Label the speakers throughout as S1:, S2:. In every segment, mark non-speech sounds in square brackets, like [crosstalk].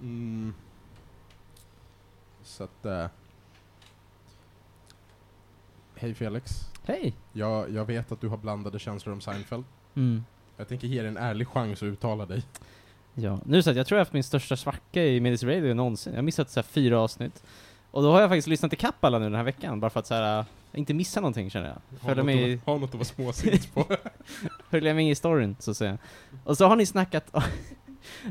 S1: Mm. Så att... eh, Hej Felix.
S2: Hej!
S1: Jag, jag vet att du har blandade känslor om Seinfeld.
S2: Mm.
S1: Jag tänker ge dig en ärlig chans att uttala dig.
S2: Ja, nu så att jag tror jag har haft min största svacka i Medis Radio någonsin. Jag har missat så här fyra avsnitt. Och då har jag faktiskt lyssnat ikapp alla nu den här veckan, bara för att så här, äh, inte missa någonting känner jag.
S1: Ha
S2: Följa
S1: något,
S2: med, i-
S1: att, ha något att vara småsint
S2: [laughs]
S1: på.
S2: följa med i storyn, så att säga. Och så har ni snackat [laughs]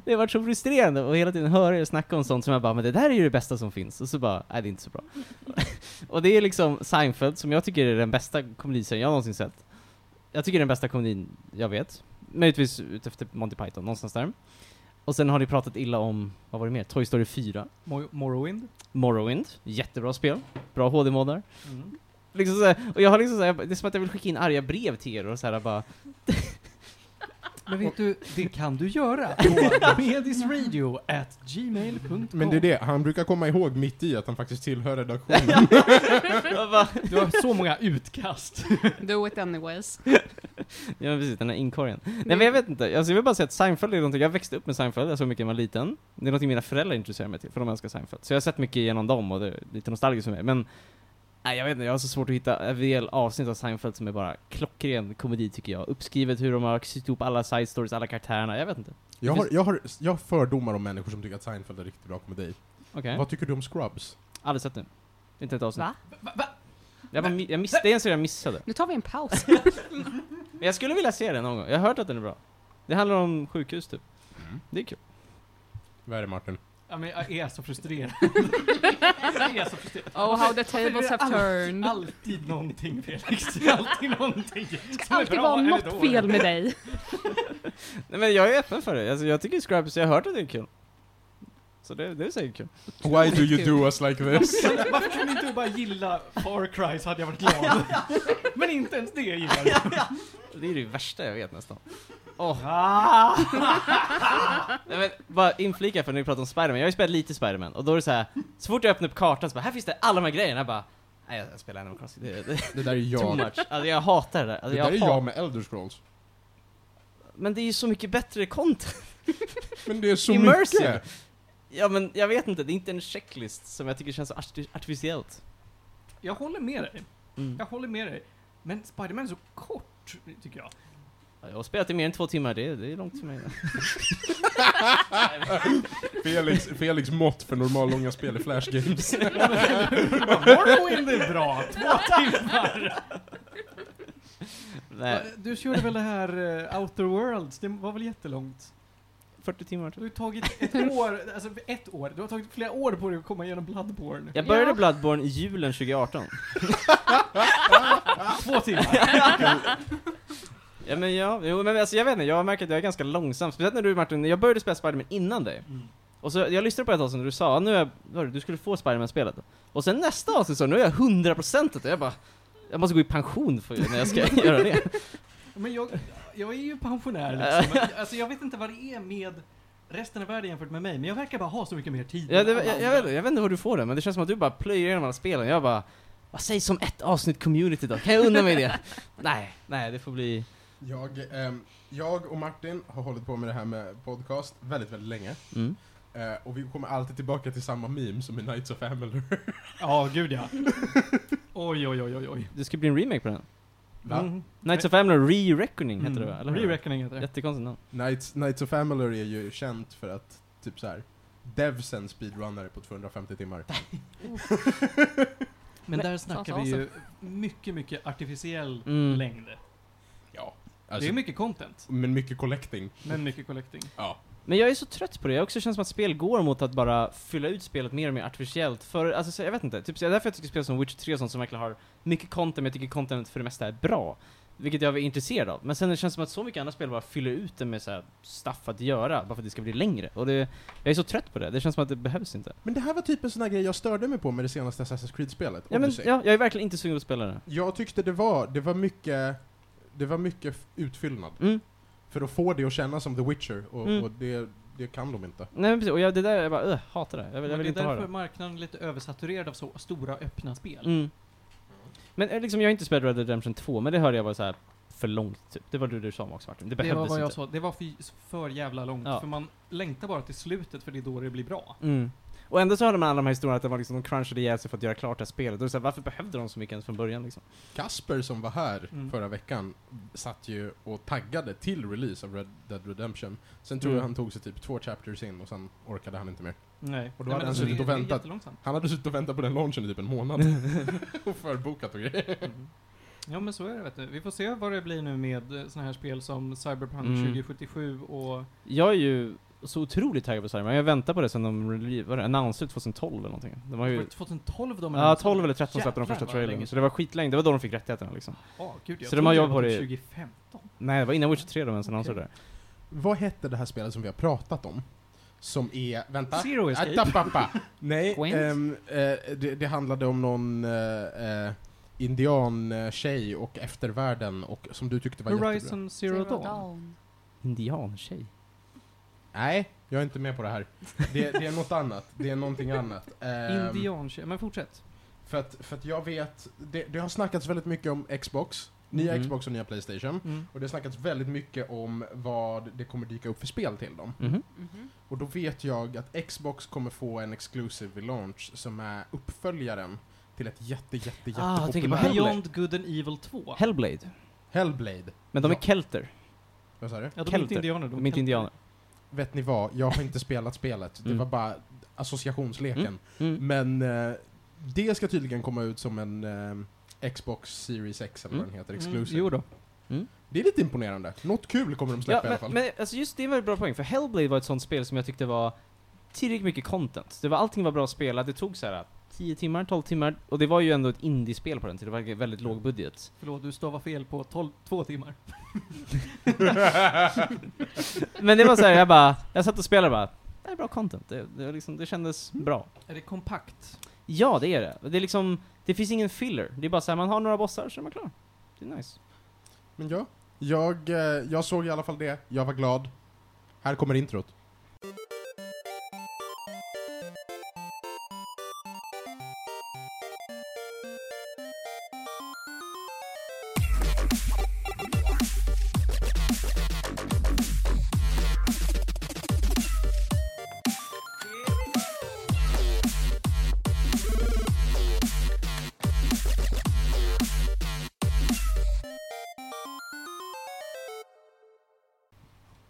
S2: Det har varit så frustrerande och hela tiden höra er snacka om sånt som jag bara, men det där är ju det bästa som finns. Och så bara, nej det är inte så bra. [laughs] och det är liksom Seinfeld, som jag tycker är den bästa komediserien jag någonsin sett. Jag tycker det är den bästa komedin jag vet. Möjligtvis utefter Monty Python, någonstans där. Och sen har ni pratat illa om, vad var det mer? Toy Story 4,
S3: Mo- Morrowind.
S2: Morrowind, jättebra spel, bra HD-moddar.
S3: Mm.
S2: Liksom såhär, och jag har liksom såhär, jag bara- det är som att jag vill skicka in arga brev till er och såhär bara, [laughs]
S3: Men vet du, det kan du [laughs] göra på medisradio@gmail.com.
S1: Men det är det, han brukar komma ihåg mitt i att han faktiskt tillhör
S2: [laughs]
S1: redaktionen.
S2: jag bara
S3: Du har så många utkast.
S4: Do it anyways.
S2: Ja men precis, den här inkorgen.
S4: Mm.
S2: Nej men jag vet inte, alltså, jag vill bara säga att Seinfeld är någonting, jag växte upp med Seinfeld, jag såg mycket när jag var liten. Det är någonting mina föräldrar intresserar mig till, för de älskar Seinfeld. Så jag har sett mycket genom dem och det är lite nostalgiskt för mig. Men, nej jag vet inte, jag har så svårt att hitta en del avsnitt av Seinfeld som är bara klockren komedi tycker jag. Uppskrivet hur de har sytt ihop alla side stories, alla karaktärerna, jag vet inte.
S1: Jag har, jag, har, jag har fördomar om människor som tycker att Seinfeld är riktigt bra komedi.
S2: Okej.
S1: Vad tycker du om Scrubs?
S2: Aldrig sett det. Inte ett avsnitt.
S4: Va?
S2: Jag, bara, mi- jag miss, det är en serie jag missade.
S4: Nu tar vi
S3: [laughs]
S4: en paus.
S2: Men jag skulle vilja se den någon gång, jag har hört att den är bra. Det handlar om sjukhus typ. Det är kul.
S1: Vad är det Martin?
S3: Ja, men jag är så [laughs] frustrerad. jag är så frustrerad.
S4: Oh how the
S3: Varför är det
S4: tables have turned.
S3: Alltid någonting Felix. Alltid någonting.
S4: Det
S3: som
S4: ska
S3: är
S4: alltid
S3: bra
S4: vara
S3: eller
S4: något
S3: dåligt.
S4: fel
S3: [laughs]
S4: med dig.
S2: Nej men jag är öppen för det, alltså, jag tycker Scrubs, jag har hört att det är kul. Så det, det är säkert kul.
S1: Why do you do us
S2: [laughs]
S1: like this?
S3: Kan- Varför kunde inte du bara gilla Far Cry så hade jag varit glad. Men inte ens det gillar du.
S2: Det är det värsta jag vet nästan. Åh,
S3: Ah.
S2: nej men bara inflika för när vi pratar om Spiderman, jag har ju spelat lite Spiderman och då är det så här, så fort jag öppnar upp kartan så bara, här finns det alla de här grejerna, jag bara, nej jag- jag spelar Animal Crossing, det, det är
S1: Det där är
S2: too
S1: jag.
S2: much. Alltså jag hatar det där.
S1: Det
S2: Alltså,
S1: där är
S2: jag
S1: jag
S2: hat...
S1: med Elder Scrolls.
S2: Men det är ju så mycket bättre content.
S1: Men det är så
S2: Immersive.
S1: mycket.
S2: Ja men jag vet inte, det är inte en checklist som jag tycker känns så arti- artificiellt.
S3: Jag håller med dig.
S2: Mm.
S3: Jag håller med dig. Men Spiderman är så kort, tycker jag.
S2: Jag har spelat i mer än två timmar, det, är- det är långt för [laughs] mig.
S1: [laughs] Felix, Felix mått för normallånga spel i Flash Games.
S3: Morrowind är bra. Två timmar.
S2: Nej,
S3: Du körde väl det här eh, Outer Worlds? Det var väl jättelångt?
S2: 40 timmar
S3: Du har ju tagit ett
S2: [laughs]
S3: år, alltså ett år, du har tagit flera år på dig att komma igenom Bloodborne.
S2: Jag började
S4: Ja.
S2: Bloodborne i julen 2018.
S3: Två timmar.
S2: Ja men ja, jo, men alltså, jag vet inte, jag har märkt att jag är ganska långsam. Speciellt när du Martin, jag började spela Spiderman innan dig.
S3: Mm.
S2: Och så, jag lyssnade på ett avsnitt och du sa "Ah, nu är jag, vad var det, du skulle få Spiderman-spelet. Och sen nästa avsnitt så nu är jag 100% och jag bara, jag måste gå i pension för, när jag ska [laughs] göra det.
S3: Men jag, jag är ju pensionär liksom. Alltså jag vet inte vad det är med resten av världen jämfört med mig, men jag verkar bara ha så mycket mer tid.
S2: Ja,
S3: än
S2: det,
S3: alla
S2: jag, jag,
S3: andra.
S2: vet, inte- jag vet inte hur du får det, men det känns som att du bara plöjer igenom alla spelen. Jag bara, vad sägs om ett avsnitt community då? Kan jag unna mig det? [laughs] nej, nej det får bli...
S1: Jag, ehm, jag och Martin har hållit på med det här med podcast väldigt, väldigt länge.
S2: Mm.
S1: Eh, och vi kommer alltid tillbaka till samma meme som i Knights of Amalur.
S3: Ja,
S2: [laughs]
S3: gud ja. Oj, oj, oj, oj, oj.
S2: Det ska bli en remake på den.
S1: [laughs] Va?
S3: Mm.
S2: Nights of Amalur Re-Reckoning heter det va? Eller hur?
S3: Re-reckoning heter det.
S2: Jättekonstigt namn.
S1: Knights, Knights of Amalur är ju känt för att typ så här. Devsen speedrunnare på 250 timmar.
S3: Men där
S4: fan,
S3: snackar
S4: så
S3: vi ju mycket, mycket artificiell
S2: Mm.
S3: längd.
S1: Ja.
S3: Det
S1: Alltså,
S3: är mycket content,
S1: men mycket collecting.
S3: men mycket collecting.
S1: Ja.
S2: Men jag är så trött på det, jag också känns som att spel går mot att bara fylla ut spelet mer och mer artificiellt för, alltså så- jag vet inte, typ så- därför jag tycker spel som Witcher 3 och sånt som verkligen har mycket content, men jag tycker content för det mesta är bra. Vilket jag är intresserad av. Men sen det känns som att så mycket andra spel bara fyller ut det med så här stuff att göra, bara för att det ska bli längre. Och det, jag är så trött på det, det känns som att det behövs inte.
S1: Men det här var typ en sån här grej jag störde mig på med det senaste Assassin's Creed-spelet.
S2: Ja men,
S1: Odyssey.
S2: ja, jag är verkligen inte sugen på att spela det.
S1: Jag tyckte det var, det var mycket, det var mycket f- utfyllnad.
S2: Mm.
S1: För att få det att kännas som The Witcher, och,
S2: Mm.
S1: och det, det kan de inte.
S2: Nej men precis, och jag, det där, jag bara, öh, hatar det. Jag vill, jag vill
S3: Men det är
S2: inte ha
S3: därför
S2: det.
S3: marknaden är lite översaturerad av så stora öppna spel.
S2: Mm. Men eh, liksom, jag har inte spelat Red Dead Redemption 2, men det hörde jag var så här för långt typ. Det var det du sa också Martin. Det
S3: Det var
S2: behövdes
S3: vad jag
S2: inte.
S3: sa, det var för, för jävla långt.
S2: Ja.
S3: För man längtar bara till slutet för det är då det blir bra.
S2: Mm. Och ändå så hörde man alla de här historierna att det var liksom, de crunchade ihjäl sig för att göra klart det här spelet. Och så här, varför behövde de så mycket ens från början liksom?
S1: Kasper som var här
S3: Mm.
S1: förra veckan satt ju och taggade till release av Red Dead Redemption. Sen tror
S2: Mm.
S1: jag han tog sig typ två chapters in och sen orkade han inte mer.
S3: Nej.
S1: Och då
S3: Nej,
S1: hade
S3: men
S1: han suttit
S3: det-
S1: och
S3: det är
S1: väntat.
S3: jättelångsamt.
S1: Han hade suttit och väntat på den launchen i typ en
S2: [laughs]
S1: månad. och förbokat och grejer.
S3: Mm. Ja men så är det vet du. Vi får se vad det blir nu med sådana här spel som Cyberpunk
S2: Mm.
S3: 2077 och...
S2: Jag är ju så otroligt taggad på Cyberpunk. Jag väntar på det sen de rele- vad är det, annonserade 2012 eller någonting. De har
S3: Var
S2: ju...
S3: det 2012 de
S2: Ja, 12 eller 13 släppte de första trailern. Så det var skitlänge, det var då de fick rättigheterna liksom.
S3: Oh, gud, jag
S2: Så de har
S3: trodde
S2: jobbat på
S3: var
S2: det-
S3: typ 2015.
S2: Nej, det var innan Witcher 3 de ens
S3: Okej.
S2: annonserade det.
S1: Vad hette det här spelet som vi har pratat om? Som är, vänta.
S3: Zero Escape.
S1: Atapapa. Nej,
S4: Gwent?
S1: ehm, eh, det, det handlade om någon eh, eh, indian-tjej och eftervärlden och som du tyckte var jättebra.
S3: Horizon Zero, Dawn.
S2: Indiantjej.
S1: Nej, jag är inte med på det här. Det, det är något annat. Det är någonting annat. Ehm,
S3: Indiantjej. Men fortsätt.
S1: För att, för att jag vet, det, det har snackats väldigt mycket om Xbox, nya
S2: Mm.
S1: Xbox och nya Playstation.
S3: Mm.
S1: Och det har snackats väldigt mycket om vad det kommer dyka upp för spel till dem.
S2: Mhm.
S4: Mhm.
S1: Och då vet jag att Xbox kommer få en exclusive vid launch som är uppföljaren till ett jätte, jätte, jätte
S2: Ah, jag tänker på
S1: populärt-
S2: Hellblade.
S3: Beyond Good and Evil 2.
S2: Hellblade.
S1: Hellblade.
S2: Men de är
S1: Ja.
S2: kelter.
S1: Vad sa du?
S3: Ja, de är inte
S2: Kelter.
S3: indianer.
S2: De är inte
S3: kelter.
S2: indianer.
S1: Vet ni vad, jag har inte spelat spelet. Det
S2: Mm.
S1: var bara associationsleken.
S2: Mm.
S1: Men eh, det ska tydligen komma ut som en eh, Xbox Series X eller vad
S2: Mm.
S1: den heter,
S3: Mm,
S1: exclusive.
S3: jo då.
S1: Det är lite imponerande. Något kul kommer de
S2: Ja,
S1: släppa i alla
S2: men,
S1: fall.
S2: men alltså just det är en väldigt bra poäng, för Hellblade var ett sånt spel som jag tyckte var tillräckligt mycket content. Det var, allting var bra spelat, det tog så här 10 timmar, 12 timmar, och det var ju ändå ett indiespel på den tiden, det var väldigt låg budget.
S3: Förlåt, du stavar fel på 12, två timmar.
S2: Men det var så här, jag bara, jag satt och spelade och bara, det här är bra content, det, det, var liksom, det kändes bra.
S3: Är det kompakt?
S2: Ja, det är det. Det är liksom, det finns ingen filler, det är bara så här, man har några bossar, så är man klar. Det är nice.
S1: Men ja, jag, eh, jag såg i alla fall det. Jag var glad. Här kommer introt.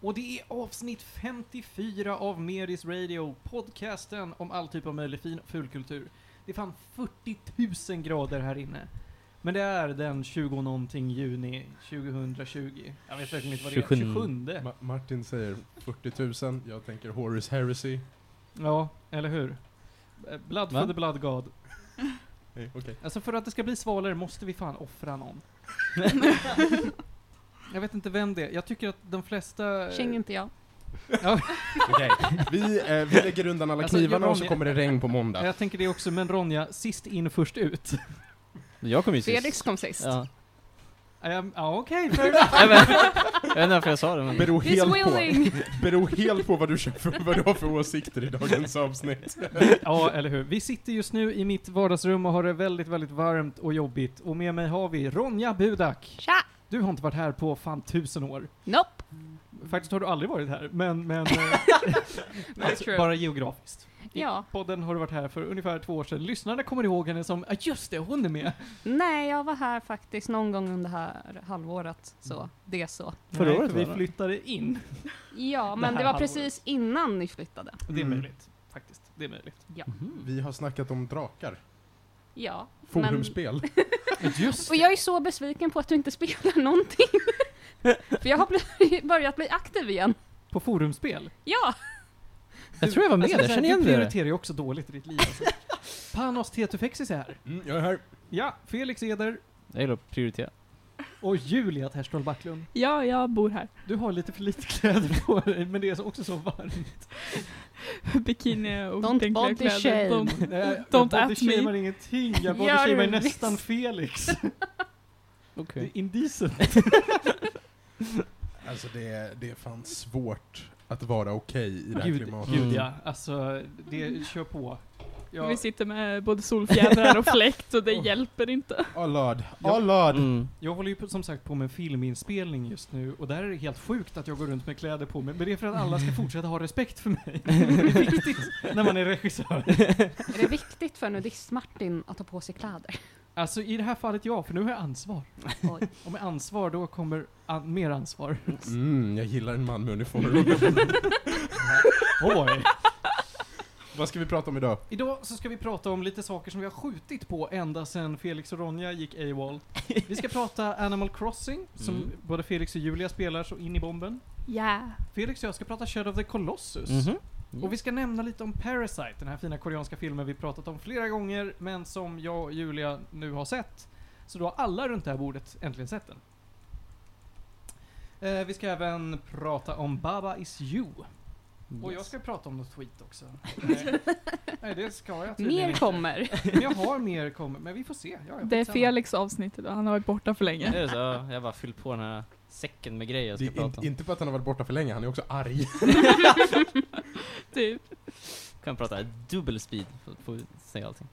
S3: Och det är avsnitt 54 av Medis Radio, podcasten om all typ av möjlig fin och fulkultur. Det är fan 40 000 grader här inne. Men det är den 20 någonting juni 2020. Jag vet verkligen inte vad det är.
S2: 27.
S3: 27.
S1: Ma- Martin säger 40 000, jag tänker Horus Heresy.
S3: Ja, eller hur? Eh, Blood
S2: Va?
S3: for the Blood God.
S1: Nej, Okej.
S3: Alltså för att det ska bli svalare måste vi fan offra [laughs] någon. jag vet inte vem det är. Jag tycker att de flesta...
S4: Känner inte jag.
S1: Okej. Vi, eh, vi lägger undan alla
S3: Alltså,
S1: knivarna
S3: jag-
S1: och så kommer det regn på måndag.
S3: Jag tänker det också, men Ronja, sist in först ut.
S2: Jag kom ju sist.
S4: Felix kom sist. [laughs]
S2: Ja.
S3: Ehm, Ja, [laughs] okej, fair enough.
S2: Jag vet jag vet inte varför jag sa det, men...
S1: Beror
S4: He's
S1: helt, på,
S4: willing!
S1: [laughs] beror helt på vad du, kör för, vad du har för åsikter i dagens avsnitt.
S3: Ja, eller hur. Vi sitter just nu i mitt vardagsrum och har det väldigt, väldigt varmt och jobbigt. Och med mig har vi Ronja Budak.
S4: Tja!
S3: Du har inte varit här på fan tusen år.
S4: Nope!
S3: Faktiskt har du aldrig varit här, men... men eh, [laughs]
S4: That's true.
S3: bara geografiskt.
S4: Ja.
S3: I podden har du varit här för ungefär två år sedan. Lyssnarna kommer ihåg henne som, ja just det, hon är med.
S4: Nej, jag var här faktiskt någon gång under här halvåret. Så, det så.
S2: Förra
S3: Nej,
S2: året
S3: för vi
S2: var det.
S3: flyttade in.
S4: Ja,
S3: Det
S4: men
S3: här
S4: det var
S3: halvåret.
S4: precis innan ni flyttade.
S3: Det är
S1: Mm.
S3: möjligt, faktiskt. Det är möjligt.
S4: Ja.
S2: Mhm.
S1: Vi har snackat om drakar.
S4: Ja. Men,
S1: Forumspel.
S3: Just
S4: och jag är så besviken på att du inte [laughs] spelar någonting. För jag har bli, [laughs] börjat bli aktiv igen.
S3: På forumspel.
S4: Ja!
S2: Jag tror jag var med,
S3: Alltså,
S2: jag
S3: så här,
S2: känner
S3: Du
S2: igen det.
S3: prioriterar ju också dåligt i ditt liv
S2: [laughs]
S3: alltså. Panos Tetufexis är här.
S1: Mm, jag är här.
S3: Ja, Felix Eder
S2: Jag gillar att prioritera.
S3: och Julia Terstol Backlund.
S5: Ja, jag bor här. [laughs]
S3: Du har lite för lite kläder på dig, men det är också så varmt.
S5: Bikini och
S4: Don't
S5: enkla
S4: body
S5: kläder.
S4: shame.
S5: Don't-
S3: Nej,
S5: Don't
S3: jag
S5: at me.
S3: bodyshamear ingenting, jag
S4: Gör du
S3: bodyshamear
S4: visst.
S3: nästan Felix. Det
S2: Okej.
S3: är indecent.
S1: Alltså det, det är fan svårt att vara okej i det här
S3: Gud,
S1: klimatet.
S3: gud
S2: Mm.
S3: ja, alltså, det, kör på. Ja,
S5: Vi sitter med både
S4: [laughs]
S5: solfjädrar och fläkt och det hjälper inte.
S1: Oh lord,
S3: Ja.
S1: oh lord.
S2: Mm.
S3: jag håller ju på- som sagt på med en filminspelning just nu och där är det helt sjukt att jag går runt med kläder på mig. Men det är för att alla ska fortsätta ha respekt för mig. Det är viktigt när man är regissör.
S4: Är det viktigt för nudist-Martin att ta på
S5: [laughs]
S4: sig kläder?
S3: Alltså i det här fallet ja, för nu har jag ansvar.
S4: Oj.
S3: Och med ansvar då kommer an- mer ansvar.
S1: Mm, jag gillar en man med uniform.
S2: [laughs]
S3: Oj!
S1: Vad ska vi prata om idag?
S3: Idag så ska vi prata om lite saker som vi har skjutit på ända sedan Felix och Ronja gick AWOL. Vi ska prata Animal Crossing, som
S2: Mm.
S3: både Felix och Julia spelar så in i bomben.
S5: Yeah.
S3: Felix och jag ska prata Shadow of the Colossus.
S2: Mhm.
S3: Och vi ska nämna lite om Parasite, den här fina koreanska filmen vi pratat om flera gånger, men som jag och Julia nu har sett. Så då har alla runt det här bordet äntligen sett den. Eh, vi ska även prata om Baba Is You. Och jag
S2: Yes.
S3: ska prata om något skit också. Nej, Nej det ska jag tydligen
S4: Mer
S3: inte.
S4: kommer.
S3: Men jag har mer kommer, men vi får se. Ja, ja,
S5: Det är
S3: skitsamma.
S5: Felix avsnitt idag, han har varit borta för
S2: Är
S5: länge.
S2: det så? Ja, Jag bara fyllt på den här säcken med grejer jag
S1: Det
S2: ska
S1: är
S2: prata
S1: in,
S2: om.
S1: inte för att han har varit borta för länge, han är också arg.
S5: [laughs] Typ.
S2: Kan prata dubbel speed, får- får säga allting.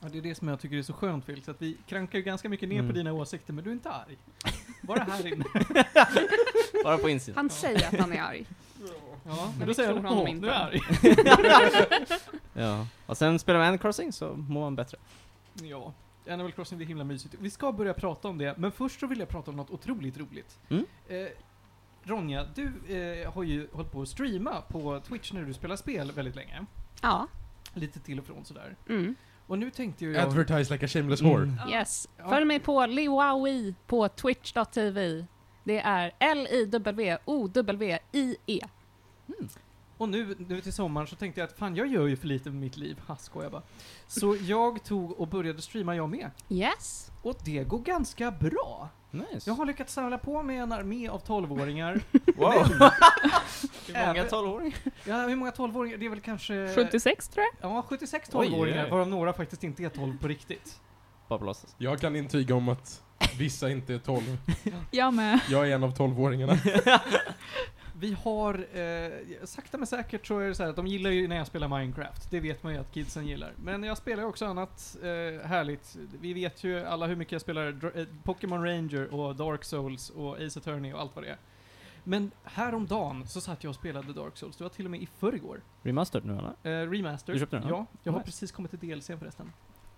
S3: Ja, det är det som jag tycker är så skönt Felix, att vi krankar ju ganska mycket ner på
S2: Mm.
S3: dina åsikter, men du är inte arg. Bara här inne.
S2: Bara på
S5: [laughs]
S2: insidan.
S4: Han säger att han är arg.
S3: Ja, men
S4: Men
S3: då
S4: vi
S3: säger
S4: tror
S3: jag
S4: honom
S3: åh,
S4: inte."
S3: nu är jag arg.
S2: Ja. Och sen spelar man Animal Crossing så mår man bättre.
S3: Ja, Animal Crossing det är himla mysigt. Vi ska börja prata om det, men först så vill jag prata om något otroligt roligt.
S2: Mm.
S3: Eh, Ronja, du eh, har ju hållit på att streama på Twitch när du spelar spel väldigt länge.
S4: Ja.
S3: Lite till och från sådär.
S4: Mm.
S3: Och nu tänkte ju jag...
S1: Advertise like a shameless whore.
S2: Mm.
S4: Yes.
S3: Ja.
S4: Följ mig på Liwawi på twitch.tv. Det är L-I-W-O-W-I-E.
S3: Och nu, nu till sommaren så tänkte jag att fan jag gör ju för lite med mitt liv, ha jag bara. Så jag tog och började streama jag med.
S4: Yes.
S3: Och det går ganska bra.
S2: Nice.
S3: Jag har lyckats samla på mig en armé av 12-åringar.
S2: [laughs] Wow.
S5: [laughs]
S2: Hur många
S3: Även-
S2: tolvåringar?
S3: Ja, hur många 12-åringar? Det är väl kanske...
S5: 76 tror jag.
S3: Ja, 76
S2: Oj,
S3: 12-åringar,
S2: oj.
S3: varav några faktiskt inte är 12 på riktigt.
S2: Bara på låtsas.
S1: Jag kan intyga om att vissa inte är 12.
S5: Jag med.
S1: Jag är en av
S5: [laughs]
S1: 12-åringarna.
S3: Vi har, eh, sakta men säkert så är det så här att de gillar ju när jag spelar Minecraft. Det vet man ju att kidsen gillar. Men jag spelar ju också annat eh, härligt. Vi vet ju alla hur mycket jag spelar Dr- eh, Pokémon Ranger och Dark Souls och Ace Attorney och allt vad det är. Men häromdagen så satt jag och spelade Dark Souls, det var till och med i förrgår.
S2: Remastered nu eller?
S3: Eh, remaster.
S2: Du köpte den,
S3: Ja, jag har
S2: Nice.
S3: precis kommit till DLC förresten.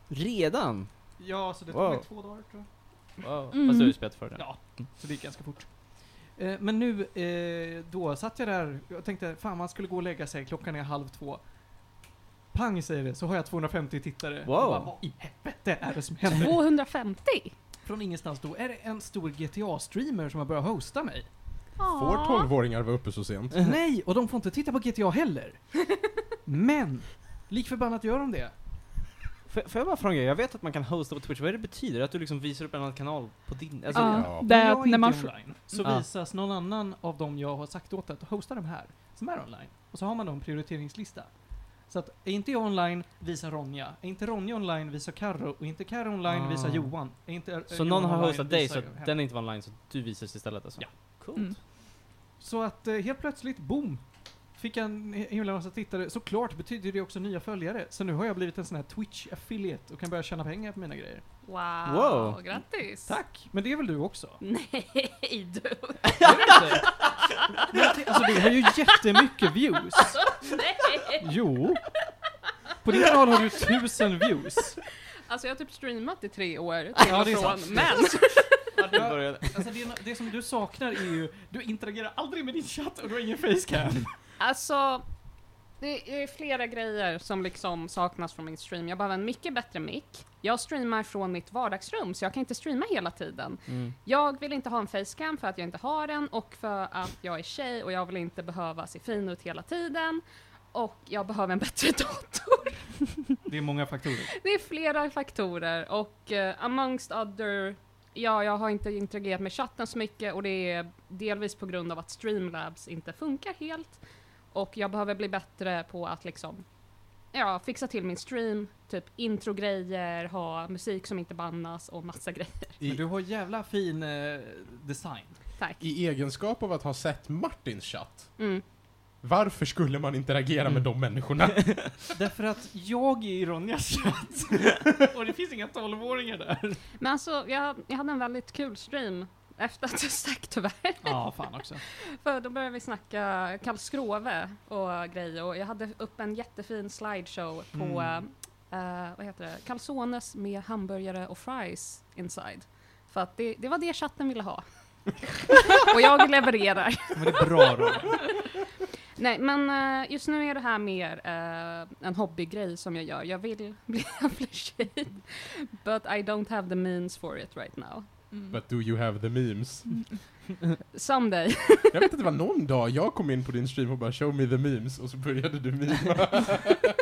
S2: Redan?
S3: Ja, så det tog
S2: Wow.
S3: mig två dagar tror jag.
S2: Wow.
S5: Mm.
S2: Fast du har ju spelat för det.
S3: Ja, så det gick ganska fort. Eh, Men nu, eh, då satt jag där och tänkte, fan man skulle gå och lägga sig, klockan är halv två. Pang säger det, så har jag 250 tittare.
S2: Wow.
S3: Och Bara, Vad i helvete är det som händer?
S4: 250.
S3: Från ingenstans då är det en stor GTA-streamer som har börjat hosta mig.
S1: Får
S4: Ja.
S1: 12-åringar vara uppe så sent?
S3: Nej, och de får inte titta på GTA heller. Men, lik förbannat gör de det.
S2: Får får jag bara fråga, jag vet att man kan hosta på Twitch, vad är det betyder? Att du liksom visar upp en annan kanal på din... Alltså,
S5: Ja,
S1: ja.
S5: det är
S3: jag
S5: att när man...
S3: inte online, så
S2: Ah.
S3: visas någon annan av dem jag har sagt åt att hosta de här, som är online. Och så har man då en prioriteringslista. Så att, är inte jag online, visa Ronja. Är inte Ronja online, visa Karo. Och är inte Karo online,
S2: Ah.
S3: visa Johan. Är inte, eh,
S2: Så
S3: Johan
S2: någon har
S3: online,
S2: hostat dig
S3: visa
S2: så
S3: henne.
S2: att den inte var online så du visades istället alltså?
S3: Ja.
S2: Coolt.
S5: Mm.
S3: Så att eh, helt plötsligt, boom! Fick jag en himla massa tittare. Såklart betyder det också nya följare. Så nu har jag blivit en sån här Twitch-affiliate och kan börja tjäna pengar på mina grejer.
S4: Wow.
S2: Wow.
S4: Grattis.
S3: Tack! Men det är väl
S2: [laughs]
S3: du också?
S4: Nej du.
S3: Är det inte? Men det- alltså det har ju jättemycket views.
S4: Nej.
S3: Jo. På din kanal har du tusen views.
S4: Alltså jag har typ streamat i tre år till
S3: Ja,
S4: och
S3: det är
S4: från,
S3: sant.
S4: men
S2: Ja, du började.
S3: Alltså det, det som du saknar är ju, du interagerar aldrig med din chatt och du har ingen facecam.
S4: alltså det är flera grejer som liksom saknas från min stream. Jag behöver en mycket bättre mick. Jag streamar från mitt vardagsrum så jag kan inte streama hela tiden.
S2: Mm.
S4: Jag vill inte ha en facecam för att jag inte har den och för att jag är tjej och jag vill inte behöva se fin ut hela tiden. Och jag behöver en bättre [laughs] dator.
S3: Det är många faktorer.
S4: Det är flera faktorer och eh, amongst other, ja jag har inte interagerat med chatten så mycket och det är delvis på grund av att Streamlabs inte funkar helt. Och jag behöver bli bättre på att liksom, ja fixa till min stream, typ introgrejer, ha musik som inte bannas och massa grejer. [laughs]
S3: Men du har jävla fin eh, design.
S4: Tack.
S1: I egenskap av att ha sett Martins chatt
S4: Mm.
S1: Varför skulle man interagera med de
S2: Mm. [laughs]
S1: människorna?
S3: Därför att jag är i Ronjas chatt. Och det finns inga 12-åringar där.
S4: Men alltså, jag, jag hade en väldigt kul stream efter [laughs] att jag stack tyvärr.
S3: Ja, fan också.
S4: För då började vi snacka Karlskrove och grejer och jag hade upp en jättefin slideshow på,
S3: Mm.
S4: eh, vad heter det, calzones med hamburgare och fries inside. För att det, det var det chatten ville ha. och jag levererar.
S3: Men det är bra Ronja.
S4: Nej, men eh, just nu är det här mer eh, en hobbygrej som jag gör. Jag vill [laughs] bli aftershade, but I don't have the means for it right now.
S5: Mm.
S1: But do you have the memes?
S4: Someday.
S1: Jag vet att det var någon dag jag kom in på din stream och bara show me the memes och så började du mima.
S5: [laughs]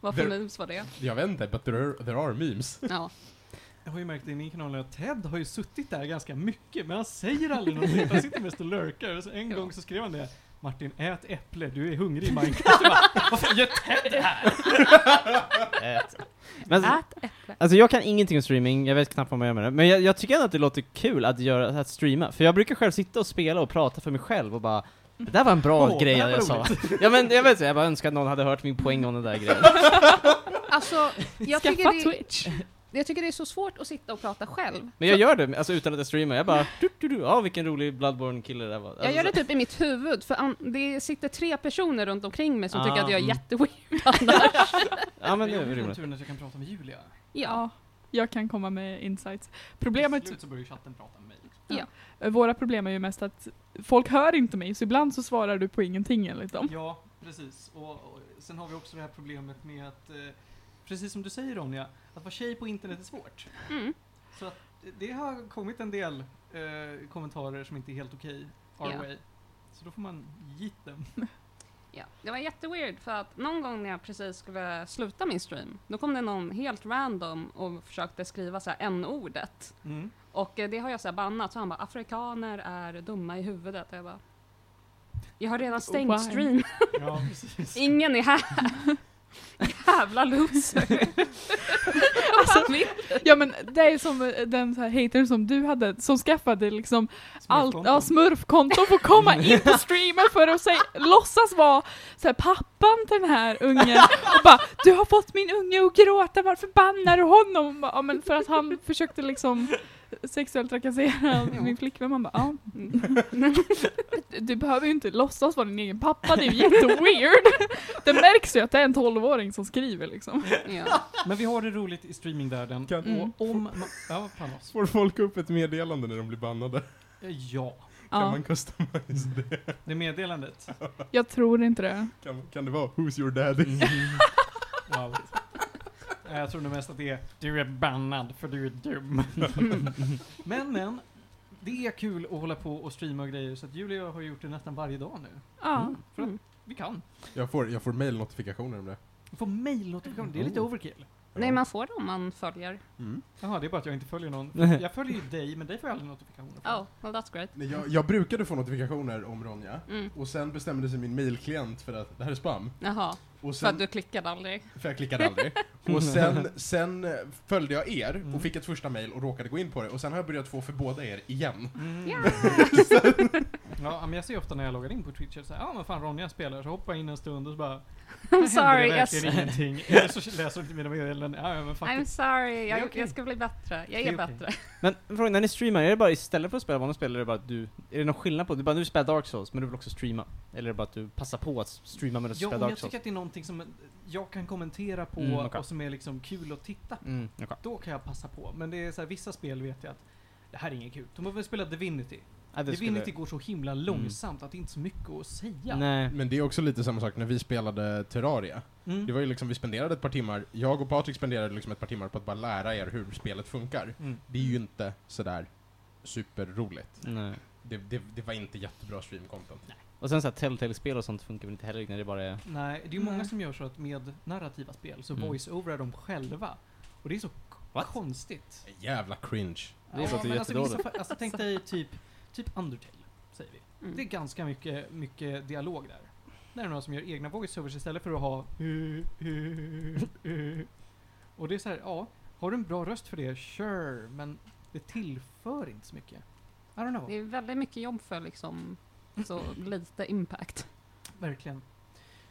S4: Vad för
S1: There-
S4: memes var det?
S1: jag vet inte, but there are, there are memes.
S4: Ja.
S3: Jag har ju märkt i min kanal att Ted har ju suttit där ganska mycket, men han säger aldrig någonting. Han sitter mest och lurkar. Och så en
S4: Ja.
S3: gång så skrev han det. Martin, ät äpple, du är hungrig i Minecraft. Jag bara, Varför gör Ted det [laughs] här?
S2: Men,
S4: Ät äpple.
S2: Alltså jag kan ingenting om streaming, jag vet knappt vad man gör med det. Men jag, jag tycker ändå att det låter kul att, göra, att streama, för jag brukar själv sitta och spela och prata för mig själv och bara Det där var en bra
S3: Åh,
S2: grej
S3: det här var
S2: jag sa. ja men jag vet inte, jag bara önskar att någon hade hört min poäng om den där grejen.
S4: Alltså, jag tycker,
S5: Skaffa
S4: det,
S5: Twitch!
S4: jag tycker det är så svårt att sitta och prata själv.
S2: Men jag gör det, alltså utan att jag streamar. Jag bara du, du, du, ja vilken rolig bloodborne kille det där var. Alltså,
S4: Jag gör det typ i mitt huvud, för an- det sitter tre personer runt omkring mig som tycker
S2: Ah,
S4: att jag är
S2: mm.
S4: jätteweird annars.
S2: [laughs] Ja men
S3: Men
S2: det
S3: jag
S2: är
S3: har den
S2: rimligt.
S3: turen att jag kan prata med Julia.
S4: Ja.
S5: Ja, jag kan komma med insights.
S3: Till
S5: Problemet,
S3: slut så börjar ju chatten prata med mig. liksom.
S5: eh, våra problem är ju mest att folk hör inte mig, så ibland så svarar du på ingenting enligt dem.
S3: Ja, precis. Och, och sen har vi också det här problemet med att, eh, precis som du säger Ronja, att vara tjej på internet är svårt.
S4: Mm.
S3: Så att det- det har kommit en del eh, kommentarer som inte är helt okej, our
S4: Ja.
S3: way. Så då får man git dem.
S4: ja. Det var jätteweird, för att någon gång när jag precis skulle sluta min stream, då kom det någon helt random och försökte skriva så här n-ordet.
S3: Mm.
S4: Och eh, det har jag så här bannat, så han bara “afrikaner är dumma i huvudet” och jag bara “jag har redan stängt
S5: Why?
S4: stream,
S3: Ja,
S5: [laughs]
S3: precis.
S4: ingen är här”.
S3: [laughs]
S4: Jävla loser! alltså,
S5: Ja men det är som eh, den så här hatern som du hade, som skaffade liksom allt,
S3: Smurfkonton.
S5: ja smurfkonto för att komma in på streamen för att säg, låtsas vara så här, pappan till den här ungen och bara du har fått min unge att gråta, varför bannar du honom? Och Bara, ja men för att han försökte liksom sexuellt trakassera
S4: Jo.
S5: min flickvän, man bara ja. Du behöver ju inte låtsas vara din egen pappa, det är ju jätteweird. Det märks ju att det är en 12-åring som skriver liksom.
S4: ja.
S3: Men vi har det roligt i streamingvärlden.
S1: Kan-
S5: Mm.
S3: Och om man, ja, Panos.
S1: Får folk upp ett meddelande när de blir bannade?
S3: Eh, Ja,
S1: Kan
S5: Ja,
S1: man customize det?
S3: det meddelandet.
S5: jag tror inte det.
S1: Kan, kan det vara Who's your daddy?
S5: Mm.
S3: Wow. Nej, Jag tror nog mest att det är du är bannad för du är dum. men men, det är kul att hålla på och streama och grejer så att Julia och jag har gjort det nästan varje dag nu.
S5: Ja.
S3: För
S4: Mm.
S3: att vi kan.
S1: [laughs] Jag får, jag får mailnotifikationer om det.
S3: Vi får mejlnotifikationer, det är lite overkill.
S4: Nej, man får det om man följer.
S1: Mm.
S3: Jaha, det är bara att jag inte följer någon. Jag följer ju dig, men dig får jag aldrig notifikationer från.
S4: Oh, well that's great.
S1: Nej, jag, jag brukade få notifikationer om Ronja.
S4: Mm.
S1: Och sen bestämde sig min mailklient för att det här är spam.
S4: Jaha,
S1: Och
S4: för
S1: sen,
S4: att du klickade aldrig.
S3: Mm.
S1: För jag klickade aldrig.
S3: [laughs]
S1: Och sen, sen eh, följde jag er
S3: Mm.
S1: och fick ett första mail och råkade gå in på det. Och sen har jag börjat få för båda er igen.
S3: Mm. [laughs]
S4: Ja.
S3: Ja, men jag ser ofta när jag loggar in på Twitch, så här, ja men fan Ronja spelar, så hoppar jag in en stund och så bara...
S4: I'm
S3: händer
S4: sorry,
S3: det
S4: jag,
S3: verkligen
S4: [laughs]
S3: ingenting. [laughs] Eller så läser du inte mina meddelanden, ja ja, men fuck
S4: I'm
S3: it.
S4: sorry,
S3: Det är
S4: jag,
S3: okej.
S4: jag ska bli bättre. Jag
S3: Det
S4: är,
S3: är okej.
S4: bättre.
S2: Men frågan, när ni streamar, är det bara istället för att spela vanliga spel, är det bara att du, är det någon skillnad på, du bara nu spelar Dark Souls, men du vill också streama? Eller är det bara att du passar på att streama medan du
S3: Ja,
S2: spelar
S3: men
S2: Dark
S3: jag
S2: Souls?
S3: tycker att det är någonting som jag kan kommentera på
S2: Mm, okej.
S3: och som är liksom kul att titta på.
S2: Mm, okej.
S3: Då kan jag passa på. Men det är så här, vissa spel vet jag att det här är inget kul. De har väl spelat Divinity.
S2: Ja, det skulle- Mm.
S3: Divinity går så himla långsamt att det är inte är så mycket att säga.
S2: Nej.
S1: Men det är också lite samma sak när vi spelade Terraria.
S3: Mm.
S1: Det var ju liksom, vi spenderade ett par timmar, jag och Patrik spenderade liksom ett par timmar på att bara lära er hur spelet funkar.
S3: Mm.
S1: Det är ju inte sådär superroligt.
S2: Nej.
S1: Det, det, det var inte jättebra stream-content.
S2: Och sen så här Telltale-spel och sånt funkar väl inte heller när det bara är...
S3: Nej, det är ju många
S5: Nej.
S3: som gör så att med narrativa spel så
S2: Mm.
S3: voice-overar de själva. Och det är så k-
S2: What?
S3: konstigt.
S1: Jävla cringe.
S2: Det låter
S3: men alltså, i vissa
S2: jättedåligt.
S3: fall- alltså, tänk dig typ, typ Undertale, säger vi. Det är
S4: Mm.
S3: ganska mycket, mycket dialog där. Där är det några som gör egna voiceovers istället för att ha Och det är så här, ja, har du en bra röst för det, sure, men det tillför inte så mycket. I don't
S4: Det
S3: know. [laughs]
S4: är väldigt mycket jobb för liksom så lite impact.
S3: Verkligen.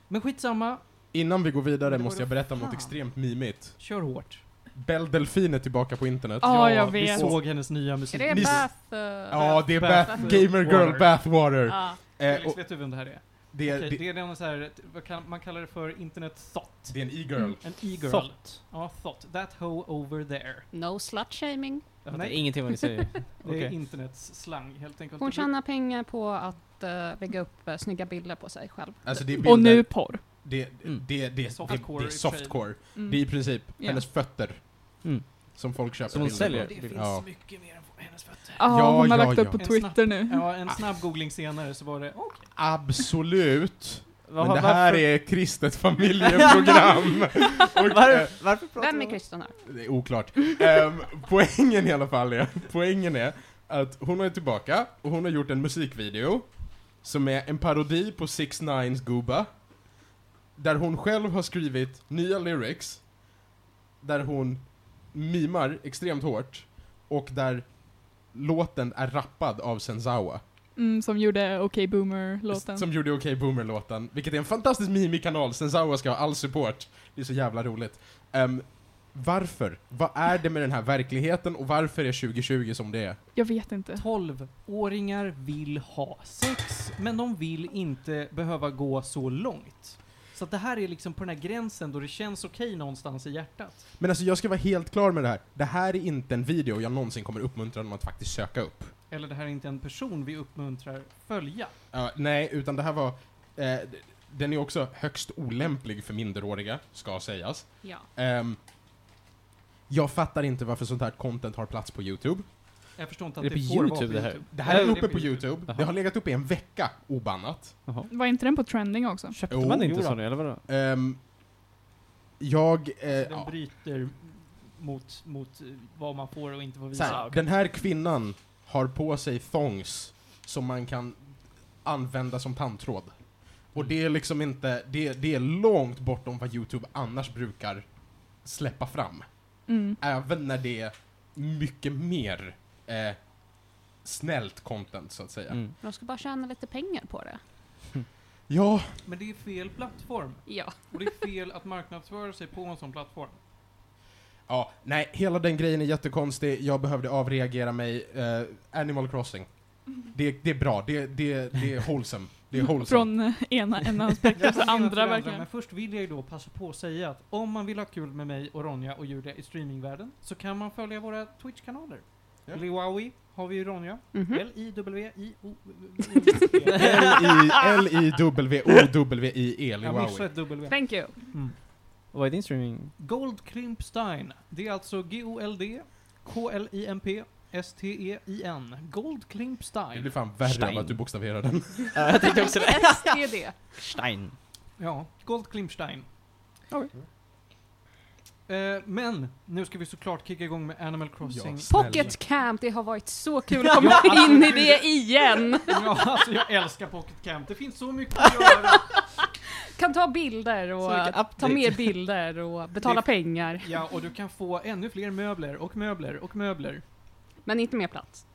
S3: Men skitsamma,
S1: Innan vi går vidare
S3: Men det
S1: måste
S3: var
S1: jag berätta om
S3: fan.
S1: något extremt mimigt.
S3: kör hårt.
S1: Bell Delfin är tillbaka på internet.
S5: Ja, jag
S3: vi
S5: vet.
S3: såg hennes nya musik.
S4: Är det
S1: Ni-
S4: Bath? eh,
S1: Ja, det är
S3: Bath-
S1: Bath, Gamer Girl
S3: Water.
S1: Bathwater.
S4: Ja.
S1: Eh,
S3: Felix,
S1: och
S3: vet du vem det här är?
S1: det, är,
S3: Okej,
S1: det,
S3: det är någon så här, vad kan, man kallar det för internet thought.
S1: det är en e-girl.
S3: En e-girl.
S2: Thought.
S3: Ja, thought. That hoe over there.
S4: No slut-shaming.
S2: Jag
S3: Nej.
S2: fattar ingenting vad ni säger.
S3: Det är
S2: Okej.
S3: internets slang helt enkelt.
S4: Hon tjänar pengar på att eh, lägga upp eh, snygga bilder på sig själv.
S1: Alltså det är
S5: Och
S1: bilder-
S5: nu porr.
S1: Det, det,
S2: Mm.
S1: det, det, det,
S3: Softcore
S1: det är
S3: i och för sig.
S1: softcore.
S5: Mm.
S1: Det är i princip
S5: Ja.
S1: hennes fötter.
S2: Mm.
S1: Som folk köper
S2: Som hon
S1: bilder
S2: säljer.
S1: på.
S3: Det finns
S1: Ja.
S3: mycket mer än hennes fötter.
S5: Ja,
S1: Ja, Ah.
S5: hon har
S1: ja,
S5: lagt
S1: ja.
S5: upp på
S3: En
S5: Twitter nu.
S3: Ja, en snabb googling senare så var det, oh,
S1: Absolut.
S2: Vad
S1: Men
S2: har-
S1: det här
S2: varför-
S1: är kristet familjeprogram. Och, eh,
S2: Varför, varför pratar
S4: Mm. Vem
S2: vi
S4: är
S2: om-
S4: Kristen här?
S1: Det är oklart. Ehm,
S5: [laughs]
S1: poängen i alla fall är, poängen är att hon är tillbaka och hon har gjort en musikvideo som är en parodi på 6 9 Gooba. Där hon själv har skrivit nya lyrics, där hon mimar extremt hårt och där låten är rappad av Senzawa.
S5: Mm, som gjorde OK Boomer-låten.
S1: Som gjorde Okej Boomer-låten, vilket är en fantastisk mimikanal, Senzawa ska ha all support. Det är så jävla roligt. Ehm, varför? Vad är det med den här verkligheten och varför är 2020 som det är?
S5: Jag vet inte.
S3: 12-åringar vill ha sex, men de vill inte behöva gå så långt. Så att det här är liksom på den här gränsen då det känns okej någonstans i hjärtat.
S1: Men alltså jag ska vara helt klar med det här. Det här är inte en video jag någonsin kommer uppmuntra någon att faktiskt söka upp.
S3: Eller det här är inte en person vi uppmuntrar följa.
S1: Ja, nej, utan det här var... Eh, d- den är också högst olämplig för minderåriga, ska sägas.
S4: Ja.
S1: Ehm, jag fattar inte varför sånt här content har plats på YouTube.
S3: Jag förstår inte att
S2: Är
S3: det,
S2: det på
S3: får vara
S2: YouTube
S3: på
S2: det här?
S3: YouTube.
S1: Det här är
S2: Nej,
S1: uppe på YouTube.
S2: Jaha.
S1: Det har legat uppe i en vecka, obannat.
S2: Jaha.
S5: Var inte den på trending också?
S2: Köpte
S1: Jo,
S2: man inte
S3: jo då.
S2: sådana, eller vadå?
S1: Ehm, jag... Eh,
S3: Den
S1: ja,
S3: bryter mot, mot eh, vad man får och inte får
S1: så
S3: visa.
S1: här, den här kvinnan har på sig thongs som man kan använda som tandtråd. Och det är liksom inte... Det, det är långt bortom vad YouTube annars brukar släppa fram.
S5: Mm.
S1: Även när det är mycket mer eh, snällt content, så att säga.
S2: Mm.
S4: De ska bara tjäna lite pengar på det.
S1: Ja,
S3: Men det är fel plattform.
S4: Ja.
S3: Och det är fel att marknadsföra sig på en sån plattform.
S1: ja, nej, hela den grejen är jättekonstig. Jag behövde avreagera mig. Eh, Animal Crossing. Det, det är bra. Det, det, det är wholesome. Det
S4: [laughs]
S1: är wholesome.
S5: Från eh, ena änden av spektrat till
S3: [laughs] Jag menar till
S5: andra
S3: andra,
S5: verkligen.
S3: Men först vill jag ju då passa på att säga att om man vill ha kul med mig och Ronja och Julia i streamingvärlden så kan man följa våra Twitch-kanaler.
S1: Ja.
S3: Liwawi har vi ju Ronja.
S5: Mm.
S4: Mhm.
S3: L-I-W-I-O...
S1: L-I-W-O-W-I-E,
S3: Jag missade
S1: Liwawi.
S3: ett W.
S4: Thank you.
S3: Mm.
S2: Och Vad är din streaming?
S3: Gold Klimpstein. Det är alltså G-O-L-D, K-L-I-M-P, E S-T-E-I-N. Gold
S1: Det blir
S3: Klimpstein.
S1: fan värre av
S2: Stein.
S1: att du bokstaverar den.
S2: [laughs] Ja, jag tänkte också det.
S4: Det är det.
S2: Stein.
S3: Ja, Gold Klimpstein.
S5: Okej.
S3: Eh, men nu ska vi såklart kicka igång med Animal Crossing.
S4: Pocket Camp, det har varit så kul att komma in i [laughs] det igen.
S3: Ja, alltså jag älskar Pocket Camp. Det finns så mycket att göra.
S4: Kan ta bilder
S2: Så
S4: och
S2: mycket
S4: eh, ta
S2: update. [laughs]
S4: mer bilder och betala
S3: Det-
S4: pengar.
S3: Ja, och du kan få ännu fler möbler och möbler och möbler.
S4: Men inte mer plats.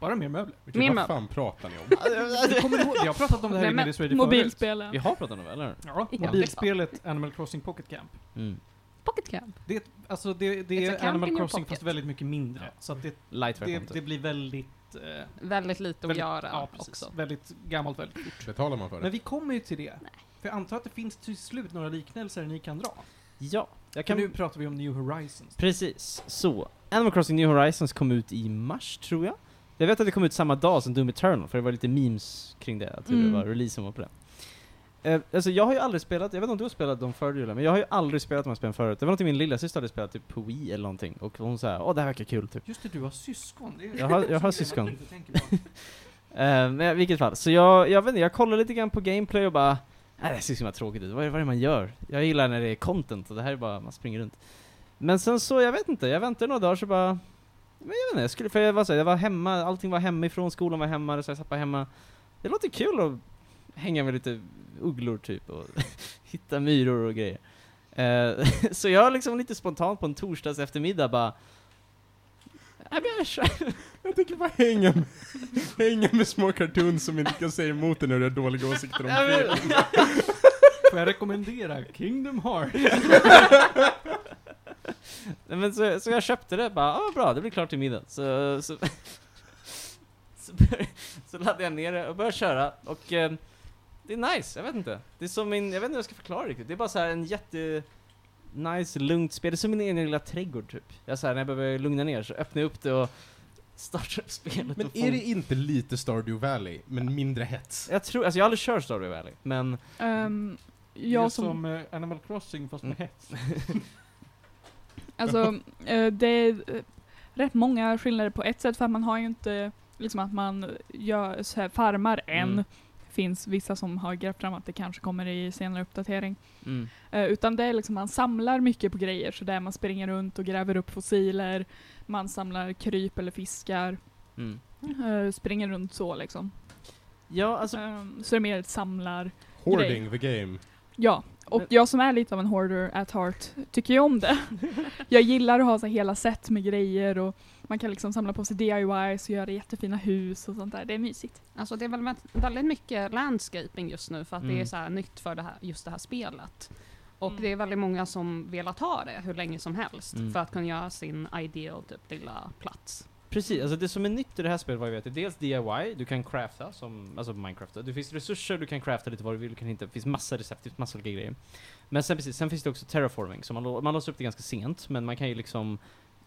S3: Bara mer möbler.
S4: Min
S1: Vad
S4: man.
S1: fan pratar ni om?
S3: Du kommer ihåg, vi har pratat om det här i
S4: Men-
S3: Medis Radio förut.
S2: Vi
S5: Mobilspelen.
S2: har pratat om det, eller?
S3: Ja,
S4: Ja.
S3: mobilspelet Animal Crossing Pocket Camp.
S2: Mm.
S4: Pocket Camp.
S3: Det är, ett- alltså det, det
S4: It's a
S3: är
S4: camp in
S3: Animal
S4: your
S3: Crossing
S4: pocket.
S3: fast väldigt mycket mindre. Så att det,
S2: Light
S3: det,
S2: version,
S3: det
S2: typ.
S3: blir väldigt... Eh,
S4: Väldigt lite att
S3: väldigt
S4: göra
S3: ja, precis.
S4: också.
S3: Väldigt gammalt väldigt.
S1: Betalar man för
S3: Men
S1: det?
S3: vi kommer ju till det. För jag antar att det finns till slut några liknelser ni kan dra.
S2: Ja, jag
S3: Kan...
S2: kan...
S3: Nu pratar vi om New Horizons.
S2: Precis, så. Animal Crossing New Horizons kom ut i mars, tror jag. Jag vet att det kom ut samma dag som Doom Eternal, för det var lite memes kring det, att hur
S5: Mm.
S2: det var releasen var på det. Eh, alltså jag har ju aldrig spelat, jag vet inte om du har spelat dem förut Julia, men jag har ju aldrig spelat de här spelen förut. Det var någonting min lilla syster hade spelat typ på Wii eller någonting, och hon sa åh det här verkar kul, typ.
S3: Just det, du har syskon. Det är
S2: Jag har- jag har
S3: det är man [laughs]
S2: syskon.
S3: inte tänker på.
S2: Eh, Men i vilket fall, så jag, jag vet inte, jag kollade lite grann på gameplay och bara Nej det här ser så himla tråkigt ut, vad är, vad är det man gör? Jag gillar när det är content och det här är bara, man springer runt Men sen så, jag vet inte, jag väntade några dagar så bara Men jag vet inte, jag skulle, för jag var så här, jag var hemma, allting var hemifrån, skolan var hemma, så jag satt bara hemma Det låter kul att hänga med lite ugglor typ och [laughs] hitta myror och grejer Eh, [laughs] Så jag liksom lite spontant på en torsdags eftermiddag bara "Ja, men jag kör-
S1: Jag tänker bara hänga med, hänga med små cartoons som inte kan säga emot en när du har dåliga åsikter om film.
S3: Får jag rekommendera Kingdom Hearts?
S2: Nej, men så, så jag köpte det bara, ah, bra, det blir klart till middag. Så, så, [laughs] så, bör, så laddade jag ner det och började köra och eh, det är nice, jag vet inte. Det är som min, jag vet inte hur jag ska förklara riktigt. Det är bara så här en jätte nice, lugnt spel. Det är som min egen lilla trädgård typ. Jag så här, när jag behöver lugna ner så öppnar jag upp det och [laughs] startar upp spelet.
S1: Men
S2: och
S1: är det inte lite Stardew Valley, men mindre hets?
S2: Jag tror, alltså jag har aldrig kört Stardew Valley, men
S5: Ehm,
S3: Det är
S5: jag som, Mm.
S3: som eh, Animal Crossing fast med hets.
S5: alltså eh, det är eh, rätt många skillnader på ett sätt för att man har ju inte liksom att man gör så här farmar än.
S2: Mm.
S5: Finns vissa som har grävt fram att det kanske kommer i senare uppdatering.
S2: mm.
S5: Eh, utan det är liksom, man samlar mycket på grejer, så där man springer runt och gräver upp fossiler, man samlar kryp eller fiskar,
S2: Mm.
S5: eh, springer runt så liksom.
S2: Ja, alltså,
S5: Eh, så det är mer ett samlar,
S1: Hoarding the game.
S5: ja. Och
S2: Men-
S5: jag som är lite av en hoarder at heart tycker ju om
S2: [laughs]
S5: det. jag gillar att ha så här hela set med grejer och man kan liksom samla på sig DIYs och göra jättefina hus och sånt där. Det är mysigt.
S4: Alltså det är väl vä- väldigt mycket landscaping just nu för att det är
S2: Mm.
S4: så här nytt för det här, just det här spelet. Och
S5: Mm.
S4: det är väldigt många som velat ha det hur länge som helst
S2: Mm.
S4: för att kunna göra sin ideal typ lilla plats.
S2: Precis, alltså det som är nytt i det här spelet vad jag vet är dels DIY, du kan crafta som, alltså Minecraft, då. det finns resurser, du kan crafta lite vad du vill, du kan hitta, det finns massa recept, det finns massa olika grejer. Men sen precis, sen finns det också terraforming, så man, lå- man låser upp det ganska sent, men man kan ju liksom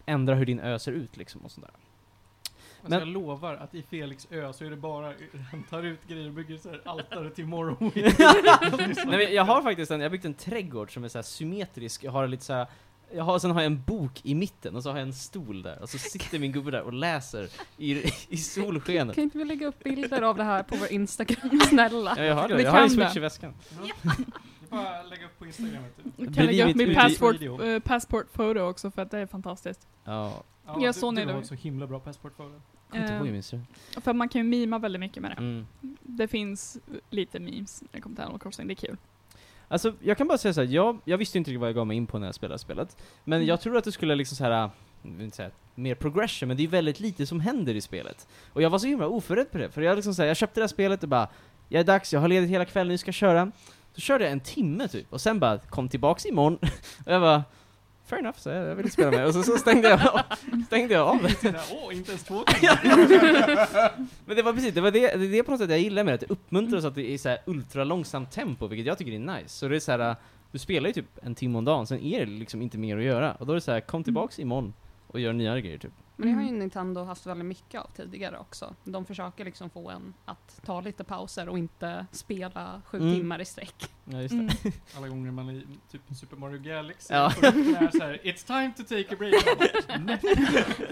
S2: ändra hur din ö ser ut liksom och sådär.
S3: Alltså
S2: Men-
S3: jag lovar att i Felix ö så är det bara, han tar ut grejer och bygger så här altare
S5: [laughs]
S3: till Morrowind.
S2: Nej, men jag har faktiskt en, jag har byggt en trädgård som är såhär symmetrisk, jag har lite såhär jag har, sen har jag en bok i mitten och så har jag en stol där och så sitter min gubbe där och läser i, i solskenet.
S4: Kan inte vi lägga upp bilder av det här på vår Instagram, [laughs] snälla?
S2: Ja, jag har det,
S5: Vi
S2: jag har en
S5: kan det.
S2: switch i väskan.
S3: Det är bara att lägga upp på Instagram. vet du.
S5: Jag kan
S2: Bredvid
S5: lägga upp
S2: mitt-
S5: min
S2: bredvid-
S5: passport,
S3: video.
S5: eh, passportfoto också för att det är fantastiskt.
S2: Ja,
S3: Ja,
S5: Jag
S3: du-
S5: såg när
S3: Du
S5: det
S3: har
S5: var-
S3: så himla bra passport
S5: [laughs]
S3: för det.
S2: jag kommer inte ihåg hur
S5: Eh,
S2: min ser
S5: för man kan ju mima väldigt mycket med det.
S2: mm.
S5: Det finns lite memes när det kommer till Animal Crossing, det är kul.
S2: Alltså, jag kan bara säga så här, jag, jag visste inte riktigt vad jag gav mig in på när jag spelade spelet. Men
S5: Mm.
S2: jag tror att det skulle liksom så här, äh, jag vill inte säga, mer progression, men det är väldigt lite som händer i spelet. Och jag var så himla oförberedd på det, för jag liksom så här, jag köpte det här spelet och bara, jag är dags, jag har ledigt hela kvällen, nu ska jag köra. Så körde jag en timme typ, och sen bara, kom tillbaks imorgon. [laughs] och jag bara, fair enough, så jag, jag vill inte spela mer. Och så, så stängde jag av, stängde jag av det.
S3: Det där, Åh, inte ens två timmar.
S2: Men det var precis, det var det, det, är det på något sätt jag gillar med det, att det uppmuntrar oss att det är så här ultralångsamt tempo, vilket jag tycker är nice. Så det är så här, du spelar ju typ en timme om dagen, sen är det liksom inte mer att göra. Och då är det så här, kom tillbaks
S4: Mm.
S2: imorgon och gör nyare grejer typ.
S4: Men det har ju Nintendo haft väldigt mycket av tidigare också. De försöker liksom få en att ta lite pauser och inte spela sju
S2: Mm.
S4: timmar i sträck.
S2: Ja, just det.
S5: Mm.
S3: Alla gånger man är i typ Super Mario Galaxy
S2: Ja.
S3: får upp den här så här, It's time to take a break.
S2: [laughs]
S3: Man bara, "Nej."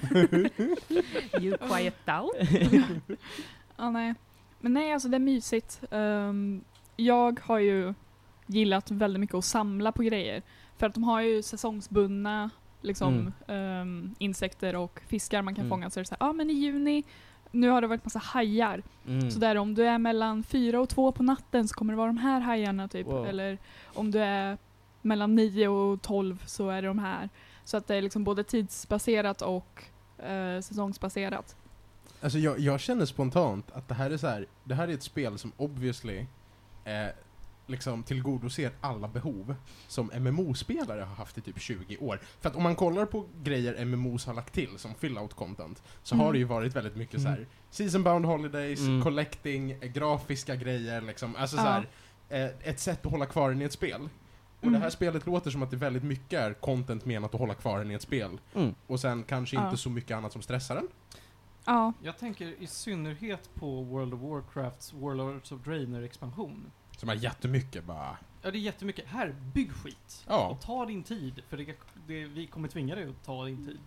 S4: [laughs] You quiet down.
S5: Ja, nej. Men nej, alltså det är mysigt. Ehm, jag har ju gillat väldigt mycket att samla på grejer. För att de har ju säsongsbundna liksom, ehm, insekter och fiskar man kan
S2: Mm.
S5: fånga. Så är det så här, ja ah, men i juni, nu har det varit massa hajar.
S2: Mm.
S5: Så där om du är mellan fyra och två på natten så kommer det vara de här hajarna typ.
S2: Wow.
S5: Eller om du är mellan nio och tolv så är det de här. Så att det är liksom både tidsbaserat och eh, säsongsbaserat.
S1: Alltså jag, jag känner spontant att det här är så här, det här är ett spel som obviously eh, liksom tillgodoser alla behov som MMO-spelare har haft i typ 20 år. För att om man kollar på grejer MMOs har lagt till som fill-out content så
S5: Mm.
S1: har det ju varit väldigt mycket så här
S2: Mm.
S1: season-bound holidays,
S2: Mm.
S1: collecting, eh, grafiska grejer liksom. Alltså
S5: Ja.
S1: så här, eh, ett sätt att hålla kvar den i ett spel. Och det här
S5: Mm.
S1: spelet låter som att det väldigt mycket är content menat att hålla kvar den i ett spel.
S2: Mm.
S1: Och sen kanske
S5: Ja.
S1: inte så mycket annat som stressar den.
S5: Ja,
S3: Jag tänker i synnerhet på World of Warcrafts Warlords of Draenor expansion.
S1: Som har jättemycket bara
S3: Ja, det är jättemycket. Här, bygg skit.
S1: Ja.
S3: Och ta din tid, för det, det, vi kommer tvinga dig att ta din tid.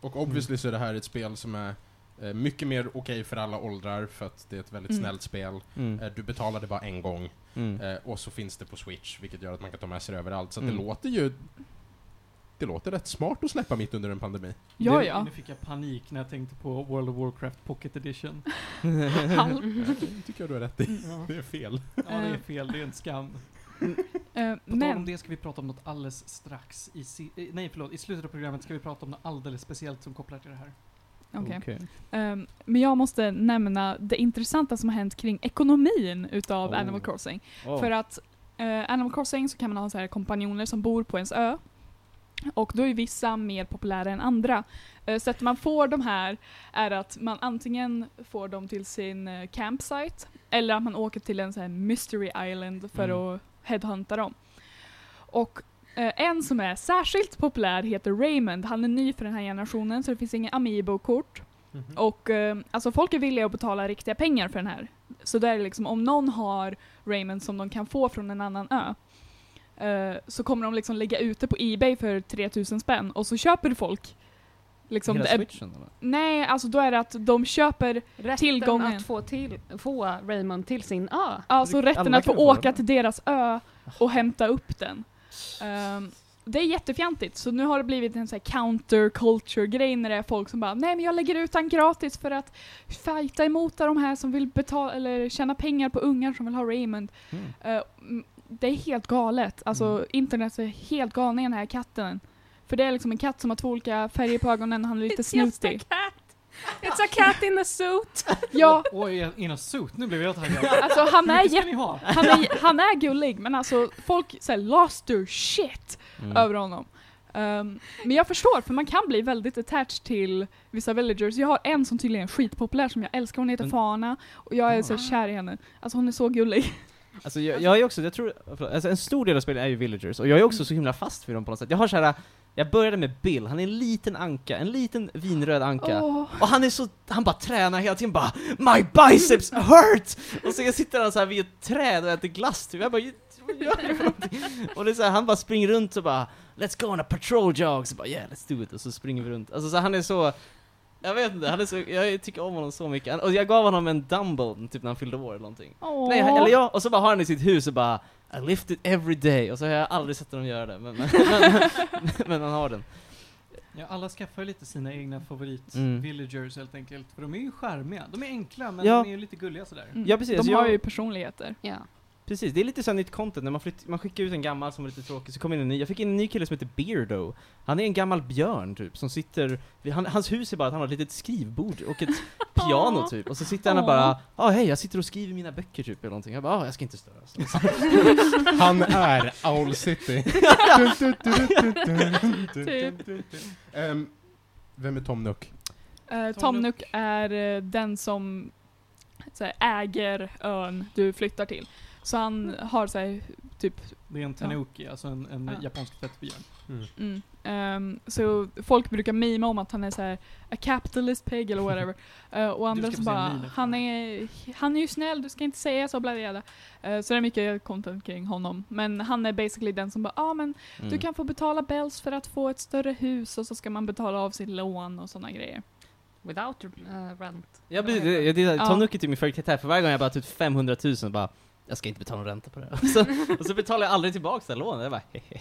S1: Och obviously så är det här ett spel som är eh, mycket mer okej för alla åldrar för att det är ett väldigt
S5: Mm.
S1: snällt spel.
S2: Mm.
S1: Eh, du betalar det bara en gång
S2: Mm.
S1: eh, och så finns det på Switch vilket gör att man kan ta med sig det överallt. Så att det
S2: Mm.
S1: låter ju... Det låter rätt smart att släppa mitt under en pandemi.
S5: ja,
S3: nu,
S5: ja.
S3: nu fick jag panik när jag tänkte på World of Warcraft Pocket Edition. [laughs]
S5: Halv.
S4: eh,
S2: Mm.
S1: Eh, Det tycker jag du har rätt i.
S3: Ja,
S1: Det är fel.
S3: ja det är fel. Det är en
S5: Eh,
S3: skam. På tal om
S5: men,
S3: det ska vi prata om något alldeles strax. I, si- eh, nej, förlåt. I slutet av programmet ska vi prata om något alldeles speciellt som kopplar till det här.
S4: Okej.
S2: Okej.
S4: Ehm, men jag måste nämna det intressanta som har hänt kring ekonomin utav
S2: Oh.
S4: Animal Crossing.
S2: Åh.
S4: För att eh, Animal Crossing så kan man ha så här kompanjoner som bor på ens ö. Och då är vissa mer populära än andra. Eh, sättet man får de här är att man antingen får dem till sin eh, campsite eller att man åker till en så här mystery island för
S2: Mm.
S4: att headhunta dem. Och eh, en som är särskilt populär heter Raymond. Han är ny för den här generationen så det finns inga Amiibo-kort.
S2: Mhm.
S4: Och eh, alltså folk är villiga att betala riktiga pengar för den här. Så där är det liksom, om någon har Raymond som de kan få från en annan ö eh, så kommer de liksom lägga ut det på Ebay för 3000 spänn och så köper folk. Liksom,
S2: Hela
S4: det är,
S2: switchen eller?
S4: nej, alltså då är det att de köper
S6: Rätten
S4: Tillgången.
S6: att få, till, få Raymond till sin ö.
S4: Alltså
S2: Alla
S4: rätten att få
S2: kan få
S4: åka
S2: den.
S4: till deras ö och hämta upp den. Ehm, det är jättefjantigt, så nu har det blivit en sån här counter culture grej när det är folk som bara nej men jag lägger ut den gratis för att fighta emot de här som vill betala eller tjäna pengar på ungar som vill ha Raymond.
S2: Mm.
S4: Eh, mm, det är helt galet, alltså
S2: Mm.
S4: internet är helt galna i den här katten. För det är liksom en katt som har två olika färger på ögonen, han är lite snutig.
S6: It's a cat. It's a cat in a suit.
S4: [laughs] Ja,
S3: Oj, innan sot, nu blev jag taggad.
S4: [laughs] alltså han är
S3: Vilket
S4: jätte
S3: ska ni ha?
S4: han är, han är gullig men alltså folk såhär lost their shit
S2: Mm.
S4: över honom. Ehm, men jag förstår för man kan bli väldigt attached till vissa villagers. Jag har en som tydligen är skitpopulär som jag älskar, hon
S6: Mm.
S4: heter
S2: Men-
S4: Fana och jag är
S2: Ah.
S4: så kär i henne. Alltså hon är så gullig.
S2: Alltså jag, jag är också, jag tror, förlåt, alltså en stor del av spelet är ju villagers, och jag är också så himla fast vid dem på något sätt. Jag har så här. jag började med Bill, han är en liten anka, en liten vinröd anka.
S4: Åh.
S2: Och han är så, han bara tränar hela tiden bara My biceps hurt! Och så jag sitter han så här vid ett träd och äter glass typ, jag bara vad gör du för någonting?" Och det är så här, han bara springer runt och bara Let's go on a patrol jog! Så bara yeah, let's do it! Och så springer vi runt. Alltså så han är så jag vet inte, han är så, jag tycker om honom så mycket. Han- Och jag gav honom en dumbbell typ när han fyllde år eller någonting.
S4: Åh.
S2: Nej, eller ja, och så bara har han i sitt hus och bara I lift it every day, och så har jag aldrig sett honom göra det, men, men, men, men han har den.
S3: Ja, alla skaffar ju lite sina egna
S2: Mm.
S3: favorit-villagers helt enkelt. För de är ju charmiga. De är enkla, men
S2: Ja.
S3: de är ju lite gulliga sådär.
S4: Mm.
S2: Ja, precis,
S4: De
S2: jag-
S4: har ju personligheter.
S6: Alltså, Ja.
S2: Precis, det är lite såhär nytt content, när man, flytt, man skickar ut en gammal som är lite tråkig, så kommer in en ny. Jag fick in en ny kille som heter Beardo. Han är en gammal björn typ, som sitter, vid, han, hans hus är bara att han har ett litet skrivbord och [laughs] ett piano typ, och så sitter han och bara ah hej, jag sitter och skriver mina böcker typ eller någonting. Jag bara ah jag ska inte störas.
S1: Han är Owl City.
S4: Typ.
S1: Ehm, vem är Tom Nook?
S4: Uh,
S3: Tom
S4: Tomnuk är eh, den som så här, äger ön du flyttar till. Så han
S3: Mm.
S4: har så här, typ
S3: Det är en tanuki, alltså en, en
S4: Ja.
S3: japansk tvättbjörn.
S4: Mm. Ehm, så folk brukar mima om att han är så här a capitalist pig eller whatever.
S3: [laughs]
S4: Eh, och andra
S3: ska
S4: som
S3: få se en
S4: bara,
S3: meme.
S4: han är, han är ju snäll, du ska inte säga så, bla bla bla. Eh, så det är mycket content kring honom. Men han är basically den som bara, ja ah, men
S3: Mm.
S2: Mm.
S4: du kan få betala bells för att få ett större hus och så ska man betala av sitt lån och sådana
S3: [laughs]
S4: grejer.
S6: Without
S4: eh,
S6: uh, rent.
S2: Jag blir, det, det, det,
S4: Ja.
S2: Tom Nook är typ min favoritkaraktär, för varje gång jag bara typ 500 000 bara jag ska inte betala någon ränta på det. Och [laughs] så, och så betalar jag aldrig tillbaka det här lånet. Jag bara, hehe.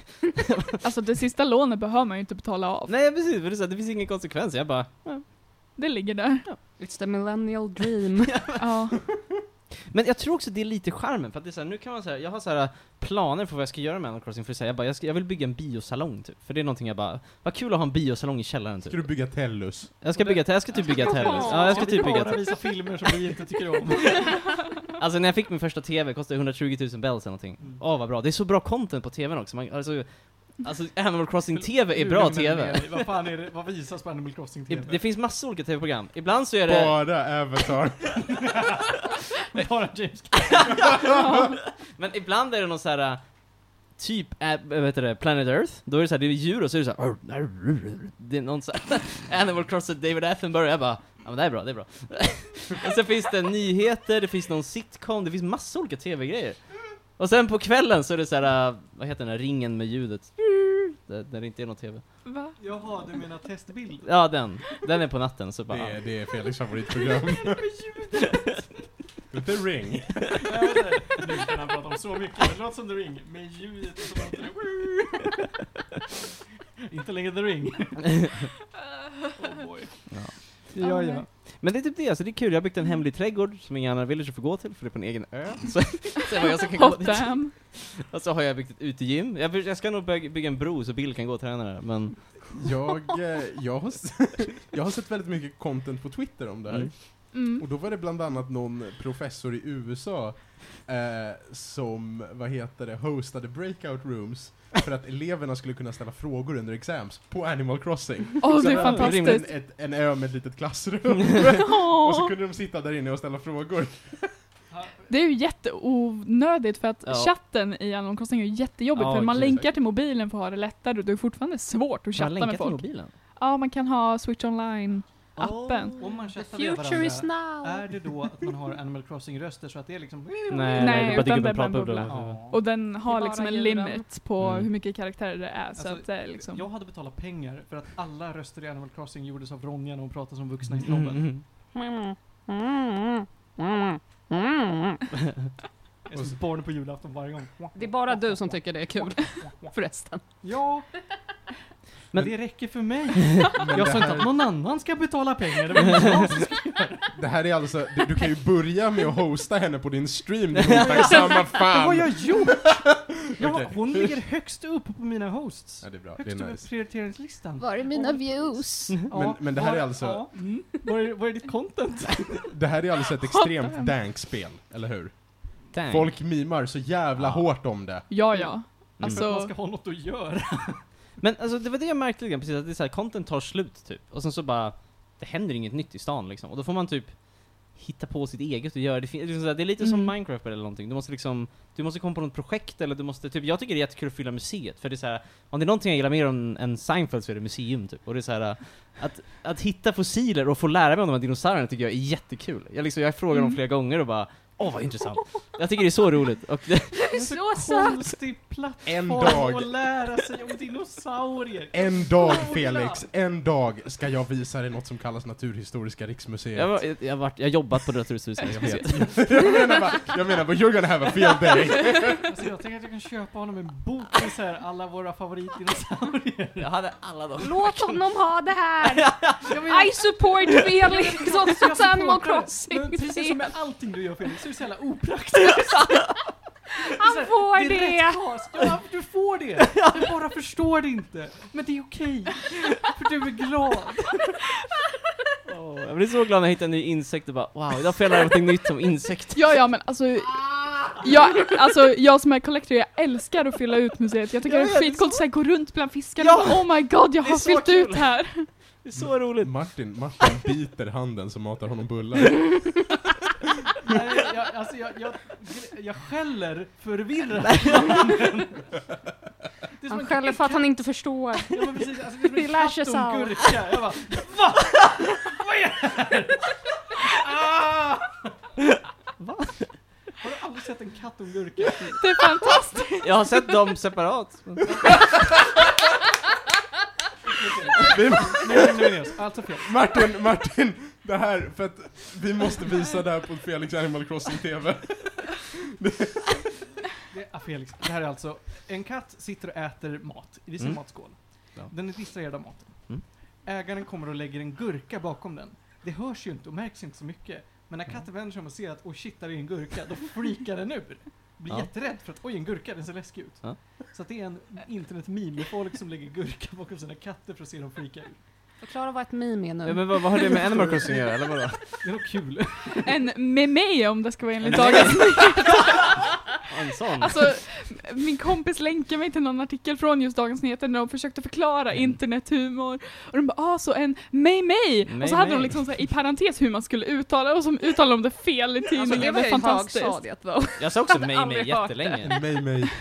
S4: Alltså det sista lånet behöver man ju inte betala av.
S2: Nej precis, för det, är så här, det finns ingen konsekvens. Jag bara,
S4: Det ligger där.
S6: It's
S5: [laughs]
S6: the millennial dream.
S4: [laughs] Ja.
S2: Men jag tror också det är lite charmen, för att det är så här, nu kan man säga, jag har så här äh, planer för vad jag ska göra med Animal Crossing, för att säga, jag, bara, jag, ska, jag vill bygga en biosalong typ, för det är någonting jag bara, vad kul att ha en biosalong i källaren
S1: Ska
S2: typ.
S1: du bygga Tellus?
S2: Jag ska bygga, te- jag ska typ bygga ett hellus. Ja, jag ska typ bygga
S3: bara
S2: ett
S3: visa filmer som vi inte tycker
S2: [laughs]
S3: om.
S2: Alltså när jag fick min första TV kostade det 120 000 bells eller någonting.
S3: Mm.
S2: Åh vad bra, det är så bra content på TVn också. Man, alltså, alltså Animal Crossing TV är
S3: Nu
S2: bra
S3: lämnar vi
S2: TV.
S3: ner dig. Vad fan är det, vad visas på Animal Crossing
S2: I-
S3: TV?
S2: Det finns massor olika TV-program. Ibland så är det,
S1: Bara Avatar.
S3: [laughs] Bara James
S2: men ibland är det någon så här äh, typ, äh, vad heter det, Planet Earth. Då är det så här, det är djur och så är det så här, [laughs] det är någon så här [laughs] Animal Crossing David Attenborough. Jag bara, ja men det här är bra, det är bra. [laughs] och så finns det nyheter, det finns någon sitcom, det finns massa olika TV-grejer. Och sen på kvällen så är det så här, äh, vad heter den där ringen med ljudet? Där, där det inte är någon TV.
S4: Va?
S3: Jaha, du menar testbild?
S2: Ja den, den är på natten så
S1: Det
S2: bara,
S1: är, det är Felix [laughs]
S2: [laughs]
S1: favoritprogram. The Ring.
S3: [laughs] Jag vet inte. Nu kan han prata om så mycket. Det låter som The Ring, med ljudet och så
S4: [laughs]
S3: låter det... Inte längre The Ring. Oh boy.
S4: Ja, ja.
S2: Men det är typ det, alltså det är kul. Jag har byggt en hemlig trädgård som ingen annan villager får gå till, för det är på en egen ö. [laughs] Så, så det var jag som kan gå
S5: Hot
S2: dit.
S5: damn.
S2: Och så har jag byggt ett utegym. Jag, jag ska nog bygga bygga en bro så Bill kan gå och träna där, men...
S1: Jag, eh, jag, har, s- [laughs] jag har sett väldigt mycket content på Twitter om det här.
S2: Mm.
S5: Mm.
S1: Och då var det bland annat någon professor i USA eh, som, vad heter det, hostade breakout rooms för att eleverna skulle kunna ställa frågor under exams på Animal Crossing.
S5: Åh,
S1: Så
S5: det
S1: hade
S5: är
S1: han byggt
S5: fantastiskt.
S1: En, ett, en ö med ett litet
S5: [laughs]
S1: klassrum. och så
S5: Åh.
S1: kunde de sitta där inne och ställa frågor.
S5: Det är ju jätteonödigt för att
S2: Ja.
S5: chatten i Animal Crossing är ju jättejobbigt
S2: Ja,
S5: för man
S2: gud.
S5: länkar till mobilen för att ha det lättare och det är fortfarande svårt att chatta med folk.
S2: mobilen?
S5: Ja, man kan ha Switch Online-appen. Oh
S3: Om man
S4: Um, The
S3: chattar med
S4: future is
S3: varandra,
S4: now!
S3: är det då att man har Animal Crossing-röster så att det är liksom...
S2: Nej,
S5: Nej,
S2: nej, det bara
S5: utan
S2: dyker upp en
S5: det är bara en
S2: pratbubbla.
S5: bubbla.
S2: Ja.
S3: Ja.
S5: Och den har
S4: bara
S5: liksom en
S4: djuren.
S5: limit på
S2: Mm.
S5: hur mycket karaktärer det är. så
S3: Alltså,
S5: att det är liksom...
S3: Jag hade betalat pengar för att alla röster i Animal Crossing gjordes av Ronja när hon pratade som vuxna i
S2: Mm,
S3: snobben.
S2: mm.
S4: Mm, mm, mm, mm.
S3: Jag
S1: mm.
S3: är som ett barn på julafton varje gång.
S4: Det är bara du som tycker det är kul, [laughs] förresten.
S3: Ja, men
S2: Men-
S3: det räcker för mig.
S1: [laughs] Men
S3: Jag
S1: det
S3: sa inte att
S1: här,
S3: någon annan ska betala pengar. Det var jag som skulle-
S1: det här är alltså, du, du kan ju börja med att hosta henne på din stream, din
S5: [laughs]
S1: otacksamma
S3: Vad har
S1: fan!
S3: jag
S1: [laughs]
S3: gjort? Jag, har-
S1: Okej.
S3: hon ligger högst upp på mina hosts.
S1: Ja, det är bra, det
S3: Högst
S1: är
S3: upp
S1: nice.
S3: på prioriteringslistan.
S4: Var är
S3: mina
S4: views?
S3: Ja,
S1: Men- men det här
S3: var-
S1: är alltså-
S3: Ja, mm. Vad är, vad är ditt content?
S1: Det här är alltså ett extremt dank-spel, eller hur?
S2: Dang.
S1: Folk mimar så jävla hårt om det.
S5: Ja, ja.
S2: Mm.
S3: För att man
S5: Alltså,
S3: ska ha något att göra.
S2: Men alltså det var det jag märkte lite grann, precis, att det är så här, content tar slut typ. Och sen så bara, det händer inget nytt i stan liksom. Och då får man typ hitta på sitt eget och göra det. fin- Det är, så här, det är lite som
S5: Mm.
S2: Minecraft eller någonting. Du måste liksom, du måste komma på något projekt eller du måste, typ jag tycker det är jättekul att fylla museet. För det är så här, om det är någonting jag gillar mer än, än Seinfeld så är det museum typ. Och det är så här, att, att hitta fossiler och få lära mig om de här dinosaurierna tycker jag är jättekul. Jag liksom, jag frågar dem
S5: Mm.
S2: flera gånger och bara, åh vad intressant. Jag tycker det är så roligt. Och [laughs] det,
S3: Det är
S4: så
S3: konstig plattform
S1: En dag.
S3: att lära sig om dinosaurier.
S1: En dag Felix, en dag ska jag visa dig något som kallas Naturhistoriska riksmuseet.
S2: jag, var, jag, jag, har varit- jag har jobbat på Naturhistoriska
S1: jag,
S2: museet.
S1: vet. [laughs] jag menar bara, jag menar bara, you're gonna have a field day.
S3: Alltså jag tänker att jag kan köpa honom en bok med så här alla våra favoritdinosaurier.
S2: Jag hade alla dem.
S4: Låt honom ha det här!
S3: Jag
S4: I support Felix
S3: Jag
S4: och
S3: supportar
S4: Animal
S3: det.
S4: Crossing!
S3: Men precis som med allting du gör Felix, så är det så
S4: [laughs]
S3: jävla opraktiskt.
S4: Han får
S3: Det är
S4: det!
S3: rätt kast. Ja, du får det!
S4: [laughs]
S3: Du bara förstår det inte. Men det är okej. För du är
S4: [laughs]
S3: glad.
S2: Åh, Jag blir så glad när jag hittar en ny insekt och bara wow, idag får jag lära mig någonting nytt om insekter.
S5: ja, ja, men alltså... Jag, alltså, jag som är collector, jag älskar att fylla ut museet. Jag tycker
S2: Jag
S5: det är
S2: vet, det är
S5: skitcoolt att så här gå runt bland fiskarna
S2: Ja!
S5: och bara, oh my god, jag
S2: Det är
S5: har
S2: så
S5: fyllt
S2: kul.
S5: ut här.
S2: Det är så roligt.
S1: Martin, Martin biter handen som matar honom bullar.
S3: Nej, jag, alltså jag, jag, jag skäller förvirrat. [laughs] Det är som
S4: Han
S3: en-
S4: skäller för att han inte förstår.
S3: Ja men precis, alltså, det är som en
S4: Vi lär sig
S3: katt och en
S4: så.
S3: gurka. Jag bara, va? Vad är det här? Ah! Va? Har du aldrig sett en katt och en gurka?
S5: Det är fantastiskt.
S2: Jag har sett dem separat. men-
S1: Vi,
S3: Nej, nu är jag alltså fel.
S1: Martin, Martin, det här, för att vi måste visa det här på Felix Animal Crossing TV.
S3: Det, ah, Felix, det här är alltså, en katt sitter och äter mat i sin
S2: Mm.
S3: matskål.
S2: Ja.
S3: Den är distraherad av maten.
S2: Mm.
S3: Ägaren kommer och lägger en gurka bakom den. Det hörs ju inte och märks inte så mycket. Men när katten vänder sig om och ser att oj shit, där är en gurka, då freakar den ur. Blir
S2: Ja.
S3: jätterädd för att oj, en gurka, den ser läskig ut.
S2: Ja.
S3: Så att det är en internetmeme med folk som lägger gurka bakom sina katter för att se dem freaka ut.
S4: Förklara vad ett meme är
S2: Ja,
S4: nu.
S2: men vad, vad har det med Animal Crossing att göra eller vadå?
S3: Det är nog kul.
S5: En meme om det ska vara enligt
S2: [laughs]
S5: dagens
S2: En sån?
S5: Alltså, min kompis länkade mig till någon artikel från just Dagens Nyheter när de försökte förklara internethumor. Och de bara ah, så en mej mej! Och så hade
S2: Mej-mej.
S5: de liksom så här, i parentes hur man skulle uttala och så uttalade de det fel i tidningen.
S4: Alltså, det var
S5: det är
S4: ju
S5: fantastiskt.
S4: högstadiet
S5: [laughs]
S4: då.
S2: Jag sa också
S4: Jag hade
S2: mej mej
S4: aldrig hört det.
S2: jättelänge.
S1: Mej, mej,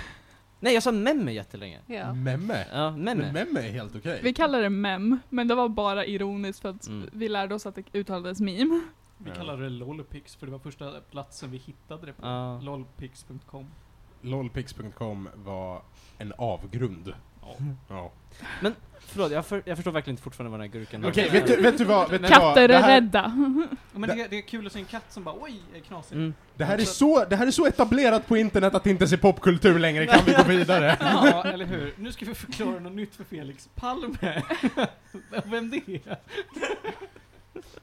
S2: Nej, jag sa memme jättelänge.
S4: Ja.
S1: memme.
S2: Ja, memme.
S1: Memme är helt okej.
S5: Vi kallar det mem, men det var bara ironiskt för att
S2: Mm.
S5: vi lärde oss att det uttalades meme.
S3: Vi
S1: Ja.
S3: kallar det Lollpix för det var första platsen vi hittade det på.
S2: Ja.
S3: Lollpix.com.
S1: Lollpix.com var en avgrund.
S3: Ja.
S1: Ja.
S2: Förlåt, jag, för, jag förstår verkligen inte fortfarande vad den här gurkan har
S1: Okej,
S2: med-
S1: vet, du, vet du vad? Vet du vad?
S5: Katter
S1: Det
S5: är
S1: här-
S5: rädda.
S3: Men det, det är kul att se en katt som bara oj, är knasig.
S2: Mm.
S1: Det här, är så, det här är så etablerat på internet att det inte är popkultur längre, kan vi gå vidare?
S3: [laughs] Ja, eller hur? Nu ska vi [laughs] förklara något nytt för Felix Palme. Vem det är.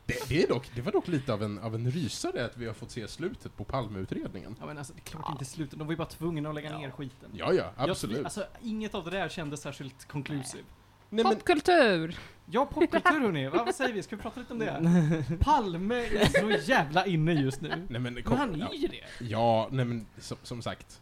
S1: Det, det, är dock, det var dock lite av en, av en rysare att vi har fått se slutet på Palmeutredningen.
S3: Ja men alltså det är klart inte slutet, de var ju bara tvungna att lägga ner skiten.
S1: Ja, ja,
S3: Jag-
S1: absolut.
S3: alltså inget av det där kändes särskilt konklusivt.
S1: Nej, men,
S4: Popkultur!
S3: Ja, popkultur
S1: [laughs]
S3: hörni, Va, vad säger vi? Ska vi prata lite om det? Palme är så jävla inne just nu.
S1: nej, men,
S3: Men
S1: kom,
S3: han
S1: ja,
S3: är ju det.
S1: ja, nej men som, som sagt.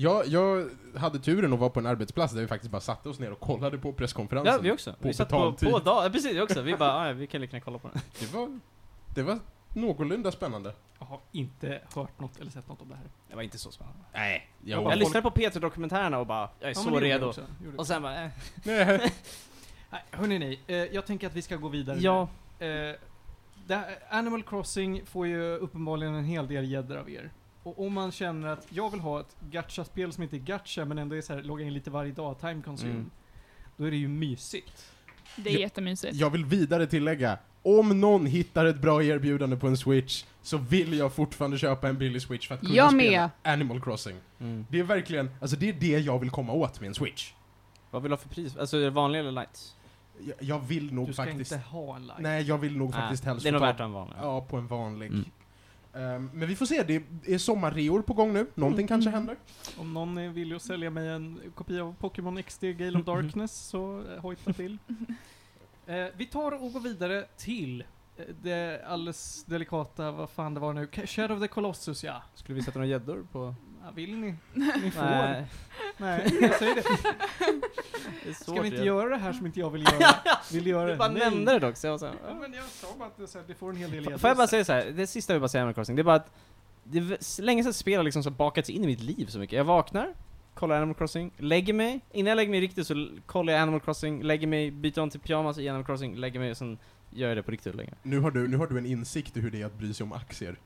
S1: Jag, jag hade turen att vara på en arbetsplats där vi faktiskt bara satte oss ner och kollade på presskonferensen.
S2: Ja, vi också.
S1: På
S2: vi satt på,
S1: betaltid.
S2: på dag, ja, precis, vi också. Vi bara, "Ah, ja, vi kan lika gärna kolla på den.
S1: Det, var, det var någorlunda spännande.
S3: Jag har inte hört något eller sett något om det här.
S2: Det var inte så spännande.
S1: Nej,
S3: Jag
S1: jag
S2: Jag
S1: var...
S3: bara-
S2: lyssnade på Peter-dokumentärerna och bara, jag är
S3: Ja, men
S2: så
S3: det gjorde jag
S2: redo.
S3: också, gjorde jag
S2: Och
S3: också.
S2: sen bara, eh.
S1: [laughs] Nej.
S3: Nej, hörni ni, eh, jag tänker att vi ska gå vidare.
S2: Ja.
S3: nu. Eh, det här- Animal Crossing får ju uppenbarligen en hel del gäddor av er. Och om man känner att jag vill ha ett gacha-spel som inte är gacha men ändå är så här, logga in lite varje dag, time consume.
S2: Mm.
S3: Då är det ju mysigt.
S5: Det är
S1: Ja.
S5: jättemysigt.
S1: Jag vill vidare tillägga, om någon hittar ett bra erbjudande på en Switch så vill jag fortfarande köpa en billig Switch för att kunna
S4: Jag
S1: spela
S4: med.
S1: Animal Crossing. Det är verkligen, alltså det är det jag vill komma åt med en Switch.
S2: Vad vill du ha för pris? Alltså är det vanlig eller light?
S1: Jag, jag vill nog
S3: Du ska
S1: faktiskt...
S3: inte ha en live.
S1: Nej, jag vill nog faktiskt
S2: Nej,
S1: helst
S2: det är
S1: få
S2: nog
S1: ta-
S2: värt en vanlig.
S1: Ja, på en vanlig.
S2: Mm.
S1: Ehm, men vi får se, det är- det är sommarreor på gång nu.
S4: Mm.
S1: Någonting kanske händer.
S3: Om någon är villig att sälja mig en kopia av Pokémon XD Gale of Darkness så eh, hojta till. Eh, vi tar och går vidare till eh, det alldeles delikata, vad fan det var nu, Ca- Shadow of the Colossus ja.
S2: Skulle vi sätta några gäddor på?
S3: ja vill [laughs] ni? Ni får. Nej.
S2: Nej, [laughs]
S3: jag säger det.
S2: det är svårt.
S3: Ska vi inte
S2: ju.
S3: göra det här som inte jag vill
S2: [laughs]
S3: göra? Vill göra
S2: Du
S3: det?
S2: bara
S3: Nej.
S2: nämnde det dock, så jag var så här,
S3: Ja, men jag sa bara att det, är så här, det får en hel del
S2: F-
S3: gäddor.
S2: Får jag bara säga så här, det sista jag vill bara säga om Animal Crossing, det är bara att det är v- s- länge sedan spel har liksom så bakats in i mitt liv så mycket. Jag vaknar, kollar Animal Crossing, lägger mig, innan jag lägger mig riktigt så l- kollar jag Animal Crossing, lägger mig, byter om till pyjamas i Animal Crossing, lägger mig och sen gör jag det på riktigt längre.
S1: Nu har, du, nu har du en insikt i hur det är att bry sig om aktier.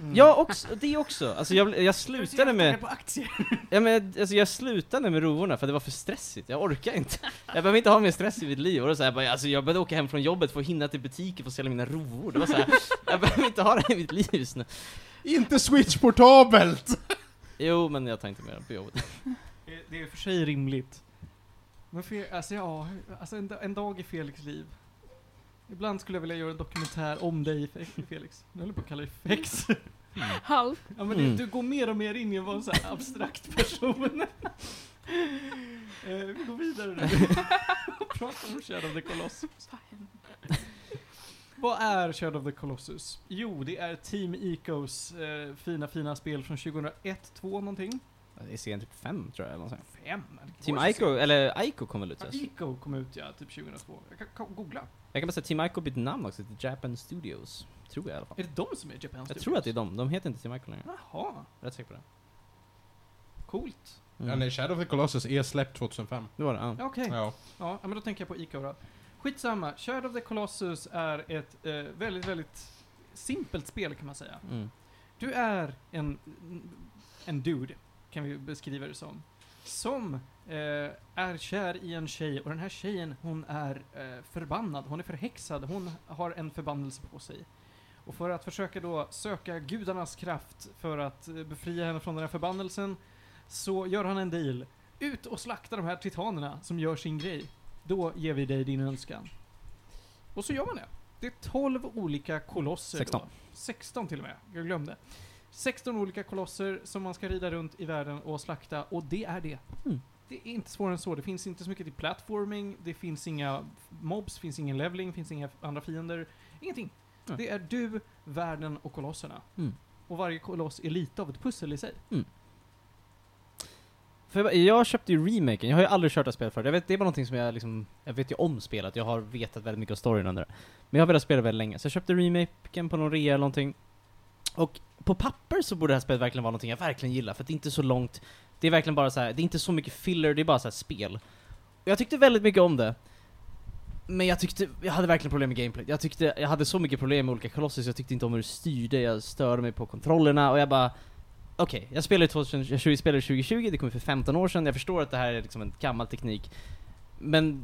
S3: Mm.
S2: Ja, också, det också. Alltså jag, bl- jag
S3: Jag är så
S2: slutade
S3: jävla
S2: med,
S3: på aktier.
S2: ja, men, jag- alltså jag slutade med rovorna för det var för stressigt, jag orkar inte. Jag behöver inte ha mer stress i mitt liv. Och då så här, bara, alltså jag började åka hem från jobbet för att hinna till butiken för att sälja mina rovor. Det var så här, [laughs] jag behöver inte ha det här i mitt liv just nu.
S1: Inte Switch-portabelt!
S2: Jo, men jag tar inte med det på jobbet.
S3: Eh, Det är i och för sig rimligt. Men för, alltså ja, alltså en, da- en dag i Felix liv. Ibland skulle jag vilja göra en dokumentär om dig Fe- Felix. Nu håller jag på att kalla dig Fex.
S5: Halv.
S3: Ja, men
S2: Mm.
S3: du, du går mer och mer in i att vara en sån här abstrakt person. [laughs] eh, vi går vidare
S2: [laughs]
S3: nu. Och pratar om Shadow of the Colossus. Vad är Shadow of the Colossus? Jo, det är Team Icos eh, fina, fina spel från 2001, 2 någonting.
S2: Det är sen typ fem tror jag eller nåt sånt.
S3: Fem?
S2: Team Ico, eller Ico kom väl ut?
S3: Ja,
S2: först?
S3: Ico kom ut ja, typ 2002. Jag kan, kan googla.
S2: Jag kan bara säga att Team Ico bytte namn också till Japan Studios. Tror jag i alla fall.
S3: Är det de som är Japan
S2: Jag tror att det är dem, de heter inte Team Ico längre.
S3: Jaha,
S2: Rätt säker på det.
S3: coolt.
S2: Mm.
S1: Ja, nej, Shadow of the Colossus är släppt 2005.
S2: Det var det, ja.
S3: Ja, Okej. Ja.
S1: Ja.
S3: ja, men då tänker jag på Ico då. Skitsamma, Shadow of the Colossus är ett eh, väldigt, väldigt simpelt spel kan man säga.
S2: Mm.
S3: Du är en, en dude, kan vi beskriva det som. Som eh, är kär i en tjej och den här tjejen hon är eh, förbannad, hon är förhäxad, hon har en förbannelse på sig. Och för att försöka då söka gudarnas kraft för att eh, befria henne från den här förbannelsen så gör han en deal. Ut och slakta de här titanerna som gör sin grej. Då ger vi dig din önskan. Och så gör man det. Det är 12 olika kolosser då.
S2: 16.
S3: 16 till och med, jag glömde. 16 olika kolosser som man ska rida runt i världen och slakta och det är det.
S2: Mm.
S3: Det är inte svårare än så. Det finns inte så mycket till platforming, det finns inga mobs, finns ingen leveling, finns inga andra fiender. Ingenting.
S2: Nej.
S3: Det är du, världen och kolosserna.
S2: Mm.
S3: Och varje koloss är lite av ett pussel i sig.
S2: För jag, bara- jag köpte ju remaken, jag har ju aldrig kört det här spelet förut. Jag vet, det är bara någonting som jag liksom, jag vet ju om spelet, jag har vetat väldigt mycket om storyn under det. Men jag har velat spela väldigt länge, så jag köpte remaken på någon rea eller någonting. Och på papper så borde det här spelet verkligen vara någonting jag verkligen gillar, för att det är inte så långt, det är verkligen bara så här, det är inte så mycket filler, det är bara så här spel. Jag tyckte väldigt mycket om det. Men jag tyckte, jag hade verkligen problem med gameplay. Jag tyckte, jag hade så mycket problem med olika kolosser så jag tyckte inte om hur det styrde, jag störde mig på kontrollerna och jag bara Okej, jag spelade 2020, jag spelade 2020, det kom ju för 15 år sedan, jag förstår att det här är liksom en gammal teknik. Men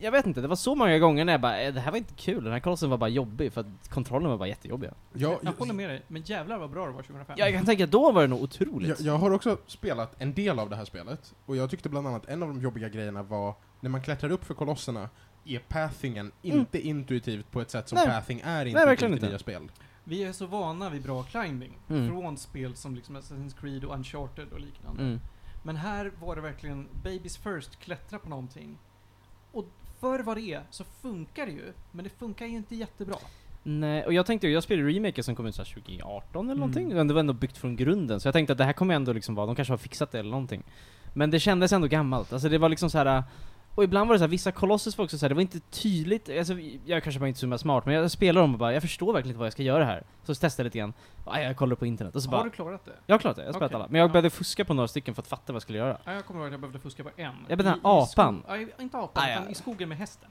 S2: jag vet inte, det var så många gånger när jag bara, "Eh, det här var inte kul, den här kolossen var bara jobbig för att kontrollen var bara jättejobbiga.
S1: Jag,
S3: Jag håller
S1: jag,
S3: med dig, men jävlar vad bra det var 2005.
S2: Jag kan tänka, då var det nog
S1: jag,
S2: otroligt.
S1: jag har också spelat en del av det här spelet, och jag tyckte bland annat en av de jobbiga grejerna var när man klättrar upp för kolosserna är pathingen inte intuitivt på ett sätt som
S2: Mm. Nej.
S1: pathing är
S2: verkligen
S1: intuitivt i
S2: inte.
S1: nya spel.
S3: Vi är så vana vid bra climbing
S2: Mm.
S3: från spel som liksom Assassin's Creed och Uncharted och liknande.
S2: Mm.
S3: Men här var det verkligen babies first, klättra på någonting. Och för vad det är så funkar det ju, men det funkar ju inte jättebra.
S2: Nej, och jag tänkte ju, jag spelade remaker som kom ut så här 2018 eller
S3: Mm.
S2: någonting. Men det var ändå byggt från grunden, så jag tänkte att det här kommer ändå liksom vara, de kanske har fixat det eller någonting. Men det kändes ändå gammalt, alltså det var liksom så här. Och ibland var det så här, vissa Colossus var också så här, det var inte tydligt, alltså, jag kanske bara inte är så himla smart, men jag spelar dem och bara, jag förstår verkligen inte vad jag ska göra här. Så testade jag lite grann, Aj, jag kollar på internet och så
S3: Har
S2: bara,
S3: du klarat det?
S2: jag har klarat det, jag har spelat
S3: Okej.
S2: alla. Men jag
S3: Ja.
S2: började fuska på några stycken för att fatta vad jag skulle göra.
S3: Ja, jag kommer ihåg att jag behövde fuska på en.
S2: Ja, men den här
S3: I- i
S2: apan.
S3: sko- Nej, inte apan,
S2: Ah, ja.
S3: utan i skogen med hästen.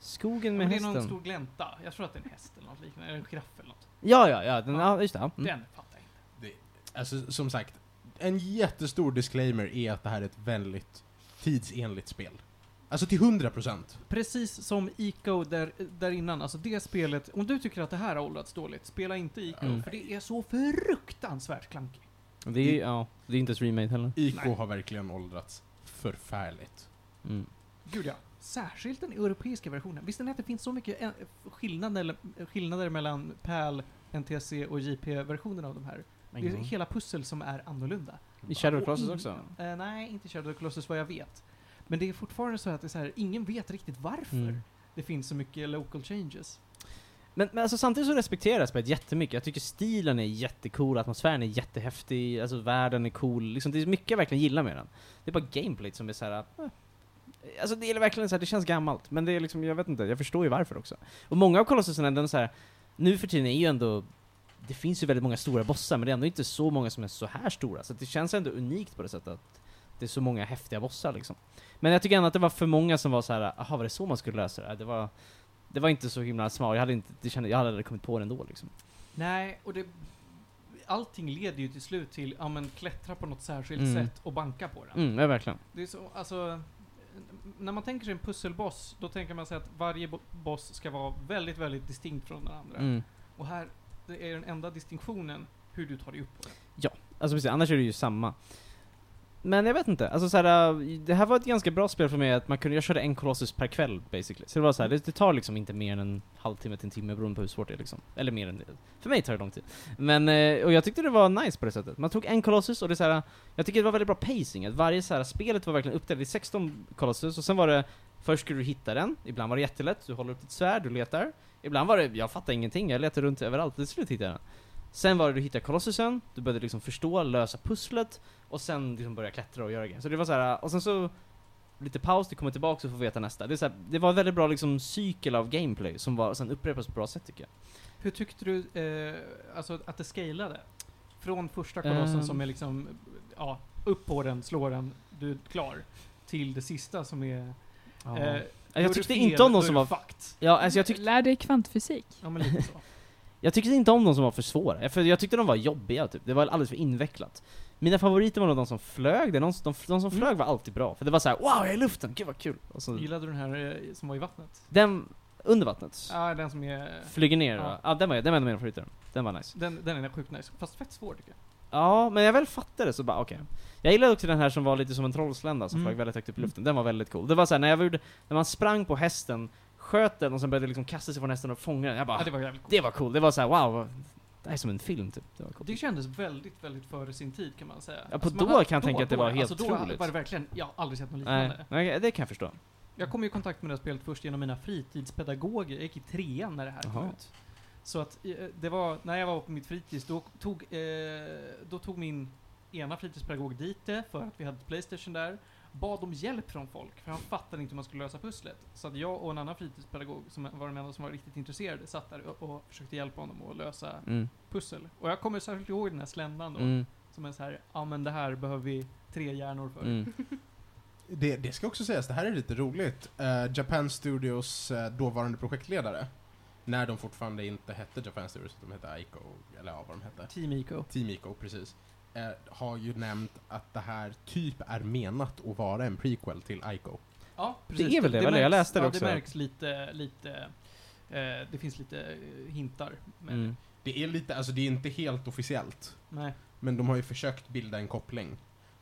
S2: Skogen med
S3: ja, men Det är någon
S2: hästen.
S3: stor glänta. Jag tror att det är en häst eller något liknande, eller en giraff eller något.
S2: Ja, ja, ja, den, ja, just det. ja. Mm.
S3: Den fattar jag inte.
S1: Alltså som sagt, en jättestor disclaimer är att det här är ett väldigt tidsenligt spel. Alltså till 100 procent.
S3: Precis som Ico där, där innan, alltså det spelet, om du tycker att det här har åldrats dåligt, spela inte Ico,
S2: Mm.
S3: för det är så fruktansvärt klankigt.
S2: Det är, ja, det är inte ens remade heller.
S1: IK
S3: Nej.
S1: har verkligen åldrats förfärligt.
S2: Mm.
S3: Gud ja. Särskilt den europeiska versionen. Visste ni att det finns så mycket eh, skillnader, eh, skillnader mellan PAL, NTSC och JP-versionen av de här? Det är hela pussel som är annorlunda.
S2: I Mm. Shadow of the
S3: Och
S2: Colossus
S3: i-
S2: också?
S3: Eh, nej, inte Shadow of the Colossus vad jag vet. Men det är fortfarande så att det är så här, ingen vet riktigt varför
S2: Mm.
S3: det finns så mycket local changes.
S2: Men, men alltså samtidigt så respekterar jag spelet jättemycket. Jag tycker stilen är jättecool, atmosfären är jättehäftig, alltså världen är cool. Liksom, det är mycket jag verkligen gillar med den. Det är bara gameplay som är så här. Eh. Alltså det är verkligen så här, det känns gammalt. Men det är liksom, jag vet inte, jag förstår ju varför också. Och många av kolossuserna, den så här, nu för tiden är ju ändå det finns ju väldigt många stora bossar, men det är ändå inte så många som är så här stora. Så att det känns ändå unikt på det sättet att det är så många häftiga bossar liksom. Men jag tycker ändå att det var för många som var så här, jaha var det så man skulle lösa det? här?" Det var, det var inte så himla smart, jag hade inte, det kände, jag hade aldrig kommit på det ändå liksom.
S3: Nej, och det... Allting leder ju till slut till, ja men klättra på något särskilt
S2: Mm.
S3: sätt och banka på den.
S2: Mm, ja, verkligen.
S3: Det är så, alltså... n- När man tänker sig en pusselboss, då tänker man sig att varje bo- boss ska vara väldigt, väldigt distinkt från den andra.
S2: Mm.
S3: Och här, det är den enda distinktionen hur du tar dig upp på den.
S2: Alltså precis, annars är det ju samma. Men jag vet inte, alltså så här, äh, det här var ett ganska bra spel för mig att man kunde, jag körde en kolossus per kväll basically. Så det var så här, det, det tar liksom inte mer än en halvtimme till en timme beroende på hur svårt det är liksom. Eller mer än det. För mig tar det lång tid. Men, eh, och jag tyckte det var nice på det sättet. Man tog en kolossus och det är så här, äh, jag tycker det var väldigt bra pacing, att varje så här, spelet var verkligen uppdelat i 16 kolossus och sen var det, först skulle du hitta den, ibland var det jättelätt, du håller upp ditt svärd, du letar. Ibland var det, jag fattar ingenting, jag letade runt överallt, till slut hittade jag den. Sen var det du hittade kolossusen, du började liksom förstå, lösa pusslet och sen liksom börja klättra och göra grejer. Så det var så här, och sen så lite paus, du kommer tillbaka och får veta nästa. Det, är så här, det var en väldigt bra liksom cykel av gameplay som var, sen upprepas på ett bra sätt tycker jag.
S3: Hur tyckte du eh, alltså, att det scalade? Från första kolossen
S2: Ehm.
S3: som är liksom, ja, upp på den, slår den, du är klar. Till det sista som är... eh,
S2: Eh,
S3: gör
S2: jag
S3: du
S2: tyckte
S3: fel,
S2: inte om
S3: då
S2: någon
S3: är
S2: som
S3: du
S2: var...
S3: fucked.
S2: Ja, alltså jag, tyck,
S5: Lär dig kvantfysik.
S3: Ja, men lite så.
S2: jag tyckte inte om de som var för svåra, för jag tyckte de var jobbiga typ. Det var alldeles för invecklat. Mina favoriter var nog de som flög, det är någon, de, de
S3: Mm.
S2: som flög var alltid bra. För det var så här: wow jag är i luften, gud vad kul! Och så,
S3: Gillade du den här eh, som var i vattnet?
S2: den, under vattnet,
S3: Ja, den som är...
S2: flyger ner.
S3: Ja.
S2: Ja. Ja, den, var, den var en av mina favoriter. Den var nice.
S3: Den, den är sjukt nice. Fast fett svår tycker jag.
S2: Ja, men jag väl fattade det så bara okej. Jag gillade också den här som var lite som en trollslända som
S3: Mm.
S2: flög väldigt högt upp i luften. Den var väldigt cool. Det var såhär, när jag gjorde, när man sprang på hästen, sköt den och sen började liksom kasta sig från hästen och fånga den. Jag bara,
S3: Ja, det
S2: det,
S3: var jävligt
S2: var...
S3: coolt.
S2: cool. Det var såhär wow, det här är som en film typ. Det var coolt.
S3: Det kändes väldigt, väldigt före sin tid kan man säga. Alltså,
S2: på
S3: man
S2: då
S3: hade-
S2: kan jag tänka att det var helt
S3: alltså, Då
S2: otroligt.
S3: var det verkligen, jag har aldrig sett något
S2: Nej,
S3: liknande.
S2: nej, det kan jag förstå.
S3: Jag kom ju i kontakt med det här spelet först genom mina fritidspedagoger. Jag gick i trean när det här kom
S2: Jaha.
S3: ut. Så att eh, det var, när jag var på mitt fritids, då tog, eh, då tog min ena fritidspedagog dit det för att vi hade Playstation där. Bad om hjälp från folk, för han fattade inte hur man skulle lösa pusslet. Så att jag och en annan fritidspedagog, som var den enda som var riktigt intresserade, satt där och, och försökte hjälpa honom att lösa
S2: Mm.
S3: pussel. Och jag kommer särskilt ihåg den här sländan då,
S2: Mm.
S3: som är så här, ja men det här behöver vi tre hjärnor för.
S2: Mm.
S1: Det, det ska också sägas, det här är lite roligt. Eh, Japan Studios eh, dåvarande projektledare, när de fortfarande inte hette Japan Studios, de hette Ico, eller ja, vad de hette.
S3: Team Ico.
S1: Team Ico, precis. Eh, har ju nämnt att det här typ är menat att vara en prequel till Ico.
S3: Ja,
S2: är väl det, eller? Jag läste det
S3: ja,
S2: också.
S3: det märks lite, lite eh, det finns lite eh, hintar. Men,
S2: Mm.
S1: Det är lite, alltså det är inte helt officiellt,
S3: nej.
S1: men de har ju försökt bilda en koppling.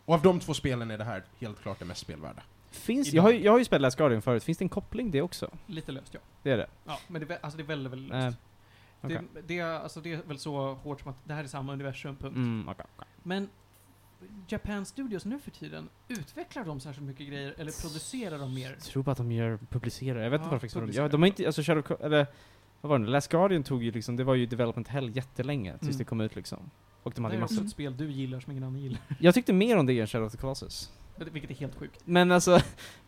S1: Och av de två spelen är det här helt klart det mest spelvärda.
S2: Finns,
S3: Idag.
S2: jag, har, ju- jag har ju spelat Last Guardian förut, finns det en koppling det också?
S3: Lite löst ja.
S2: Det är det?
S3: ja men det, är vä- alltså det är väldigt, väldigt
S2: Nej.
S3: löst. Det, det, är- alltså det är väl så hårt som att det här är samma universum, punkt.
S2: Mm, okej.
S3: Men Japan Studios nu för tiden, utvecklar de särskilt mycket grejer eller producerar de mer?
S2: Jag tror bara att de gör, publicerar, jag vet inte
S3: Ja,
S2: varför faktiskt vad de gör.
S3: publicerar.
S2: De har inte, alltså Shadow, Co- eller vad var det nu? Last Guardian tog ju liksom, det var ju development hell jättelänge tills
S3: Mm.
S2: det kom ut liksom. Och de
S3: Det
S2: hade
S3: är
S2: ju
S3: också
S2: massor.
S3: ett spel du gillar som ingen annan gillar. [laughs]
S2: Jag tyckte mer om det än Shadow of the Colossus.
S3: Vilket är helt sjukt.
S2: Men alltså, [laughs]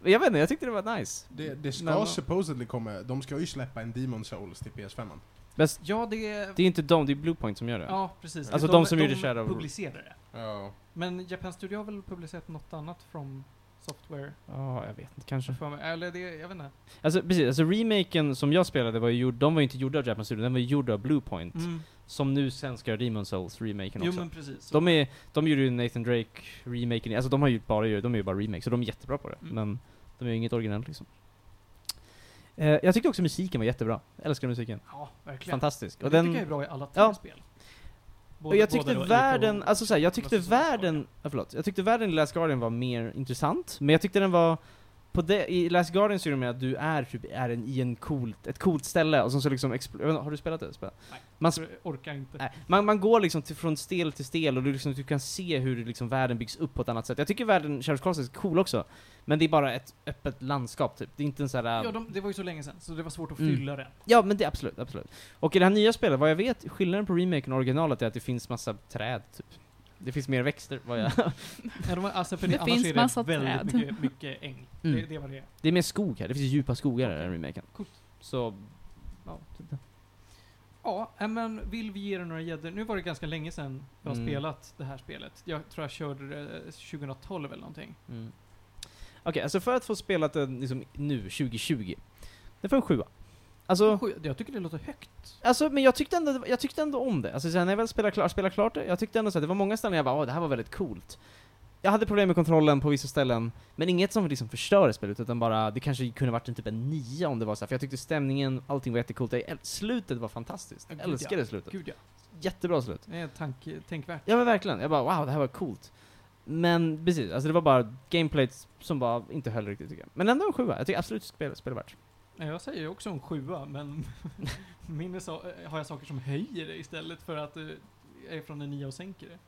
S2: jag vet inte, jag tyckte det var nice.
S1: Det, det ska
S2: Men-
S1: supposedly komma, de ska ju släppa en Demon Souls till PS5.
S2: Bäst,
S3: Ja, det...
S2: det är inte de, det är Bluepoint som gör det.
S3: ja, precis.
S2: Alltså de som gjorde Shadow-
S3: publicerar det.
S1: Ja.
S3: Men Japan Studio har väl publicerat något annat från Software?
S2: Ja, jag vet inte, kanske.
S3: För mig. Eller det, jag vet inte.
S2: Alltså precis, alltså remaken som jag spelade var ju gjord, de var ju inte gjorda av Japan Studio, den var ju gjord av Bluepoint.
S5: Mm.
S2: Som nu sen ska göra Demon Souls remaken
S3: Mm. Jo
S2: också.
S3: men precis. Så-
S2: De, är, de gjorde ju Nathan Drake remaken, alltså de har ju bara, de är ju bara remake, så de är jättebra på det.
S3: Mm.
S2: Men de är ju inget originellt liksom. Eh, jag tyckte också musiken var jättebra. Jag älskar musiken.
S3: Ja, verkligen.
S2: Fantastisk.
S3: Och
S2: Och
S3: det
S2: den,
S3: tycker jag är bra i alla tre
S2: Ja.
S3: spel.
S2: och
S3: Både-
S2: jag tyckte
S3: både då,
S2: världen,
S3: Ico och-
S2: alltså såhär, jag tyckte
S3: Last of Us
S2: världen, ja, förlåt, jag tyckte världen i Last Guardian var mer intressant, men jag tyckte den var på det, I Last Guardian så är det med att du är typ är en, i en coolt, ett coolt ställe, och sen så liksom expl- jag vet inte, Har du spelat det? Spel?
S3: Nej.
S2: Man,
S3: Jag orkar
S2: [laughs]
S3: inte.
S2: Nej, man, man går liksom till, från stel till stel och du, liksom, du kan se hur det liksom världen byggs upp på ett annat sätt. Jag tycker världen, Sheriff Carlson är cool också, men det är bara ett öppet landskap typ. Det är inte en sån här...
S3: Ja, de, det var ju så länge sedan, så det var svårt att
S2: Mm.
S3: fylla den.
S2: Ja, men det absolut, absolut. Och i det här nya spelet, vad jag vet, skillnaden på remaken och originalet är att det finns massa träd typ. Det finns mer växter, vad jag...
S3: Mm. Ja, de var, alltså, för
S5: Det
S3: det, annars
S5: finns
S3: är det
S5: massa
S3: väldigt
S5: träd.
S3: mycket, mycket äng.
S2: Mm.
S3: Det, det var det.
S2: [laughs] Det är mer skog här, det finns djupa skogar i den här remaken.
S3: Coolt.
S2: Så... Ja, typ det.
S3: Ja, äh, men vill vi ge er några gäddor? Nu var det ganska länge sedan jag har
S2: Mm.
S3: spelat det här spelet. Jag tror jag körde det 2012 eller någonting.
S2: Mm. Okej, alltså för att få spelat den liksom, nu, 2020, det får en sjua. Alltså...
S3: Sju- Jag tycker det låter högt.
S2: Alltså, men jag tyckte ändå, jag tyckte ändå om det. Alltså, sen när jag väl spelade, klar, spelade klart det, jag tyckte ändå så att det var många ställen jag bara åh, det här var väldigt coolt. Jag hade problem med kontrollen på vissa ställen, men inget som liksom förstörde spelet, utan bara, det kanske kunde varit en typ en nia om det var så här, för jag tyckte stämningen, allting var jättecoolt. Jag, äl- slutet var fantastiskt.
S3: Ja,
S2: Jag
S3: gud, ja.
S2: älskade slutet.
S3: Gud ja.
S2: Jättebra slut.
S3: Det är tanke, tänkvärt.
S2: Ja men verkligen, jag bara wow, det här var coolt. Men precis, alltså det var bara gameplayt som bara inte höll riktigt tycker jag. Men ändå en sjua, jag tycker absolut spel, spelvärt.
S3: Ja, Jag säger också en sjua, men [laughs] min är så, eh, har jag saker som höjer det istället för att eh, jag är från en nia och sänker det.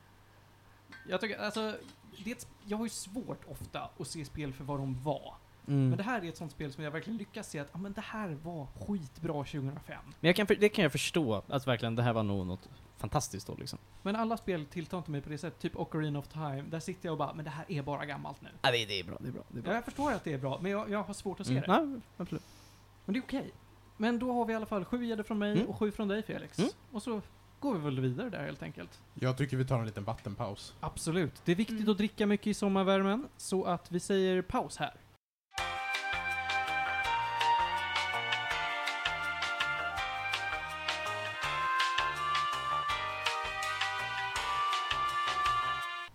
S3: Jag tycker, alltså, det, är ett sp- jag har ju svårt ofta att se spel för vad de var.
S2: Mm.
S3: Men det här är ett sånt spel som jag verkligen lyckas se att, ah, men det här var skitbra 2005.
S2: Men jag kan, för- det kan jag förstå, att verkligen det här var nog något fantastiskt då liksom.
S3: Men alla spel tilltar inte mig på det sättet, typ Ocarina of Time, där sitter jag och bara, men det här är bara gammalt nu.
S2: Ja, det, det är bra, det är bra. Det är
S3: Ja, jag förstår att det är bra, men jag, jag har svårt att se det.
S2: Mm. Nej, absolut.
S3: Men det är okej. Men då har vi i alla fall sju gäddor från mig
S2: Mm.
S3: och sju från dig Felix.
S2: Mm.
S3: Och så går vi väl vidare där helt enkelt.
S1: Jag tycker vi tar en liten vattenpaus.
S3: Absolut. Det är viktigt
S5: Mm.
S3: att dricka mycket i sommarvärmen, så att vi säger paus här.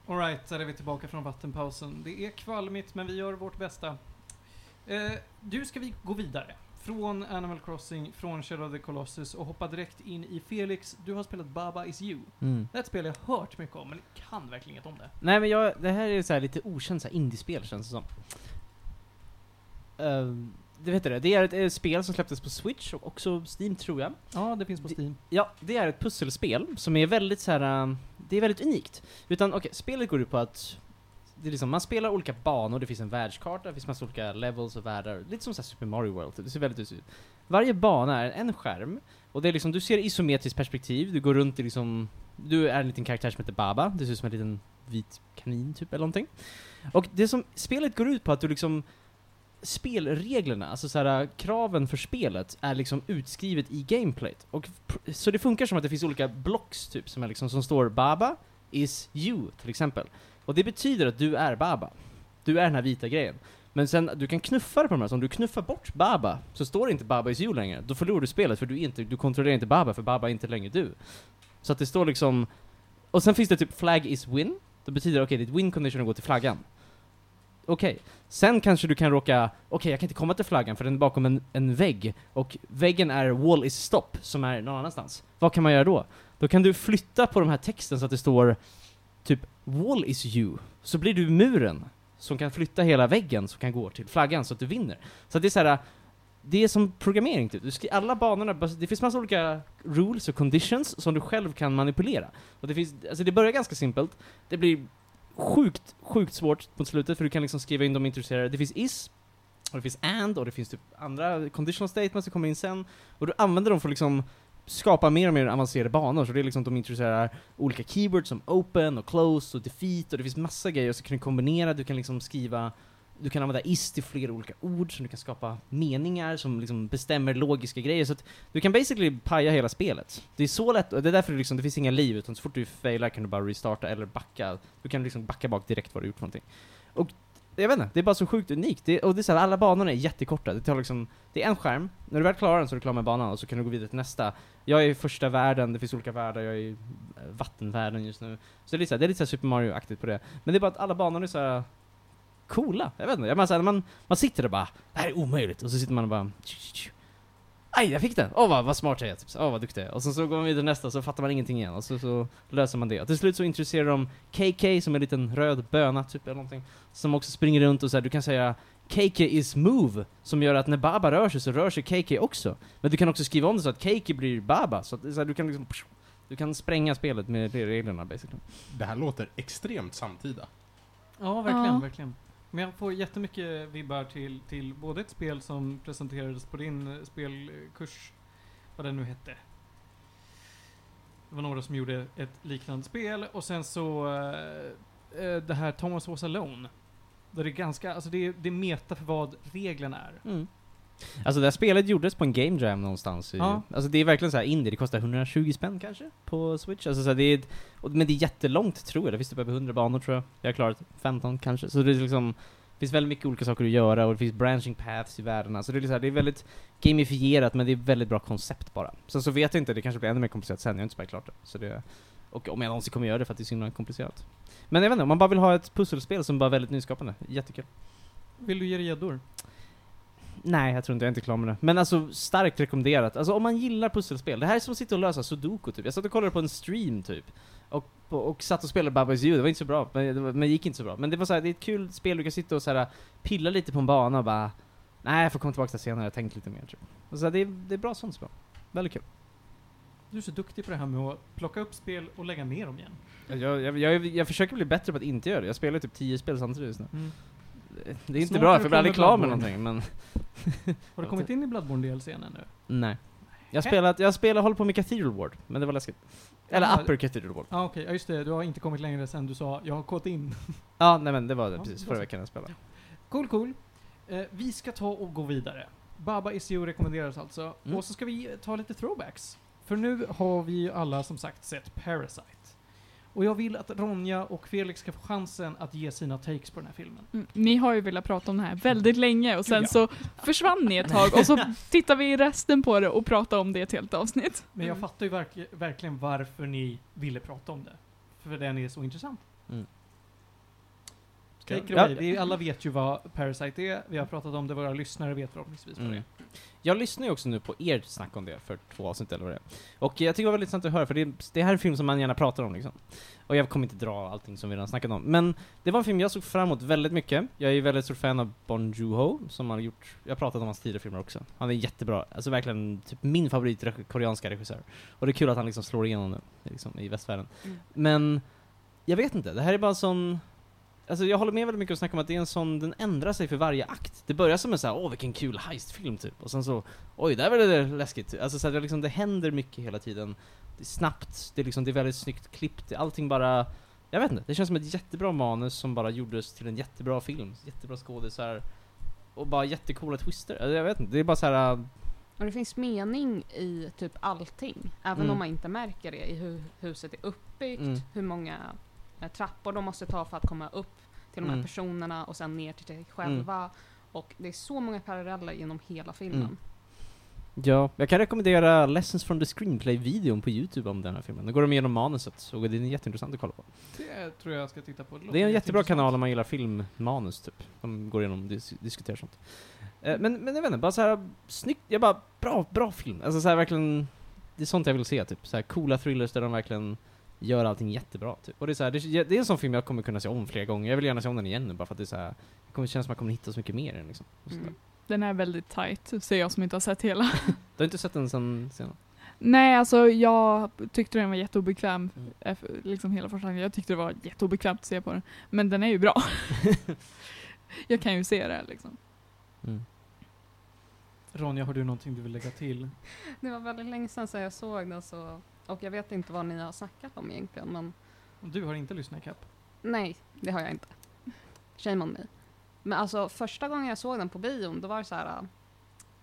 S3: Alright, där är vi tillbaka från vattenpausen. Det är kvalmigt, men vi gör vårt bästa. Eh, du ska vi gå vidare. Från Animal Crossing, från Shadow of the Colossus och hoppa direkt in i Felix. Du har spelat Baba Is You. Det är ett spel jag har hört mycket om, men kan verkligen inget om det.
S2: Nej men jag, det här är så här lite okänt så här indiespel känns det som. Ehm, det vet du det, det är ett, eh, spel som släpptes på Switch och också Steam tror jag.
S3: Ja, det finns på
S2: Det-
S3: Steam.
S2: Ja, det är ett pusselspel som är väldigt så här. eh, det är väldigt unikt. Utan okej, spelet går ut på att det är liksom, man spelar olika banor, det finns en världskarta, det finns massa olika levels och världar. Lite som så här Super Mario World, typ. det ser väldigt ut. Varje bana är en skärm, och det är liksom, du ser isometriskt perspektiv, du går runt i liksom, du är en liten karaktär som heter Baba, det ser ut som en liten vit kanin typ, eller någonting. Och det som spelet går ut på att du liksom spelreglerna, alltså så här, kraven för spelet är liksom utskrivet i gameplayt. Och pr- så det funkar som att det finns olika blocks typ som är liksom som står Baba is you till exempel. Och det betyder att du är Baba. Du är den här vita grejen. Men sen, du kan knuffa det på de här, så om du knuffar bort Baba så står det inte Baba is you längre. Då förlorar du spelet för du, är inte, du kontrollerar inte Baba för Baba är inte längre du. Så att det står liksom... Och sen finns det typ flag is win. Då betyder det okej, ditt win condition går till flaggan. Okej. Sen kanske du kan råka, okej jag kan inte komma till flaggan för den är bakom en, en vägg och väggen är wall is stop som är någon annanstans. Vad kan man göra då? Då kan du flytta på de här texten så att det står typ wall is you, så blir du muren. som kan flytta hela väggen som kan gå till flaggan så att du vinner. Så att det är så här, det är som programmering typ. Du skri- alla banorna, bas- det finns massa olika rules och conditions som du själv kan manipulera. Och det finns, alltså det börjar ganska simpelt, det blir sjukt, sjukt svårt mot slutet för du kan liksom skriva in de intresserade. Det finns is, och det finns and, och det finns typ andra conditional statements som kommer in sen. Och du använder dem för att liksom skapa mer och mer avancerade banor, så det är liksom att de introducerar olika keywords som open och close och defeat och det finns massa grejer som kan du kombinera, du kan liksom skriva du kan använda is till flera olika ord som du kan skapa meningar som liksom bestämmer logiska grejer så att du kan basically paja hela spelet. Det är så lätt, och det är därför det liksom, det finns inga liv utan så fort du failar kan du bara restarta eller backa. Du kan liksom backa bak direkt vad du gjort för någonting. Och jag vet inte, det är bara så sjukt unikt. Det, och det är så här, alla banorna är jättekorta. Det tar liksom, det är en skärm, när du väl klarar den så är du klar med banan och så kan du gå vidare till nästa. Jag är i första världen, det finns olika världar, jag är i eh, vattenvärlden just nu. Så det är lite, så här, det är lite så här Super Mario-aktigt på det. Men det är bara att alla banor är så här coola. Jag vet inte, jag menar, så här, man, man sitter där och bara det här är omöjligt och så sitter man och bara tju, tju, tju. Aj, jag fick den! Åh vad, vad smart jag är, typ. åh vad duktig jag är. Och sen så går man vidare till nästa så fattar man ingenting igen och så, så löser man det. Och till slut så intresserar de KK som är en liten röd böna typ eller någonting. Som också springer runt och så här, du kan säga KK is move, som gör att när Baba rör sig så rör sig KK också. Men du kan också skriva om det så att KK blir Baba, så att det är så här, du kan liksom du kan spränga spelet med de reglerna basically.
S1: Det här låter extremt samtida.
S3: Ja, verkligen,
S5: Ja.
S3: verkligen. Men jag får jättemycket vibbar till, till både ett spel som presenterades på din eh, spelkurs, vad den nu hette. Det var några som gjorde ett liknande spel och sen så eh, eh, det här Thomas Was Alone. Där det är ganska, alltså det är, det är meta för vad reglerna är.
S2: Mm. Alltså det här spelet gjordes på en game jam någonstans. I,
S3: Ja.
S2: Alltså det är verkligen så här indie, det kostar 120 spänn kanske på Switch. Alltså så här, det är, ett- och, men det är jättelångt tror jag, det finns typ över 100 banor tror jag. Jag har klarat 15 kanske. Så det är liksom, det finns väldigt mycket olika saker att göra och det finns branching paths i världarna. Så det är, så här, det är väldigt gamifierat men det är ett väldigt bra koncept bara. Sen så vet jag inte, det kanske blir ännu mer komplicerat sen, jag har inte spelat klart det. Så det och om jag någonsin kommer göra det för att det är så himla komplicerat. Men jag vet inte, om man bara vill ha ett pusselspel som bara är väldigt nyskapande, jättekul.
S3: Vill du ge dig gäddor?
S2: Nej, jag tror inte, jag är inte klar med det. Men alltså, starkt rekommenderat. Alltså om man gillar pusselspel, det här är som att sitta och lösa sudoku typ. Jag satt och kollade på en stream typ. Och, och, och satt och spelade Babas ljud, det var inte så bra, men det var, men det gick inte så bra. Men det var så här, det är ett kul spel, du kan sitta och så här, pilla lite på en bana och bara Nej, jag får komma tillbaka till det senare, jag har tänkt lite mer typ. Och så här, det, är, det är bra sånt spel. Väldigt kul.
S3: Du är så duktig på det här med att plocka upp spel och lägga ner dem igen.
S2: Jag, jag, jag, jag försöker bli bättre på att inte göra det, jag spelar typ 10 spel samtidigt just nu.
S3: Mm.
S2: Det är inte
S3: Snart
S2: bra, för
S3: har du
S2: jag blir aldrig klar med
S3: kommit
S2: någonting, men
S3: Har du kommit in i Bloodborne DLC-en ännu?
S2: nej. Jag
S3: Nej.
S2: spelat, jag spelar, håller på med Cathedral Ward, men det var läskigt. Eller
S3: Ja,
S2: Upper Cathedral Ward.
S3: Ja ah, okej, ja, just det. Du har inte kommit längre sen du sa jag har gått in.
S2: Ja, nej men det var det
S3: Ja,
S2: precis
S3: det var
S2: förra
S3: så.
S2: veckan jag spelade.
S3: Cool, cool. Eh, vi ska ta och gå vidare. Baba ICO rekommenderas alltså.
S2: Mm.
S3: Och så ska vi ta lite throwbacks. För nu har vi ju alla som sagt sett Parasite. Och jag vill att Ronja och Felix ska få chansen att ge sina takes på den här filmen.
S5: Mm, Ni har ju velat prata om det här väldigt länge och sen
S3: Ja.
S5: så försvann ni ett tag och så tittar vi i resten på det och pratar om det ett helt avsnitt.
S3: Men jag
S5: Mm.
S3: fattar ju verk verkligen varför ni ville prata om det. För den är så intressant.
S2: Mm.
S3: Take it
S2: Ja.
S3: away. Vi alla vet ju vad Parasite är. Vi har pratat om det. Våra lyssnare vet förhoppningsvis vad det är.
S2: Mm. Jag lyssnar ju också nu på er snack om det för två avsnitt eller vad det är. Och jag tycker det var väldigt intressant att höra för det, det här är en film som man gärna pratar om liksom. Och jag kommer inte dra allting som vi redan snackat om. Men det var en film jag såg fram emot väldigt mycket. Jag är ju väldigt stor fan av Bon Joon-ho som har gjort, jag har pratat om hans tidigare filmer också. Han är jättebra, alltså verkligen typ min favorit reg- koreanska regissör. Och det är kul att han liksom slår igenom nu, liksom i västvärlden.
S5: Mm.
S2: Men, jag vet inte, det här är bara en sån Alltså jag håller med väldigt mycket och snackar om att det är en sån, den ändrar sig för varje akt. Det börjar som en så här, åh vilken kul heistfilm typ, och sen så, oj där var det läskigt. Alltså så här, det, liksom, det händer mycket hela tiden. Det är snabbt, det är, liksom, det är väldigt snyggt klippt, det- allting bara, jag vet inte, det känns som ett jättebra manus som bara gjordes till en jättebra film, jättebra skådisar, och bara jättecoola twister. Alltså, jag vet inte, det är bara så här. äh,
S4: Och det finns mening i typ allting, även
S2: Mm.
S4: om man inte märker det i hur huset är uppbyggt,
S2: Mm.
S4: hur många eh, trappor de måste ta för att komma upp till de här
S2: Mm.
S4: personerna och sen ner till sig själva. Och det är så många paralleller genom hela filmen.
S2: Mm. Ja, jag kan rekommendera Lessons from the Screenplay-videon på Youtube om den här filmen. Då går de igenom manuset, och det är jätteintressant att kolla på.
S3: Det tror jag ska titta på. låter
S2: Det är en jättebra
S3: jätteintressant.
S2: kanal om man gillar filmmanus typ. De går igenom och dis- diskuterar sånt. Eh, Men, men jag vet inte, bara så här snyggt, jag bara bra, bra film. Alltså så här verkligen, det är sånt jag vill se typ. Så här coola thrillers där de verkligen gör allting jättebra. Typ. Och det, är så här, det, det är en sån film jag kommer kunna se om flera gånger. Jag vill gärna se om den igen nu bara för att det är så här, det kommer kännas som att man kommer hitta så mycket mer i den. Liksom. Och sådär.
S7: Mm.
S4: Den är väldigt tight, ser jag som inte har sett hela.
S2: Du har inte sett den sen senare?
S4: Nej, alltså jag tyckte den var jätteobekväm.
S2: Mm.
S4: eh, f- Liksom hela första Jag tyckte det var jätteobekvämt att se på den. Men den är ju bra. jag kan ju se det liksom.
S2: Mm.
S3: Ronja, har du någonting du vill lägga till?
S2: Mm.
S7: Det var väldigt länge sedan sedan jag såg den så, och jag vet inte vad ni har snackat om egentligen men
S3: Du har inte lyssnat ikapp.
S7: nej, det har jag inte. Shame on me. Men alltså första gången jag såg den på bion, då var det så här äh,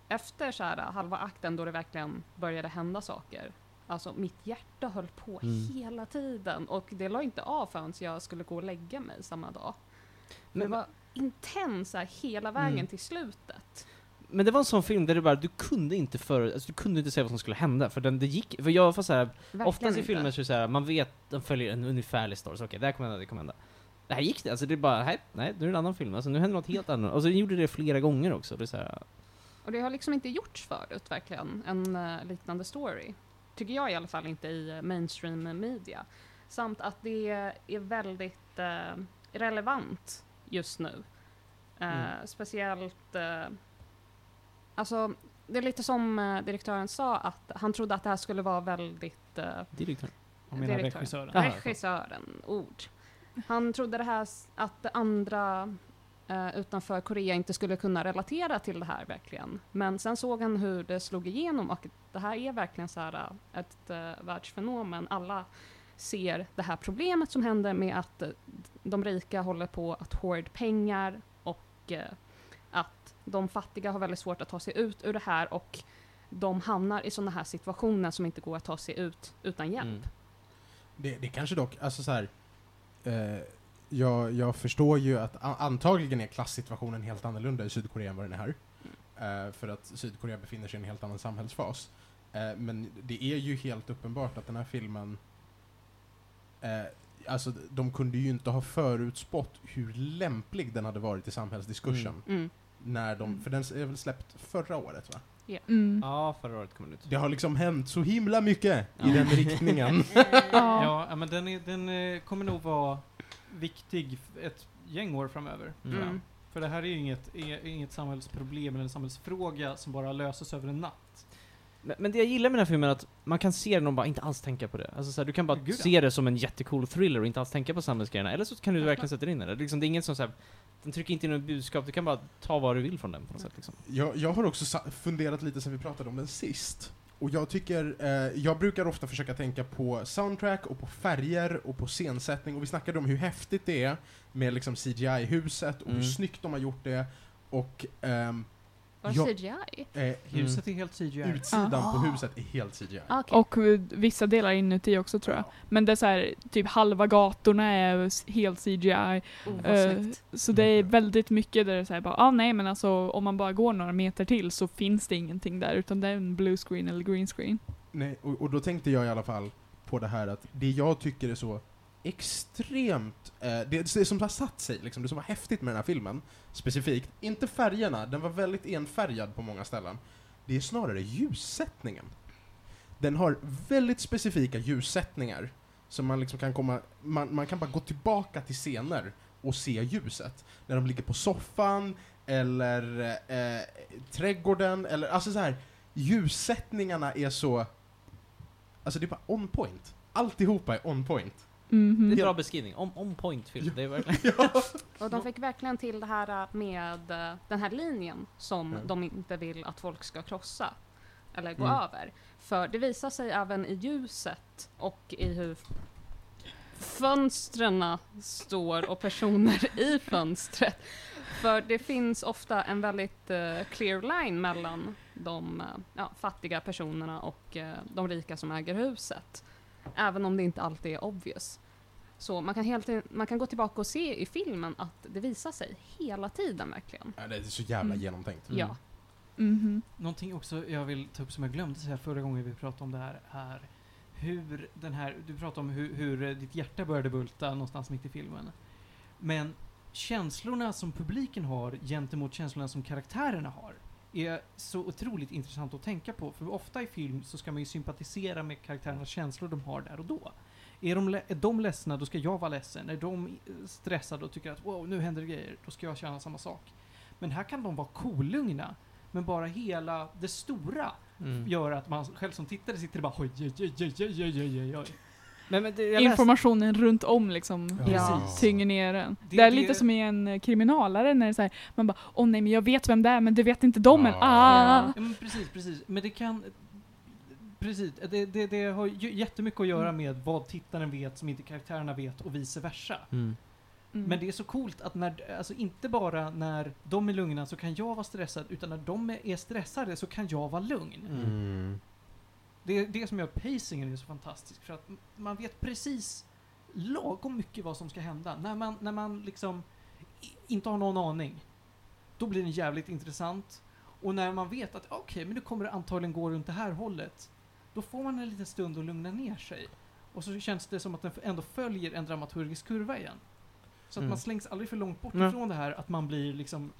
S7: efter så här äh, halva akten då det verkligen började hända saker. Alltså mitt hjärta höll på
S2: Mm.
S7: hela tiden och det la inte av förrän jag skulle gå och lägga mig samma dag. Men det
S2: Men-
S7: var intens så här, hela vägen
S2: Mm.
S7: till slutet.
S2: Men det var en sån film där du bara, du kunde inte för, alltså, du kunde inte säga vad som skulle hända, för den, det gick, för jag var så här,
S7: Verkligen
S2: oftast i
S7: inte.
S2: filmer så är det så här, man vet, de följer en ungefärlig story, så okej, det här kommer hända, det kommer hända. Det här gick det, alltså det är bara, nej, nej, nu är det en annan film, alltså nu händer något helt annat. Och så gjorde det flera gånger också, det är så här,
S7: Och det har liksom inte gjorts förut verkligen, en eh, liknande story. Tycker jag i alla fall inte i eh, mainstream media. Samt att det är väldigt eh, relevant just nu. Eh,
S2: mm,
S7: Speciellt, eh, alltså det är lite som eh, direktören sa att han trodde att det här skulle vara väldigt eh,
S2: direktör.
S3: Jag menar
S7: Direktören.
S3: regissören.
S2: Ja. Aha,
S7: regissören ord. Han trodde det här, s- att andra eh, utanför Korea inte skulle kunna relatera till det här verkligen. Men sen såg han hur det slog igenom och det här är verkligen så här, eh, ett eh, världsfenomen. Alla ser det här problemet som händer med att eh, de rika håller på att hoard pengar och eh, att de fattiga har väldigt svårt att ta sig ut ur det här och de hamnar i sådana här situationer som inte går att ta sig ut utan hjälp.
S2: Mm.
S1: Det, det kanske dock, alltså så här, eh, jag, jag förstår ju att a- antagligen är klassituationen helt annorlunda i Sydkorea än vad den är här. Eh, för att Sydkorea befinner sig i en helt annan samhällsfas. Eh, men det är ju helt uppenbart att den här filmen, eh, alltså de kunde ju inte ha förutspått hur lämplig den hade varit i samhällsdiskursen.
S2: Mm.
S7: Mm.
S1: När de,
S4: Mm.
S1: för den är väl släppt förra året va?
S4: Mm.
S2: Ja, förra året kom den ut.
S1: Det har liksom hänt så himla mycket
S2: Ja.
S1: i den riktningen.
S4: Ja.
S3: Ja, men den, är, den eh, kommer nog vara viktig f- ett gäng år framöver. tror jag.
S7: Mm.
S3: För det här är ju inget, är, inget samhällsproblem eller en samhällsfråga som bara löses över en natt.
S2: Men, men det jag gillar med den här filmen är att man kan se den och bara inte alls tänka på det. Alltså så här, du kan bara
S3: Gud, ja.
S2: se det som en jättecool thriller och inte alls tänka på samhällsgrejerna. Eller så kan du verkligen sätta dig in i det. Liksom, det är ingen som så här, den trycker inte in något budskap, du kan bara ta vad du vill från den på något
S7: Mm.
S2: sätt. Liksom.
S1: Jag, jag har också sa- funderat lite sen vi pratade om den sist. Och jag tycker, eh, jag brukar ofta försöka tänka på soundtrack och på färger och på scensättning och vi snackade om hur häftigt det är med liksom CGI-huset och hur
S2: Mm.
S1: snyggt de har gjort det och ehm,
S7: Var det
S1: Ja.
S7: CGI?
S1: eh,
S2: Mm.
S3: Huset är helt CGI.
S1: utsidan på
S4: Ah.
S1: huset är helt CGI.
S7: Ah, okej.
S4: Och eh, vissa delar inuti också tror jag. Men det är så här, typ halva gatorna är s- helt CGI.
S7: Oh, vad
S4: Eh,
S7: snyggt.
S4: Så det
S7: Mm.
S4: är väldigt mycket där det är så här bara, ah, nej men alltså om man bara går några meter till så finns det ingenting där utan det är en blue screen eller green screen.
S1: Nej, och, och då tänkte jag i alla fall på det här att det jag tycker är så extremt, eh, det, det som har satt sig, liksom, det som var häftigt med den här filmen specifikt, inte färgerna, den var väldigt enfärgad på många ställen, det är snarare ljussättningen. Den har väldigt specifika ljussättningar som man liksom kan komma, man, man kan bara gå tillbaka till scener och se ljuset. När de ligger på soffan, eller eh, trädgården, eller alltså så här ljussättningarna är så... Alltså det är bara on point. Alltihopa är on point. [laughs]
S2: Det är
S4: Mhm.
S2: en bra beskrivning. On, on point film. Det är verkligen...
S3: [laughs]
S7: Och de fick verkligen till det här äh, med äh, den här linjen som
S1: Mm.
S7: de inte vill att folk ska krossa eller gå
S1: Mm.
S7: över. För det visar sig även i ljuset och i hur fönstren står och personer i fönstret. För det finns ofta en väldigt eh, clear line mellan de eh, ja, fattiga personerna och eh, de rika som äger huset. Även om det inte alltid är obvious. Så man kan, helt, man kan gå tillbaka och se i filmen att det visar sig hela tiden verkligen.
S1: Ja, Det är så jävla
S4: Mm.
S1: genomtänkt.
S2: Mm.
S7: Ja.
S4: Mhm.
S3: Någonting också jag vill ta upp som jag glömde säga förra gången vi pratade om det här är hur den här, du pratade om hur, hur eh, ditt hjärta började bulta någonstans mitt i filmen. Men känslorna som publiken har gentemot känslorna som karaktärerna har är så otroligt intressant att tänka på. För ofta i film så ska man ju sympatisera med karaktärernas känslor de har där och då. Är de, le- är de ledsna, då ska jag vara ledsen. Är de eh, stressade och tycker att wow, nu händer det grejer, då ska jag känna samma sak. Men här kan de vara kolugna, men bara hela det stora
S2: Mm.
S3: gör att man själv som tittare sitter och bara oj, oj, oj, oj, oj, oj, oj, oj.
S2: Men, men, det- jag läste-
S4: Informationen runt om liksom
S2: Ja.
S4: tynger ner en.
S3: Det-
S4: Det, är
S3: det-
S4: lite som i en eh, kriminalare när det är så här, man bara åh nej men jag vet vem det är men det vet inte de än.
S8: Ja.
S4: Ah.
S3: Ja, men precis, precis. Men det kan... Precis, det, det, det har ju jättemycket att
S2: Mm.
S3: göra med vad tittaren vet som inte karaktärerna vet och vice versa.
S2: Mm.
S4: Mm.
S3: Men det är så coolt att när, alltså inte bara när de är lugna så kan jag vara stressad, utan när de är stressade så kan jag vara lugn.
S1: Mm.
S3: Det är det som gör pacingen är så fantastisk, för att m- man vet precis lagom mycket vad som ska hända. När man, när man liksom i- inte har någon aning, då blir den jävligt intressant. Och när man vet att okej, men nu kommer det antagligen gå runt det här hållet, då får man en liten stund att lugna ner sig. Och så känns det som att den f- ändå följer en dramaturgisk kurva igen. Så att
S2: Mm.
S3: man slängs aldrig för långt bort
S2: Nej.
S3: ifrån det här att man blir liksom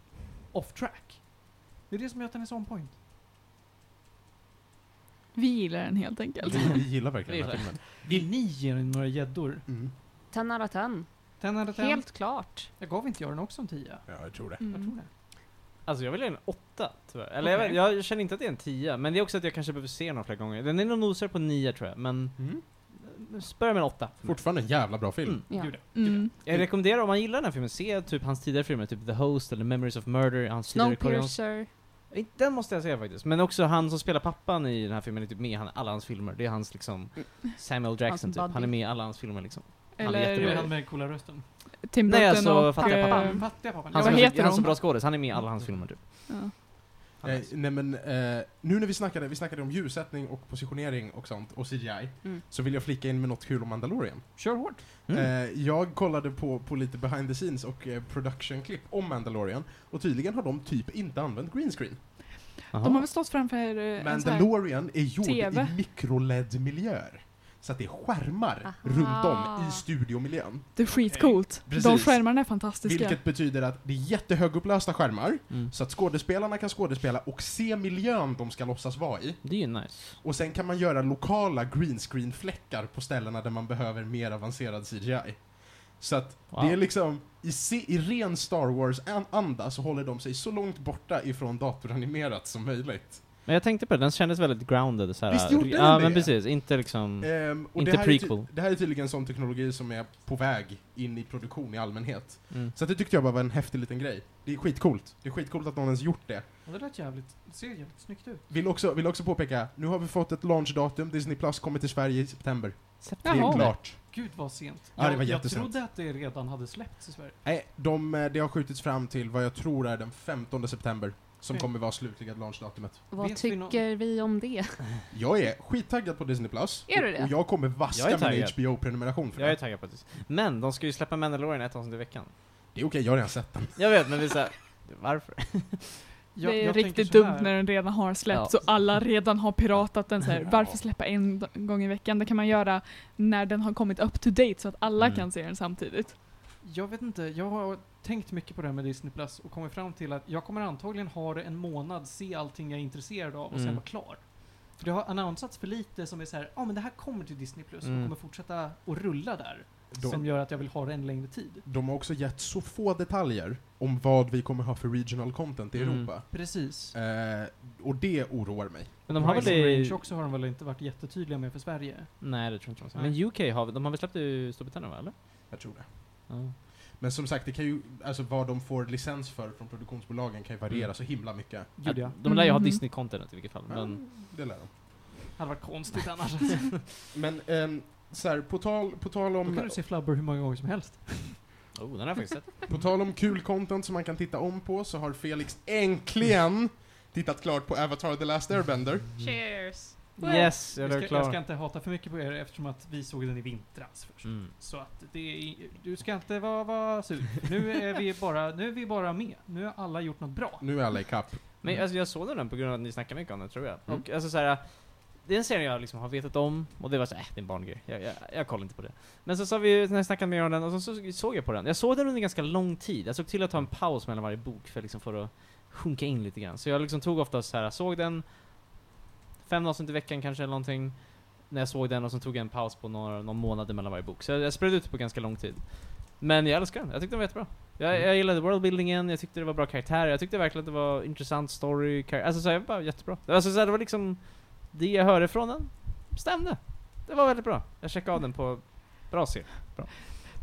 S3: off track. Det är det som gör att den är så on point.
S4: Vi gillar den helt enkelt.
S1: Vi, vi gillar verkligen den här filmen.
S3: Vill ni ge den några gäddor?
S1: Mm.
S9: 10 out of 10.
S3: 10 out of 10?
S9: Helt klart.
S3: Jag gav inte jag den också en 10.
S1: Ja, jag tror det.
S3: Jag tror
S4: Mm.
S3: det.
S2: Alltså jag vill ge en åtta, tyvärr. Eller jag,
S3: Okej.
S2: vet- jag känner inte att det är en tia, men det är också att jag kanske behöver se den fler gånger. Den är nog nosar på nio tror jag, men
S1: Mm.
S2: eh, spöra med en åtta.
S1: Fortfarande en jävla bra film.
S2: Mm.
S9: Ja.
S3: Gjorde.
S4: Mm.
S2: Jag rekommenderar om man gillar den här filmen, se typ hans tidigare filmer, typ The Host eller Memories of Murder, hans tidigare koreanska-
S9: Snowpiercer.
S2: Nej, Den måste jag säga faktiskt. Men också han som spelar pappan i den här filmen är typ med i han- alla hans filmer. Det är hans liksom Samuel Jackson
S9: Hans
S2: typ. Han
S9: buddy.
S2: är med i alla hans filmer liksom. Han är
S3: Det var
S2: jättebra.
S4: Eller
S3: han med coola rösten.
S4: Tim
S2: Nej,
S4: Burton
S2: alltså,
S4: och...
S2: fattiga
S4: eh,
S2: pappan.
S3: Fattiga pappan.
S2: Han
S4: Vad
S2: som,
S4: heter
S2: han
S4: de?
S2: som bra skådis, han är med i alla hans filmer typ.
S4: ja.
S2: Han är
S1: Eh,
S2: nice.
S1: nej men, eh, nu när vi snackade, vi snackade om ljussättning och positionering och sånt, och CGI,
S9: Mm.
S1: så vill jag flika in med något kul om Mandalorian.
S3: Kör hårt.
S2: Mm.
S1: Eh, jag kollade på, på lite behind the scenes och eh, production-klipp om Mandalorian, och tydligen har de typ inte använt green screen.
S4: De har
S2: Jaha.
S4: väl stått framför eh, en sån här...
S1: Mandalorian är gjord
S4: TV.
S1: i mikroled-miljöer. Så att det är skärmar
S9: Aha.
S1: runt om i studiomiljön.
S4: Det är skitcoolt.
S1: Precis.
S4: De skärmarna är fantastiska.
S1: Vilket betyder att det är jättehögupplösta skärmar,
S2: Mm.
S1: så att skådespelarna kan skådespela och se miljön de ska låtsas vara i.
S2: Det är ju nice.
S1: Och sen kan man göra lokala green screen-fläckar på ställena där man behöver mer avancerad CGI. Så att
S2: Wow.
S1: det är liksom, i, se- i ren Star Wars-anda så håller de sig så långt borta ifrån datoranimerat som möjligt.
S2: Men jag tänkte på det, den kändes väldigt grounded så här.
S1: Visst gjorde den
S2: Ja
S1: det?
S2: men precis, inte liksom...
S1: Ehm, och
S2: Inte
S1: det här Är
S2: prequel.
S1: ty- det här är tydligen sån teknologi som är på väg in i produktion i allmänhet.
S2: Mm.
S1: Så att det tyckte jag bara var en häftig liten grej. Det är skitcoolt. Det är skitcoolt att någon ens gjort det.
S3: Ja, det lät jävligt, det ser jävligt snyggt ut.
S1: Vill också, vill också påpeka, nu har vi fått ett launchdatum. Disney Plus kommer till Sverige i september. Det är
S4: Jaha.
S1: klart.
S3: Gud vad sent.
S1: Ja, det var
S3: jag, jag
S1: jättesent.
S3: trodde att det redan hade släppts i Sverige.
S1: Nej, de, eh, det har skjutits fram till vad jag tror är den 15 september som
S9: Mm.
S3: Okej.
S1: kommer vara slutliga lanchdatumet.
S9: Vad
S3: Vet vi nå-
S9: tycker vi om det?
S1: Jag är skittaggad på Disney Plus.
S9: Är du det?
S1: Och jag kommer
S2: Jag
S1: vaska
S2: är
S1: min
S2: taggad.
S1: HBO-prenumeration för
S2: Jag är
S1: det.
S2: taggad på det. Men de ska ju släppa Mandalorian ett avsnitt i veckan.
S1: Det är okej, jag har redan sett den.
S2: Jag vet, men det är såhär... Varför?
S3: Jag,
S4: det är
S3: jag tänker
S4: riktigt
S3: så
S4: dumt
S3: här.
S4: när den redan har släppts
S2: Ja.
S4: och alla redan har piratat den. Så här,
S1: Ja.
S4: Varför släppa en d- gång i veckan? Det kan man göra när den har kommit up to date så att alla
S2: Mm.
S4: kan se den samtidigt.
S3: Jag vet inte, jag har tänkt mycket på det här med Disney Plus och kommit fram till att jag kommer antagligen ha det en månad, se allting jag är intresserad av och sen
S2: Mm.
S3: vara klar. För det har annonsats för lite som är så här, ja ah, men det här kommer till Disney Plus och
S2: Mm.
S3: kommer fortsätta att rulla där.
S1: De-
S3: Som gör att jag vill ha det en längre tid.
S1: De har också gett så få detaljer om vad vi kommer ha för regional content i
S2: Mm.
S1: Europa.
S3: Precis.
S1: Eh, och det oroar mig.
S2: Men de har väl
S3: Rise
S2: det...
S3: and
S2: i-
S3: Range också har de väl inte varit jättetydliga med för Sverige?
S2: Nej, det tror jag inte.
S3: Nej.
S2: Men UK har de har väl släppt det i Storbritannien va, eller?
S1: Jag tror det.
S2: Ja.
S1: Men som sagt, det kan ju, alltså vad de får licens för från produktionsbolagen kan ju variera
S2: Mm.
S1: så himla mycket.
S3: Gjorde jag.
S2: De lär ju ha
S4: Mhm.
S2: Disney-content i vilket fall.
S1: Ja,
S2: Men,
S1: Det lär de.
S3: Hade varit [laughs] konstigt annars.
S1: Men ehm, så här, på, tal, på, tal
S3: Då kan
S1: om,
S3: du se Flubber hur många gånger som helst.
S2: oh, den har jag faktiskt sett.
S1: på tal om kul content som man kan titta om på så har Felix äntligen tittat klart på Avatar The Last Airbender.
S9: Cheers!
S2: Yes, jag
S3: Jag
S2: blev
S3: ska, jag
S2: klar.
S3: ska inte hata för mycket på er eftersom att vi såg den i vintras först.
S2: Mm.
S3: Så att det är, du ska inte vara, vara sur. Nu är, vi bara, nu är vi bara med. Nu har alla gjort något bra.
S2: Mm.
S1: Nu är alla ikapp.
S2: Men alltså, jag såg den på grund av att ni snackade mycket om den tror jag. Och alltså såhär, det är en serie jag liksom har vetat om, och det var såhär, äh, det är en barngrej. Jag, jag, jag kollar inte på det. Men så sa vi, när jag snackade mer om den, och så, så såg jag på den. Jag såg den under ganska lång tid. Jag såg till att ta en paus mellan varje bok för, liksom, för att sjunka in lite grann. Så jag liksom tog ofta såhär, såg den fem avsnitt i veckan kanske eller någonting. när jag såg den och så tog jag en paus på några, någon månad mellan varje bok. Så jag, jag spred ut det på ganska lång tid. Men jag älskar den, jag tyckte den var jättebra. Jag, jag gillade worldbuildingen, jag tyckte det var bra karaktärer, jag tyckte verkligen att det var intressant story, kar- alltså så jag var bara jättebra. Alltså så här, det var liksom, det jag hörde från den stämde. Det var väldigt bra. Jag checkade av den på bra serie.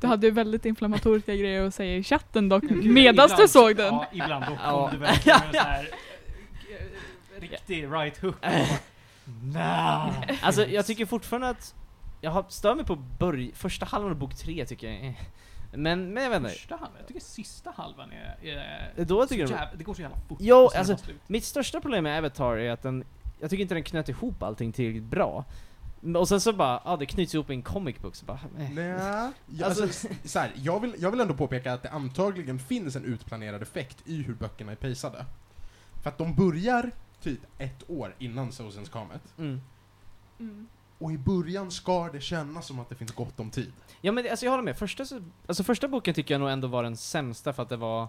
S4: Du hade ju väldigt inflammatoriska grejer att säga i chatten dock, medan du såg den.
S3: Mm. Ja, ibland då
S2: Ja.
S3: kom du verkligen med en sån här eh, riktig right hook.
S2: [laughs]
S3: Nah.
S2: Alltså jag tycker fortfarande att jag har stör mig på börj- första halvan av bok tre tycker jag. eh. Men, men jag vet inte.
S3: Första halvan, jag tycker sista halvan är... är
S2: Då
S3: så
S2: tycker jag
S3: jävla, det går så jävla fort.
S2: Jo,
S3: och sen är det
S2: alltså,
S3: bara slut.
S2: Mitt största problem med Avatar är att den, jag tycker inte den knöt ihop allting tillräckligt bra. Men- Och sen så bara, ja ah, det knyts ihop i en comic book, så bara, eh.
S1: Nej. Jag, alltså, s- så här, jag, vill, jag vill ändå påpeka att det antagligen finns en utplanerad effekt i hur böckerna är pejsade. För att de börjar typ ett år innan Sozens Comet.
S2: [laughs] Mm.
S4: Mm.
S1: Och i början ska det kännas som att det finns gott om tid.
S2: Ja men det- alltså jag håller med, första, så- alltså, första boken tycker jag nog ändå var den sämsta för att det var,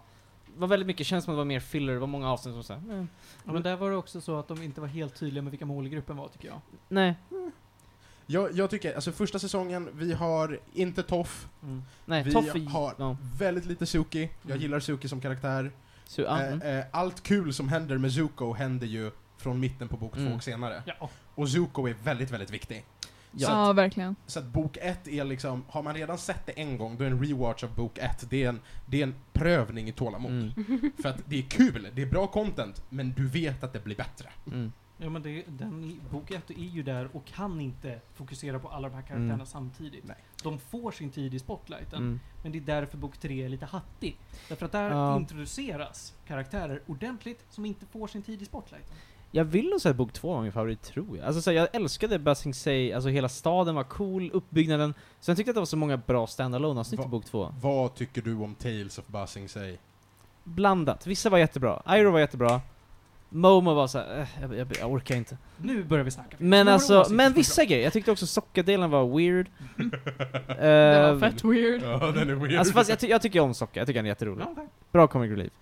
S2: var väldigt mycket, känns som att det var mer filler, det var många avsnitt som såhär, eh,
S3: Ja, men där var det också så att de inte var helt tydliga med vilka målgruppen var tycker jag.
S2: nej,
S1: Jag, jag tycker, alltså första säsongen, vi har inte Toff,
S2: nej,
S1: vi
S2: Toffe,
S1: har
S2: Eh, ja.
S1: väldigt lite Suki, jag
S2: Mm.
S1: gillar Suki som karaktär.
S2: Så, ja,
S1: Eh,
S2: mm.
S1: eh, allt kul som händer med Zuko händer ju från mitten på bok två
S2: Mm.
S1: och senare.
S3: Ja.
S1: Och Zuko är väldigt, väldigt viktig.
S2: Ja.
S4: Ja, verkligen.
S1: Så att bok ett är liksom, har man redan sett det en gång, då är en rewatch av bok ett, det är en, det är en prövning i tålamod.
S2: Mm.
S1: För att det är kul, det är bra content, men du vet att det blir bättre.
S2: Mm.
S3: Ja men det, den i- bok 1 är ju där och kan inte fokusera på alla de här karaktärerna
S2: Mm.
S3: samtidigt.
S1: Nej.
S3: De får sin tid i spotlighten.
S2: Mm.
S3: Men det är därför bok 3 är lite hattig. Därför att där
S2: Ja.
S3: introduceras karaktärer ordentligt som inte får sin tid i spotlighten.
S2: Jag vill nog säga att bok två var min favorit, tror jag. Alltså så här, jag älskade Basing Say, alltså hela staden var cool, uppbyggnaden. Sen tyckte jag att det var så många bra standalone avsnitt i
S1: Va-
S2: bok två.
S1: Vad tycker du om Tales of Buzzing Say?
S2: Blandat. Vissa var jättebra, Iroh var jättebra, Momo var såhär, eh, jag, jag, jag orkar inte.
S3: Nu börjar vi snacka.
S2: Men
S3: Några
S2: alltså,
S3: åsikter
S2: men
S3: som är
S2: vissa grejer. Jag tyckte också sockerdelen var weird. [laughs] Eh,
S4: Det var fett weird.
S1: Ja, den är weird.
S2: Alltså fast jag, ty- jag tycker om Socka, jag tycker han är jätterolig.
S3: bra. Ja, tack.
S2: Bra comic relief.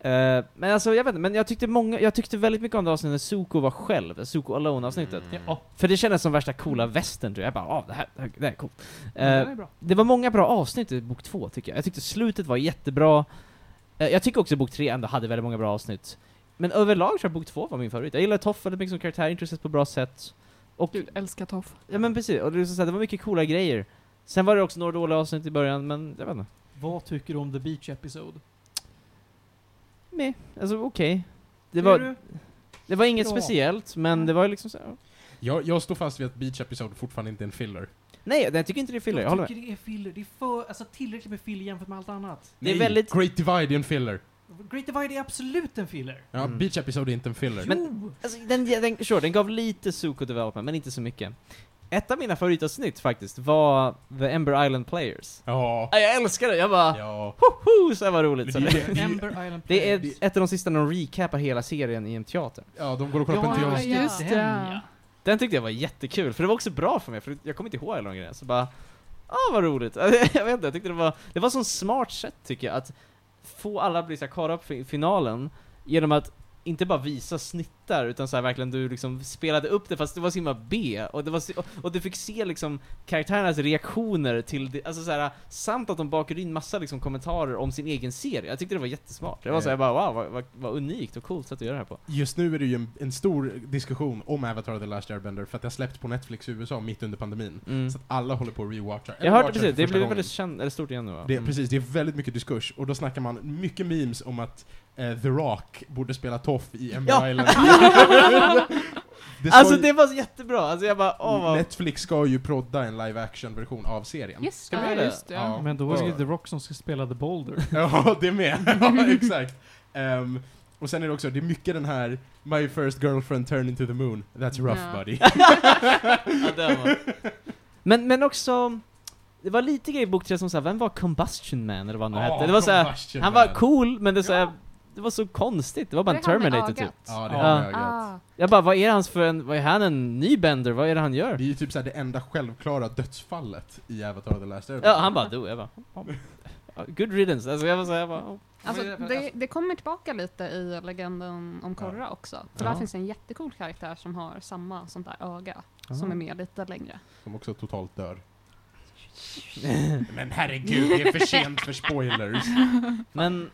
S2: Eh, men alltså jag vet inte, men jag tyckte många, jag tyckte väldigt mycket om det avsnittet när Zuko var själv, Zuko Alone avsnittet.
S1: Mm.
S3: Ja,
S2: För det kändes som värsta coola västern, tror jag. jag bara ah, det, här, det här- det här är coolt.
S3: men
S2: Eh,
S3: den är bra.
S2: det var många bra avsnitt i bok två, tycker jag. Jag tyckte slutet var jättebra. Eh, jag tycker också bok tre ändå hade väldigt många bra avsnitt. Men överlag tror jag bok två var min favorit. Jag gillar Toff väldigt mycket som karaktär, intressant på bra sätt. Och,
S4: Gud, älskar Toff.
S2: ja men precis, och det, är så här, det var mycket coola grejer. Sen var det också några dåliga avsnitt i början, men jag vet inte.
S3: Vad tycker du om The Beach Episode?
S2: Meh. Alltså okej. Det,
S3: Är
S2: var,
S3: du-
S2: det var inget
S3: Ja.
S2: speciellt, men det var ju liksom så här,
S1: Jag, jag står fast vid att Beach Episode fortfarande inte är en filler.
S2: Nej, jag tycker inte det är filler, jag håller
S3: jag
S2: med.
S3: tycker det är filler. Det är för, alltså tillräckligt med filler jämfört med allt annat.
S2: Det är väldigt-
S1: Great Divide är en filler.
S3: Great Divide är absolut en filler.
S1: Ja,
S2: Mm.
S1: Beach Episode är inte en filler.
S2: Men-
S3: jo!
S2: Alltså, den, den, sure, den gav lite Zuko development, men inte så mycket. Ett av mina favoritavsnitt faktiskt var The Ember Island Players.
S1: Ja.
S2: Ah, jag älskar det, jag bara
S1: Ja.
S2: hoho, så här var roligt. Så det,
S1: Det-
S3: Amber Island
S2: det är
S3: Players.
S2: ett av de sista när de recapar hela serien i en teater.
S1: Ja, de går och kollar på en
S4: Ja,
S1: teos.
S4: ja. just
S3: den,
S4: det.
S3: ja.
S2: Den tyckte jag var jättekul, för det var också bra för mig, för jag kommer inte ihåg alla de grejerna, så bara ah vad roligt. [laughs] jag vet inte, jag tyckte det var, det var sån smart sätt tycker jag, att få alla att bli så här caught up i finalen genom att inte bara visa snittar, utan så här verkligen du liksom spelade upp det fast det var så himla B, och, det var, så- och, och du fick se liksom karaktärernas reaktioner till det, alltså så här, samt att de bakade in massa liksom kommentarer om sin egen serie. Jag tyckte det var jättesmart. Det var så här, bara wow, vad, vad, vad unikt och coolt sätt att göra det här på.
S1: Just nu är det ju en, en stor diskussion om Avatar The Last Airbender för att det har släppts på Netflix i USA mitt under pandemin.
S2: Mm.
S1: Så att alla håller på och rewatchar. Eller
S2: Jag hörde
S1: watchar
S2: precis,
S1: för
S2: det
S1: första
S2: blev
S1: gången.
S2: väldigt känd, eller stort igen nu va?
S1: Det,
S2: Mm.
S1: Precis, det är väldigt mycket diskurs och då snackar man mycket memes om att eh, The Rock borde spela Toff i Ember
S2: Ja. [laughs]
S1: Island. det ska
S2: Alltså
S1: ju-
S2: det var så jättebra, alltså jag bara åh vad...
S1: Netflix ska ju prodda en live action version av serien.
S10: Just
S2: Ska vi
S10: det.
S2: göra
S4: Ja,
S2: det?
S4: just det. Ja.
S3: Men då är det ju
S1: Ja.
S3: The Rock som ska spela The Boulder.
S1: [laughs] Ja, det med. [laughs] ja, exakt. Ehm, och sen är det också, det är mycket den här My first girlfriend turned into the moon, that's rough
S10: Ja.
S1: buddy.
S2: Ja, det var. Men, men också, det var lite grejer i bok tre som såhär, vem var Combustion Man eller vad han nu hette? Det var såhär,
S1: Combustion
S2: han var
S1: Man.
S2: cool men det, så här, det var så konstigt, det var bara en
S10: Det är han med
S2: Terminator
S10: ögat.
S2: typ.
S1: Ja, det
S3: Ja.
S1: har jag gett.
S10: Ah.
S2: Jag bara, vad är hans för en, vad är han en ny bender? Vad är det han gör?
S1: Det är ju typ såhär det enda självklara dödsfallet i Avatar The Last Airbender.
S2: Ja, han bara dog, jag bara, "Ja, ja, good riddance, alltså jag var såhär, jag bara, "Ja."
S10: Alltså,
S3: Men det-
S10: det, det kommer tillbaka lite i legenden om Korra också. För
S2: Ja.
S10: där finns det en jättecool karaktär som har samma sånt där öga.
S11: som är med lite längre.
S1: Som också totalt
S2: [laughs]
S1: dör. Men herregud, det är för sent för [laughs] spoilers.
S2: Men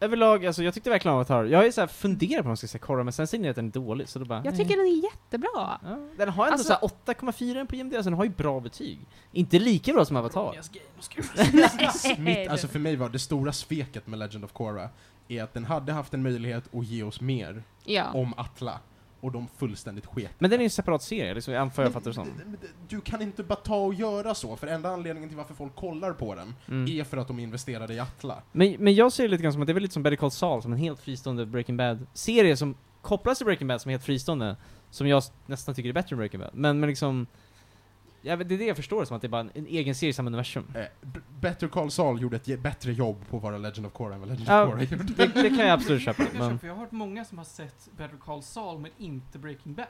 S2: överlag, alltså jag tyckte verkligen om Avatar. Jag har ju såhär funderat på om jag ska se korra, men sen ser ni att den är dålig, så då bara...
S11: Jag
S2: nej.
S11: tycker den är jättebra.
S2: Ja, den har ändå
S11: Alltså-
S2: såhär 8,4 på IMDb, alltså den har ju bra betyg. Inte lika bra som Avatar.
S1: [laughs]
S2: [laughs]
S1: Mitt, alltså för mig var det stora sveket med Legend of Korra är att den hade haft en möjlighet att ge oss mer
S11: Ja.
S1: om Atla och de fullständigt sket
S2: Men den är ju en separat serie, liksom, jag antar jag fattar det som.
S1: [laughs] Du kan inte bara ta och göra så, för enda anledningen till varför folk kollar på den
S2: Mm.
S1: är för att de investerade i Atla.
S2: Men, men jag ser det lite grann som att det är väl lite som Better Call Saul, som en helt fristående Breaking Bad-serie som kopplas till Breaking Bad som är helt fristående, som jag s- nästan tycker är bättre än Breaking Bad. Men, men liksom, ja, men det är det jag förstår som, att det är bara en, en egen serie i
S1: [laughs]
S2: samma universum.
S1: Eh, B- Better Call Saul gjorde ett je- bättre jobb på att vara Legend of Korra än vad Legend
S2: Ja.
S1: of Korra
S2: [laughs]
S1: gjorde.
S2: Det, det kan jag absolut köpa, Mm.
S3: Jag, [laughs]
S2: men
S3: för jag har hört många som har sett Better Call Saul men inte Breaking Bad.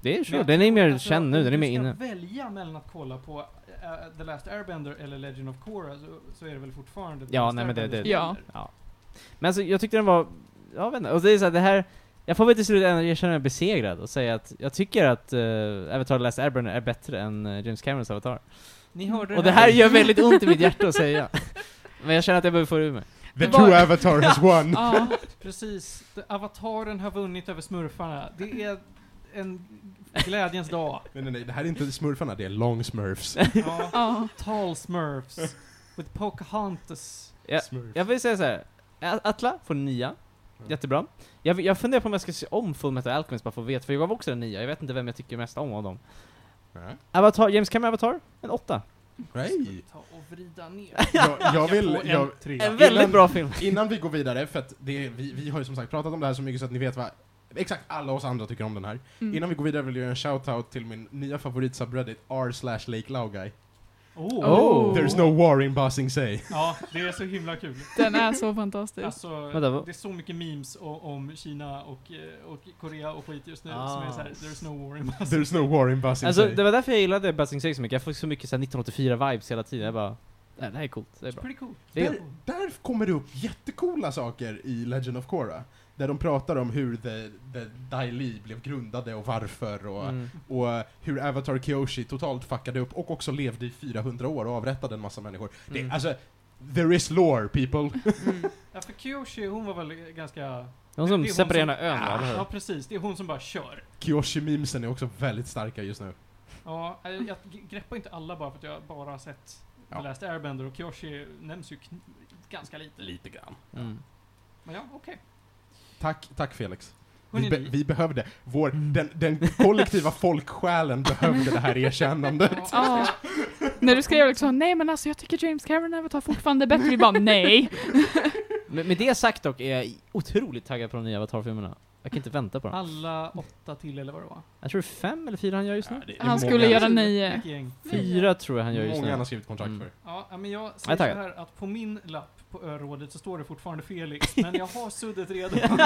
S2: det är
S3: Men
S2: sure.
S3: jag
S2: Den är ju
S3: tror-
S2: mer
S3: alltså,
S2: känd nu,
S3: om
S2: den är mer
S3: Du
S2: inne.
S3: ska välja mellan att kolla på eh, The Last Airbender eller Legend of Korra så, så är det väl fortfarande The
S2: Ja,
S3: Last
S2: nej, men det-
S3: Airbender
S4: det-
S3: som
S4: Ja.
S3: gäller.
S2: Ja. Men alltså, jag tyckte den var, jag vet inte, och det är så här, det här, jag får väl till slut ändå erkänna mig besegrad och säga att jag tycker att eh, Avatar The Last Airbender är bättre än eh, James Camerons Avatar.
S3: Ni hörde
S2: Och det här gör väldigt ont i mitt hjärta att [laughs] säga. Men jag känner att jag behöver få det ur mig.
S1: The
S4: Det var-
S1: true avatar has won!
S4: Ja.
S3: Precis, Det- avataren har vunnit över smurfarna. Det är en glädjens dag.
S1: [laughs] Nej, nej, nej, det här är inte smurfarna, det är long smurfs.
S3: Ja.
S4: Ja.
S3: Tall smurfs. With Pocahontas.
S2: Ja.
S1: Smurf.
S2: Jag vill säga så här. A- Atla får nia. Jättebra. Jag, vill- jag funderar på om jag ska se om Fullmetal Alchemist bara för att veta, för jag gav också den nia. Jag vet inte vem jag tycker mest om av dem.
S1: Nej.
S2: Avatar, James Cameron Avatar? En åtta.
S1: Nej.
S3: Ta och vrida ner.
S1: Jag, jag vill...
S3: På en
S1: Jag,
S3: trea.
S2: En väldigt
S1: innan-
S2: bra film.
S1: innan vi går vidare, för att det, vi, vi har ju som sagt pratat om det här så mycket så att ni vet vad exakt alla oss andra tycker om den här.
S4: Mm.
S1: Innan vi går vidare vill jag göra en shoutout till min nya favorit subreddit r slash Lake Laugai.
S3: Oh.
S2: Oh.
S1: There's no war in Bossing Say. [laughs]
S3: Ja, det är så himla kul.
S4: Den är så fantastisk.
S3: Alltså,
S2: Vänta, vad-
S3: det är så mycket memes o- om Kina och, eh, och Korea och skit just nu
S2: Ah.
S3: som är såhär, there's no war in Bosnia.
S1: There's no war in Bossing
S2: Alltså,
S1: Say.
S2: det var därför jag gillade Buzzing 6 så mycket. Jag fick så mycket så här 1984-vibes hela tiden. Jag bara, "Nej, det här är coolt, det är
S3: It's
S2: bra.
S3: pretty cool.
S2: Det är-
S3: Cool.
S1: Där kommer det upp jättekola saker i Legend of Korra. Där de pratar om hur the, the Dai Li blev grundade och varför och,
S2: Mm.
S1: och hur Avatar Kyoshi totalt fuckade upp och också levde i 400 år och avrättade en massa människor.
S2: Mm.
S1: Det, alltså, there is lore people. [laughs]
S3: Ja, för Kyoshi, hon var väl ganska...
S2: Det är hon som
S3: det är hon
S2: separerar
S3: som-
S2: ena ön va, eller hur?
S3: Ja, precis. Det är hon som bara kör.
S1: Kyoshi-memesen är också väldigt starka just nu.
S3: Ja, eh, jag g- greppar inte alla bara för att jag bara har sett
S1: Ja.
S3: The Last Airbender och Kyoshi nämns ju kn- ganska lite.
S1: Lite grann.
S3: Ah.
S2: Mm.
S3: Men ja, okej.
S1: Tack, tack Felix. Vi,
S3: Hörrni,
S1: be,
S3: ni-
S1: vi behövde, vår,
S2: Mm.
S1: den, den
S2: [laughs]
S1: kollektiva folksjälen behövde det här erkännandet.
S4: [laughs] Ja. När du skrev liksom nej men alltså jag tycker James Cameron Avatar fortfarande är bättre, vi bara nej.
S2: Med, med det sagt dock är jag otroligt taggad på de nya Avatar-filmerna. Jag kan inte vänta på dem.
S3: Alla åtta till eller vad det var.
S2: Jag tror det är fem eller fyra han gör just nu.
S1: det är
S4: Han
S1: många-
S4: skulle göra nio.
S3: Vilket gäng.
S2: Fyra tror jag han gör just
S1: Många han
S2: nu.
S1: har skrivit kontrakt
S2: Mm.
S1: för.
S3: Ja, ja, men jag
S2: Jag är
S3: säger
S2: taggad.
S3: så här att på min lapp på örådet så står det fortfarande
S1: [laughs]
S3: Felix, men jag har suddet redan. [laughs]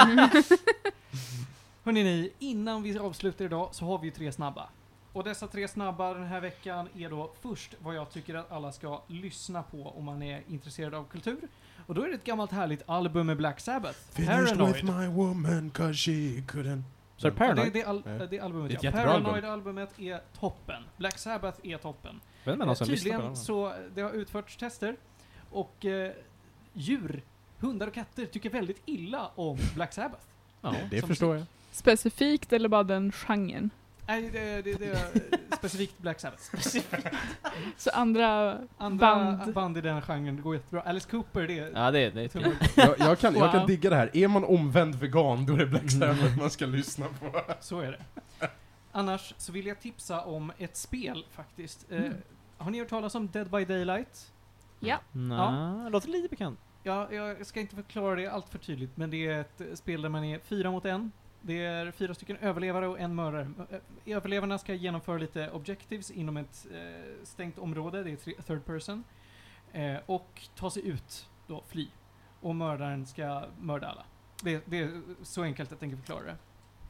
S3: Hörrni ni, innan vi avslutar idag så har vi ju tre snabba. Och dessa tre snabba den här veckan är då först vad jag tycker att alla ska lyssna på om man är intresserad av kultur. Och då är det ett gammalt härligt album med Black Sabbath,
S1: Finished with
S3: Paranoid.
S1: my woman 'cause she couldn't...
S2: Så är det
S3: Ja, Det,
S2: Paranoid?
S3: det, al-
S1: Nej.
S3: det albumet,
S1: Det är ett
S3: ja.
S1: jättebra album.
S3: Paranoid-albumet är toppen. Black Sabbath är toppen.
S2: Vem är någon som lyssnar på
S3: Eh, Tydligen
S2: den?
S3: så, det har utförts tester och eh, djur, hundar och katter tycker väldigt illa om Black Sabbath.
S2: Ja.
S1: Det
S3: Som typ-
S1: förstår jag.
S4: Specifikt eller bara den genren.
S3: Nej, det, det,
S2: [laughs]
S3: det är specifikt Black Sabbath.
S4: Så andra,
S3: Andra band.
S4: band.
S3: i den genren, det går jättebra. Alice Cooper, det är...
S2: Ja, det, det är
S3: Tummar
S2: fint.
S3: upp.
S1: Jag, jag, kan, jag
S4: Wow.
S1: kan digga det här. Är man omvänd vegan, då är det Black Sabbath man ska lyssna på.
S3: [laughs] Så är det. Annars så vill jag tipsa om ett spel faktiskt. Eh,
S2: Mm.
S3: har ni hört talas om Dead by Daylight?
S2: Nå, låter lite bekant.
S3: Ja, jag ska inte förklara det allt för tydligt, men det är ett eh, spel där man är fyra mot en. Det är fyra stycken överlevare och en mördare. Ö- ö- Överlevarna ska genomföra lite objectives inom ett eh, stängt område, det är tre- third person. Eh, och ta sig ut, då fly. Och mördaren ska mörda alla. Det, det är så enkelt jag tänker förklara det.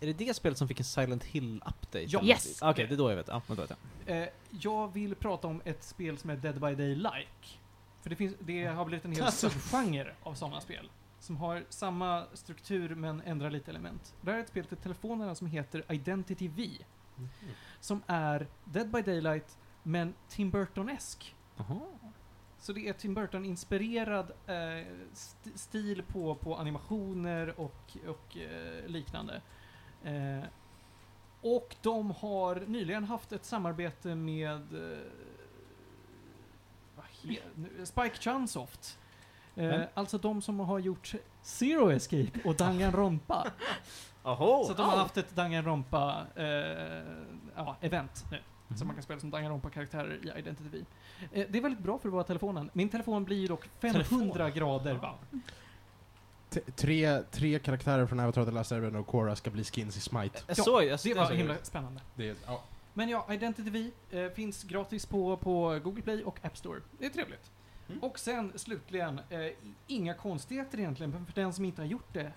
S2: Är det det spelet som fick en Silent Hill-update?
S3: Ja.
S11: Yes.
S2: Okej, det är då jag vet. Ja, men då vet jag.
S3: Eh, jag vill prata om ett spel som är Dead by Day-like. För det, finns, det har blivit en hel
S2: Alltså.
S3: subgenre av sådana spel. Som har samma struktur men ändrar lite element. Det här är ett spel till telefonerna som heter Identity V. Som är Dead by Daylight, men Tim Burton-esk.
S2: Jaha.
S3: Så det är Tim Burton-inspirerad eh, st- stil på, på animationer och, och eh, liknande. Eh, och de har nyligen haft ett samarbete med eh, vad he- nu- Spike Chunsoft. Eh,
S2: Vem?
S3: alltså de som har gjort Zero Escape och Danganronpa.
S2: Oho.
S3: Så att de har haft ett Danganronpa-event nu.
S12: Mhm.
S3: Som man kan spela som Danganronpa-karaktärer i Identity V. Eh, det är väldigt bra för att vara telefonen. Min telefon blir ju dock 500
S2: Telefon?
S3: grader va?
S12: T- tre, tre karaktärer från Avatar The Last Airbender och Korra ska bli skins i Smite.
S2: Jag
S3: Ja,
S2: såg, jag
S3: Det
S12: alltså
S2: såg,
S3: var
S2: jag såg
S3: himla spännande.
S1: Det är, ja.
S3: Men ja, Identity V eh, finns gratis på, på Google Play och App Store. Det är trevligt.
S12: Mm.
S3: Och sen slutligen, eh, inga konstigheter egentligen, men för den som inte har gjort det,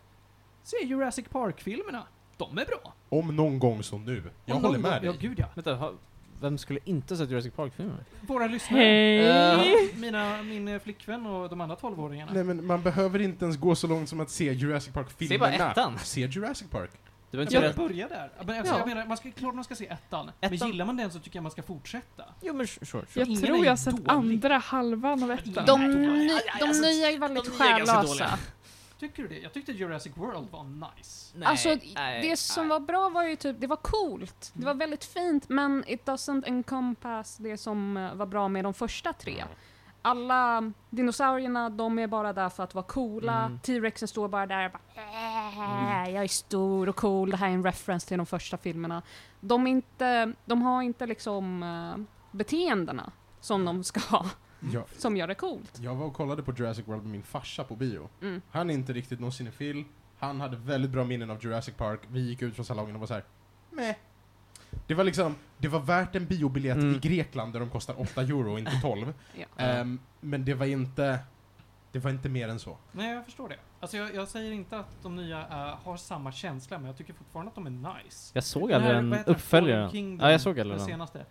S3: så är Jurassic Park-filmerna, de är bra.
S12: Om någon gång som nu. Jag
S3: Om
S12: håller
S3: någon
S12: med
S3: gång-
S12: dig.
S3: Ja, gud ja.
S2: Vänta, har- vem skulle inte ha sett Jurassic Park-filmen?
S3: Våra lyssnare.
S5: Hej!
S3: Eh, mina, min eh, flickvän och de andra tolvåringarna.
S12: Nej men man behöver inte ens gå så långt som att se Jurassic
S2: Se bara
S12: Park-filmerna.
S2: ettan!
S12: Se Jurassic Park.
S2: Du behöver
S3: Jag
S2: inte
S3: vill
S2: se
S3: börja där. Men alltså,
S5: Ja.
S3: jag menar, man ska, klart man ska se ettan. Men
S2: Ettan.
S3: gillar man den så tycker jag man ska fortsätta.
S2: Jo men sure, sure.
S5: Jag
S3: Ingen
S5: tror
S3: är
S5: jag har sett
S3: dålig.
S5: andra halvan av ettan.
S4: De,
S3: Nej, de- aj,
S4: ny,
S3: aj,
S4: de
S3: alltså,
S4: nya är väldigt
S2: de nya är ganska
S4: själlösa.
S2: dåliga.
S3: Tycker du det? Jag tyckte Jurassic World var nice.
S2: Nej,
S4: Alltså,
S2: nej,
S4: det som
S2: nej.
S4: var bra var ju typ, det var coolt. Det var väldigt fint, men it doesn't encompass det som eh, var bra med de första tre. Alla dinosaurierna, de är bara där för att vara coola.
S2: Mm.
S4: T-rexen står bara där och bara "Äh, jag är stor och cool. Det här är en reference till de första filmerna. De, är inte, de har inte liksom eh, beteendena som de ska ha,
S12: Jag,
S4: som gör det coolt.
S12: jag var och kollade på Jurassic World med min farsa på bio.
S4: Mm.
S12: Han är inte riktigt någon cinefil. Han hade väldigt bra minnen av Jurassic Park. Vi gick ut från salongen och var så här. Meh. Det var liksom, det var värt en biobiljett
S2: Mm.
S12: i Grekland där de kostar 8 euro, inte 12.
S4: [laughs] Ja.
S12: Ehm, men det var inte, det var inte mer än så.
S3: Nej, jag förstår det. Alltså, jag, jag säger inte att de nya eh, har samma känsla, men jag tycker fortfarande att de är nice.
S2: Jag såg
S3: Den
S2: aldrig
S3: här, vad
S2: den
S3: heter den?
S2: uppföljaren.
S3: Fallen Kingdom,
S2: Ja, jag såg aldrig den.
S3: den senaste.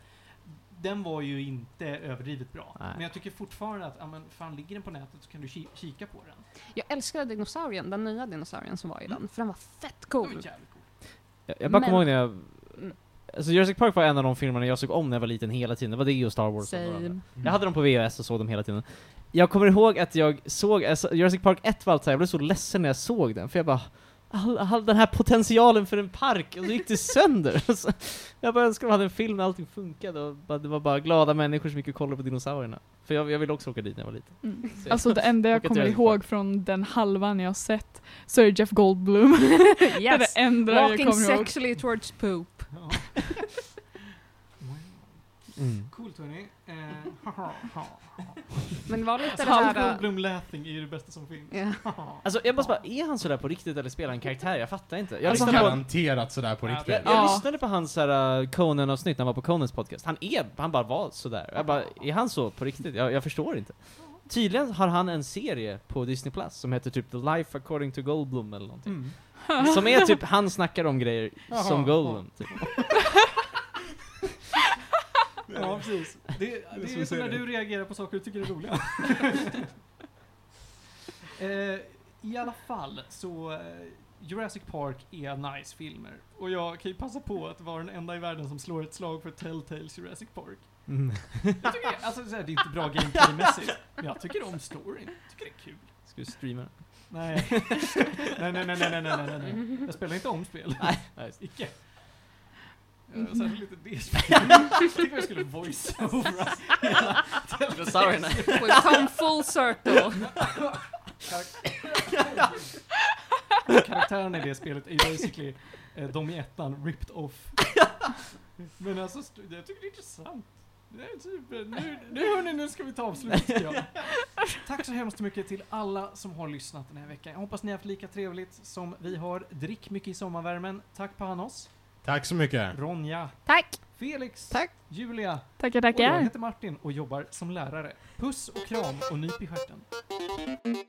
S3: Den var ju inte överdrivet bra.
S2: Nej.
S3: Men jag tycker fortfarande att, ja men fan ligger den på nätet så kan du ki- kika på den.
S4: Jag älskade dinosaurien, den nya dinosaurien som var i den, för den var fett
S3: Det var
S4: cool.
S3: jävligt coolt.
S2: Jag, jag bara kommer ihåg
S4: Men-
S2: när jag... Alltså Jurassic Park var en av de filmerna jag såg om när jag var liten hela tiden. Det var det och Star Wars. och de andra.
S4: Same.
S2: Jag hade dem på VHS och såg dem hela tiden. Jag kommer ihåg att jag såg, alltså, Jurassic Park 1 var allt så här, jag blev så ledsen när jag såg den, för jag bara all, all den här potentialen för en park, och så gick det sönder. [laughs] Så, jag bara önskar de hade en film där allting funkade och bara, det var bara glada människor som gick och kollade på dinosaurierna. För jag, jag ville också åka dit när jag var liten.
S5: Mm.
S2: Så-
S5: Alltså det enda jag
S2: Och ett
S5: kommer
S2: Jurassic
S5: ihåg
S2: Park.
S5: från den halvan jag har sett så är Jeff
S4: [laughs]
S5: Goldblum. Det är
S4: Yes.
S5: det enda jag
S4: Walking
S5: kommer ihåg.
S4: sexually towards poop.
S3: Ja. Wow. [laughs] Coolt hörni. Eh, haha, ha.
S4: Men det var lite
S3: Alltså,
S4: det
S3: Hans
S4: här...
S3: Goldblum laughing är ju det bästa som finns.
S4: Ja.
S3: Haha.
S2: Alltså jag måste bara, är han sådär på riktigt eller spelar han karaktär? Jag fattar inte. Jag,
S5: Alltså,
S2: lyssnade, på,
S12: Garanterat sådär på
S3: Ja,
S12: riktigt.
S2: jag, jag
S5: Ja.
S2: lyssnade på hans såhär, uh, Conan-avsnitt när han var på Conans podcast. Han är, han bara var sådär. Jag bara, är han så på riktigt? Jag, jag förstår inte. Tydligen har han en serie på Disney Plus som heter typ The Life According to Goldblum eller någonting.
S3: [laughs] Mm.
S2: Som är typ, han snackar om grejer
S12: Jaha,
S2: som Goldblum. Typ.
S3: Ja, precis. Det, det är
S12: som
S3: ju som när
S12: serien.
S3: du reagerar på saker du tycker är [laughs] roliga. eh, I alla fall, så eh, Jurassic Park är nice filmer. Och jag kan ju passa på att vara den enda i världen som slår ett slag för Telltales Jurassic Park.
S2: Mm.
S3: Jag tycker, alltså, så här, det är inte bra gameplaymässigt, men jag tycker om storyn. Jag tycker det är kul.
S2: [laughs] Ska du streama den?
S3: Nej. [laughs] nej, nej, nej, nej, nej, nej, nej, nej. Jag spelar inte om spel.
S2: Nej, nej, just det.
S3: Icke. Eh, Särskilt inte det spelet. Jag tycker jag skulle voice-overa hela
S2: Dinosaurierna.
S4: We've come full circle.
S3: [laughs] Karaktärerna i det spelet är ju basically eh, de i ettan ripped off. Men alltså, st- jag tycker det är intressant. Det är typ, eh, nu, nu hörni, nu ska vi ta avslut tycker jag. Tack så hemskt mycket till alla som har lyssnat den här veckan. Jag hoppas ni har haft lika trevligt som vi har. Drick mycket i sommarvärmen. Tack Panos,
S12: Tack så mycket.
S3: Ronja,
S4: Tack!
S3: Felix,
S2: Tack.
S3: Julia
S5: Tackar,
S3: och jag
S5: tackar.
S3: heter Martin och jobbar som lärare. Puss och kram och nyp i stjärten.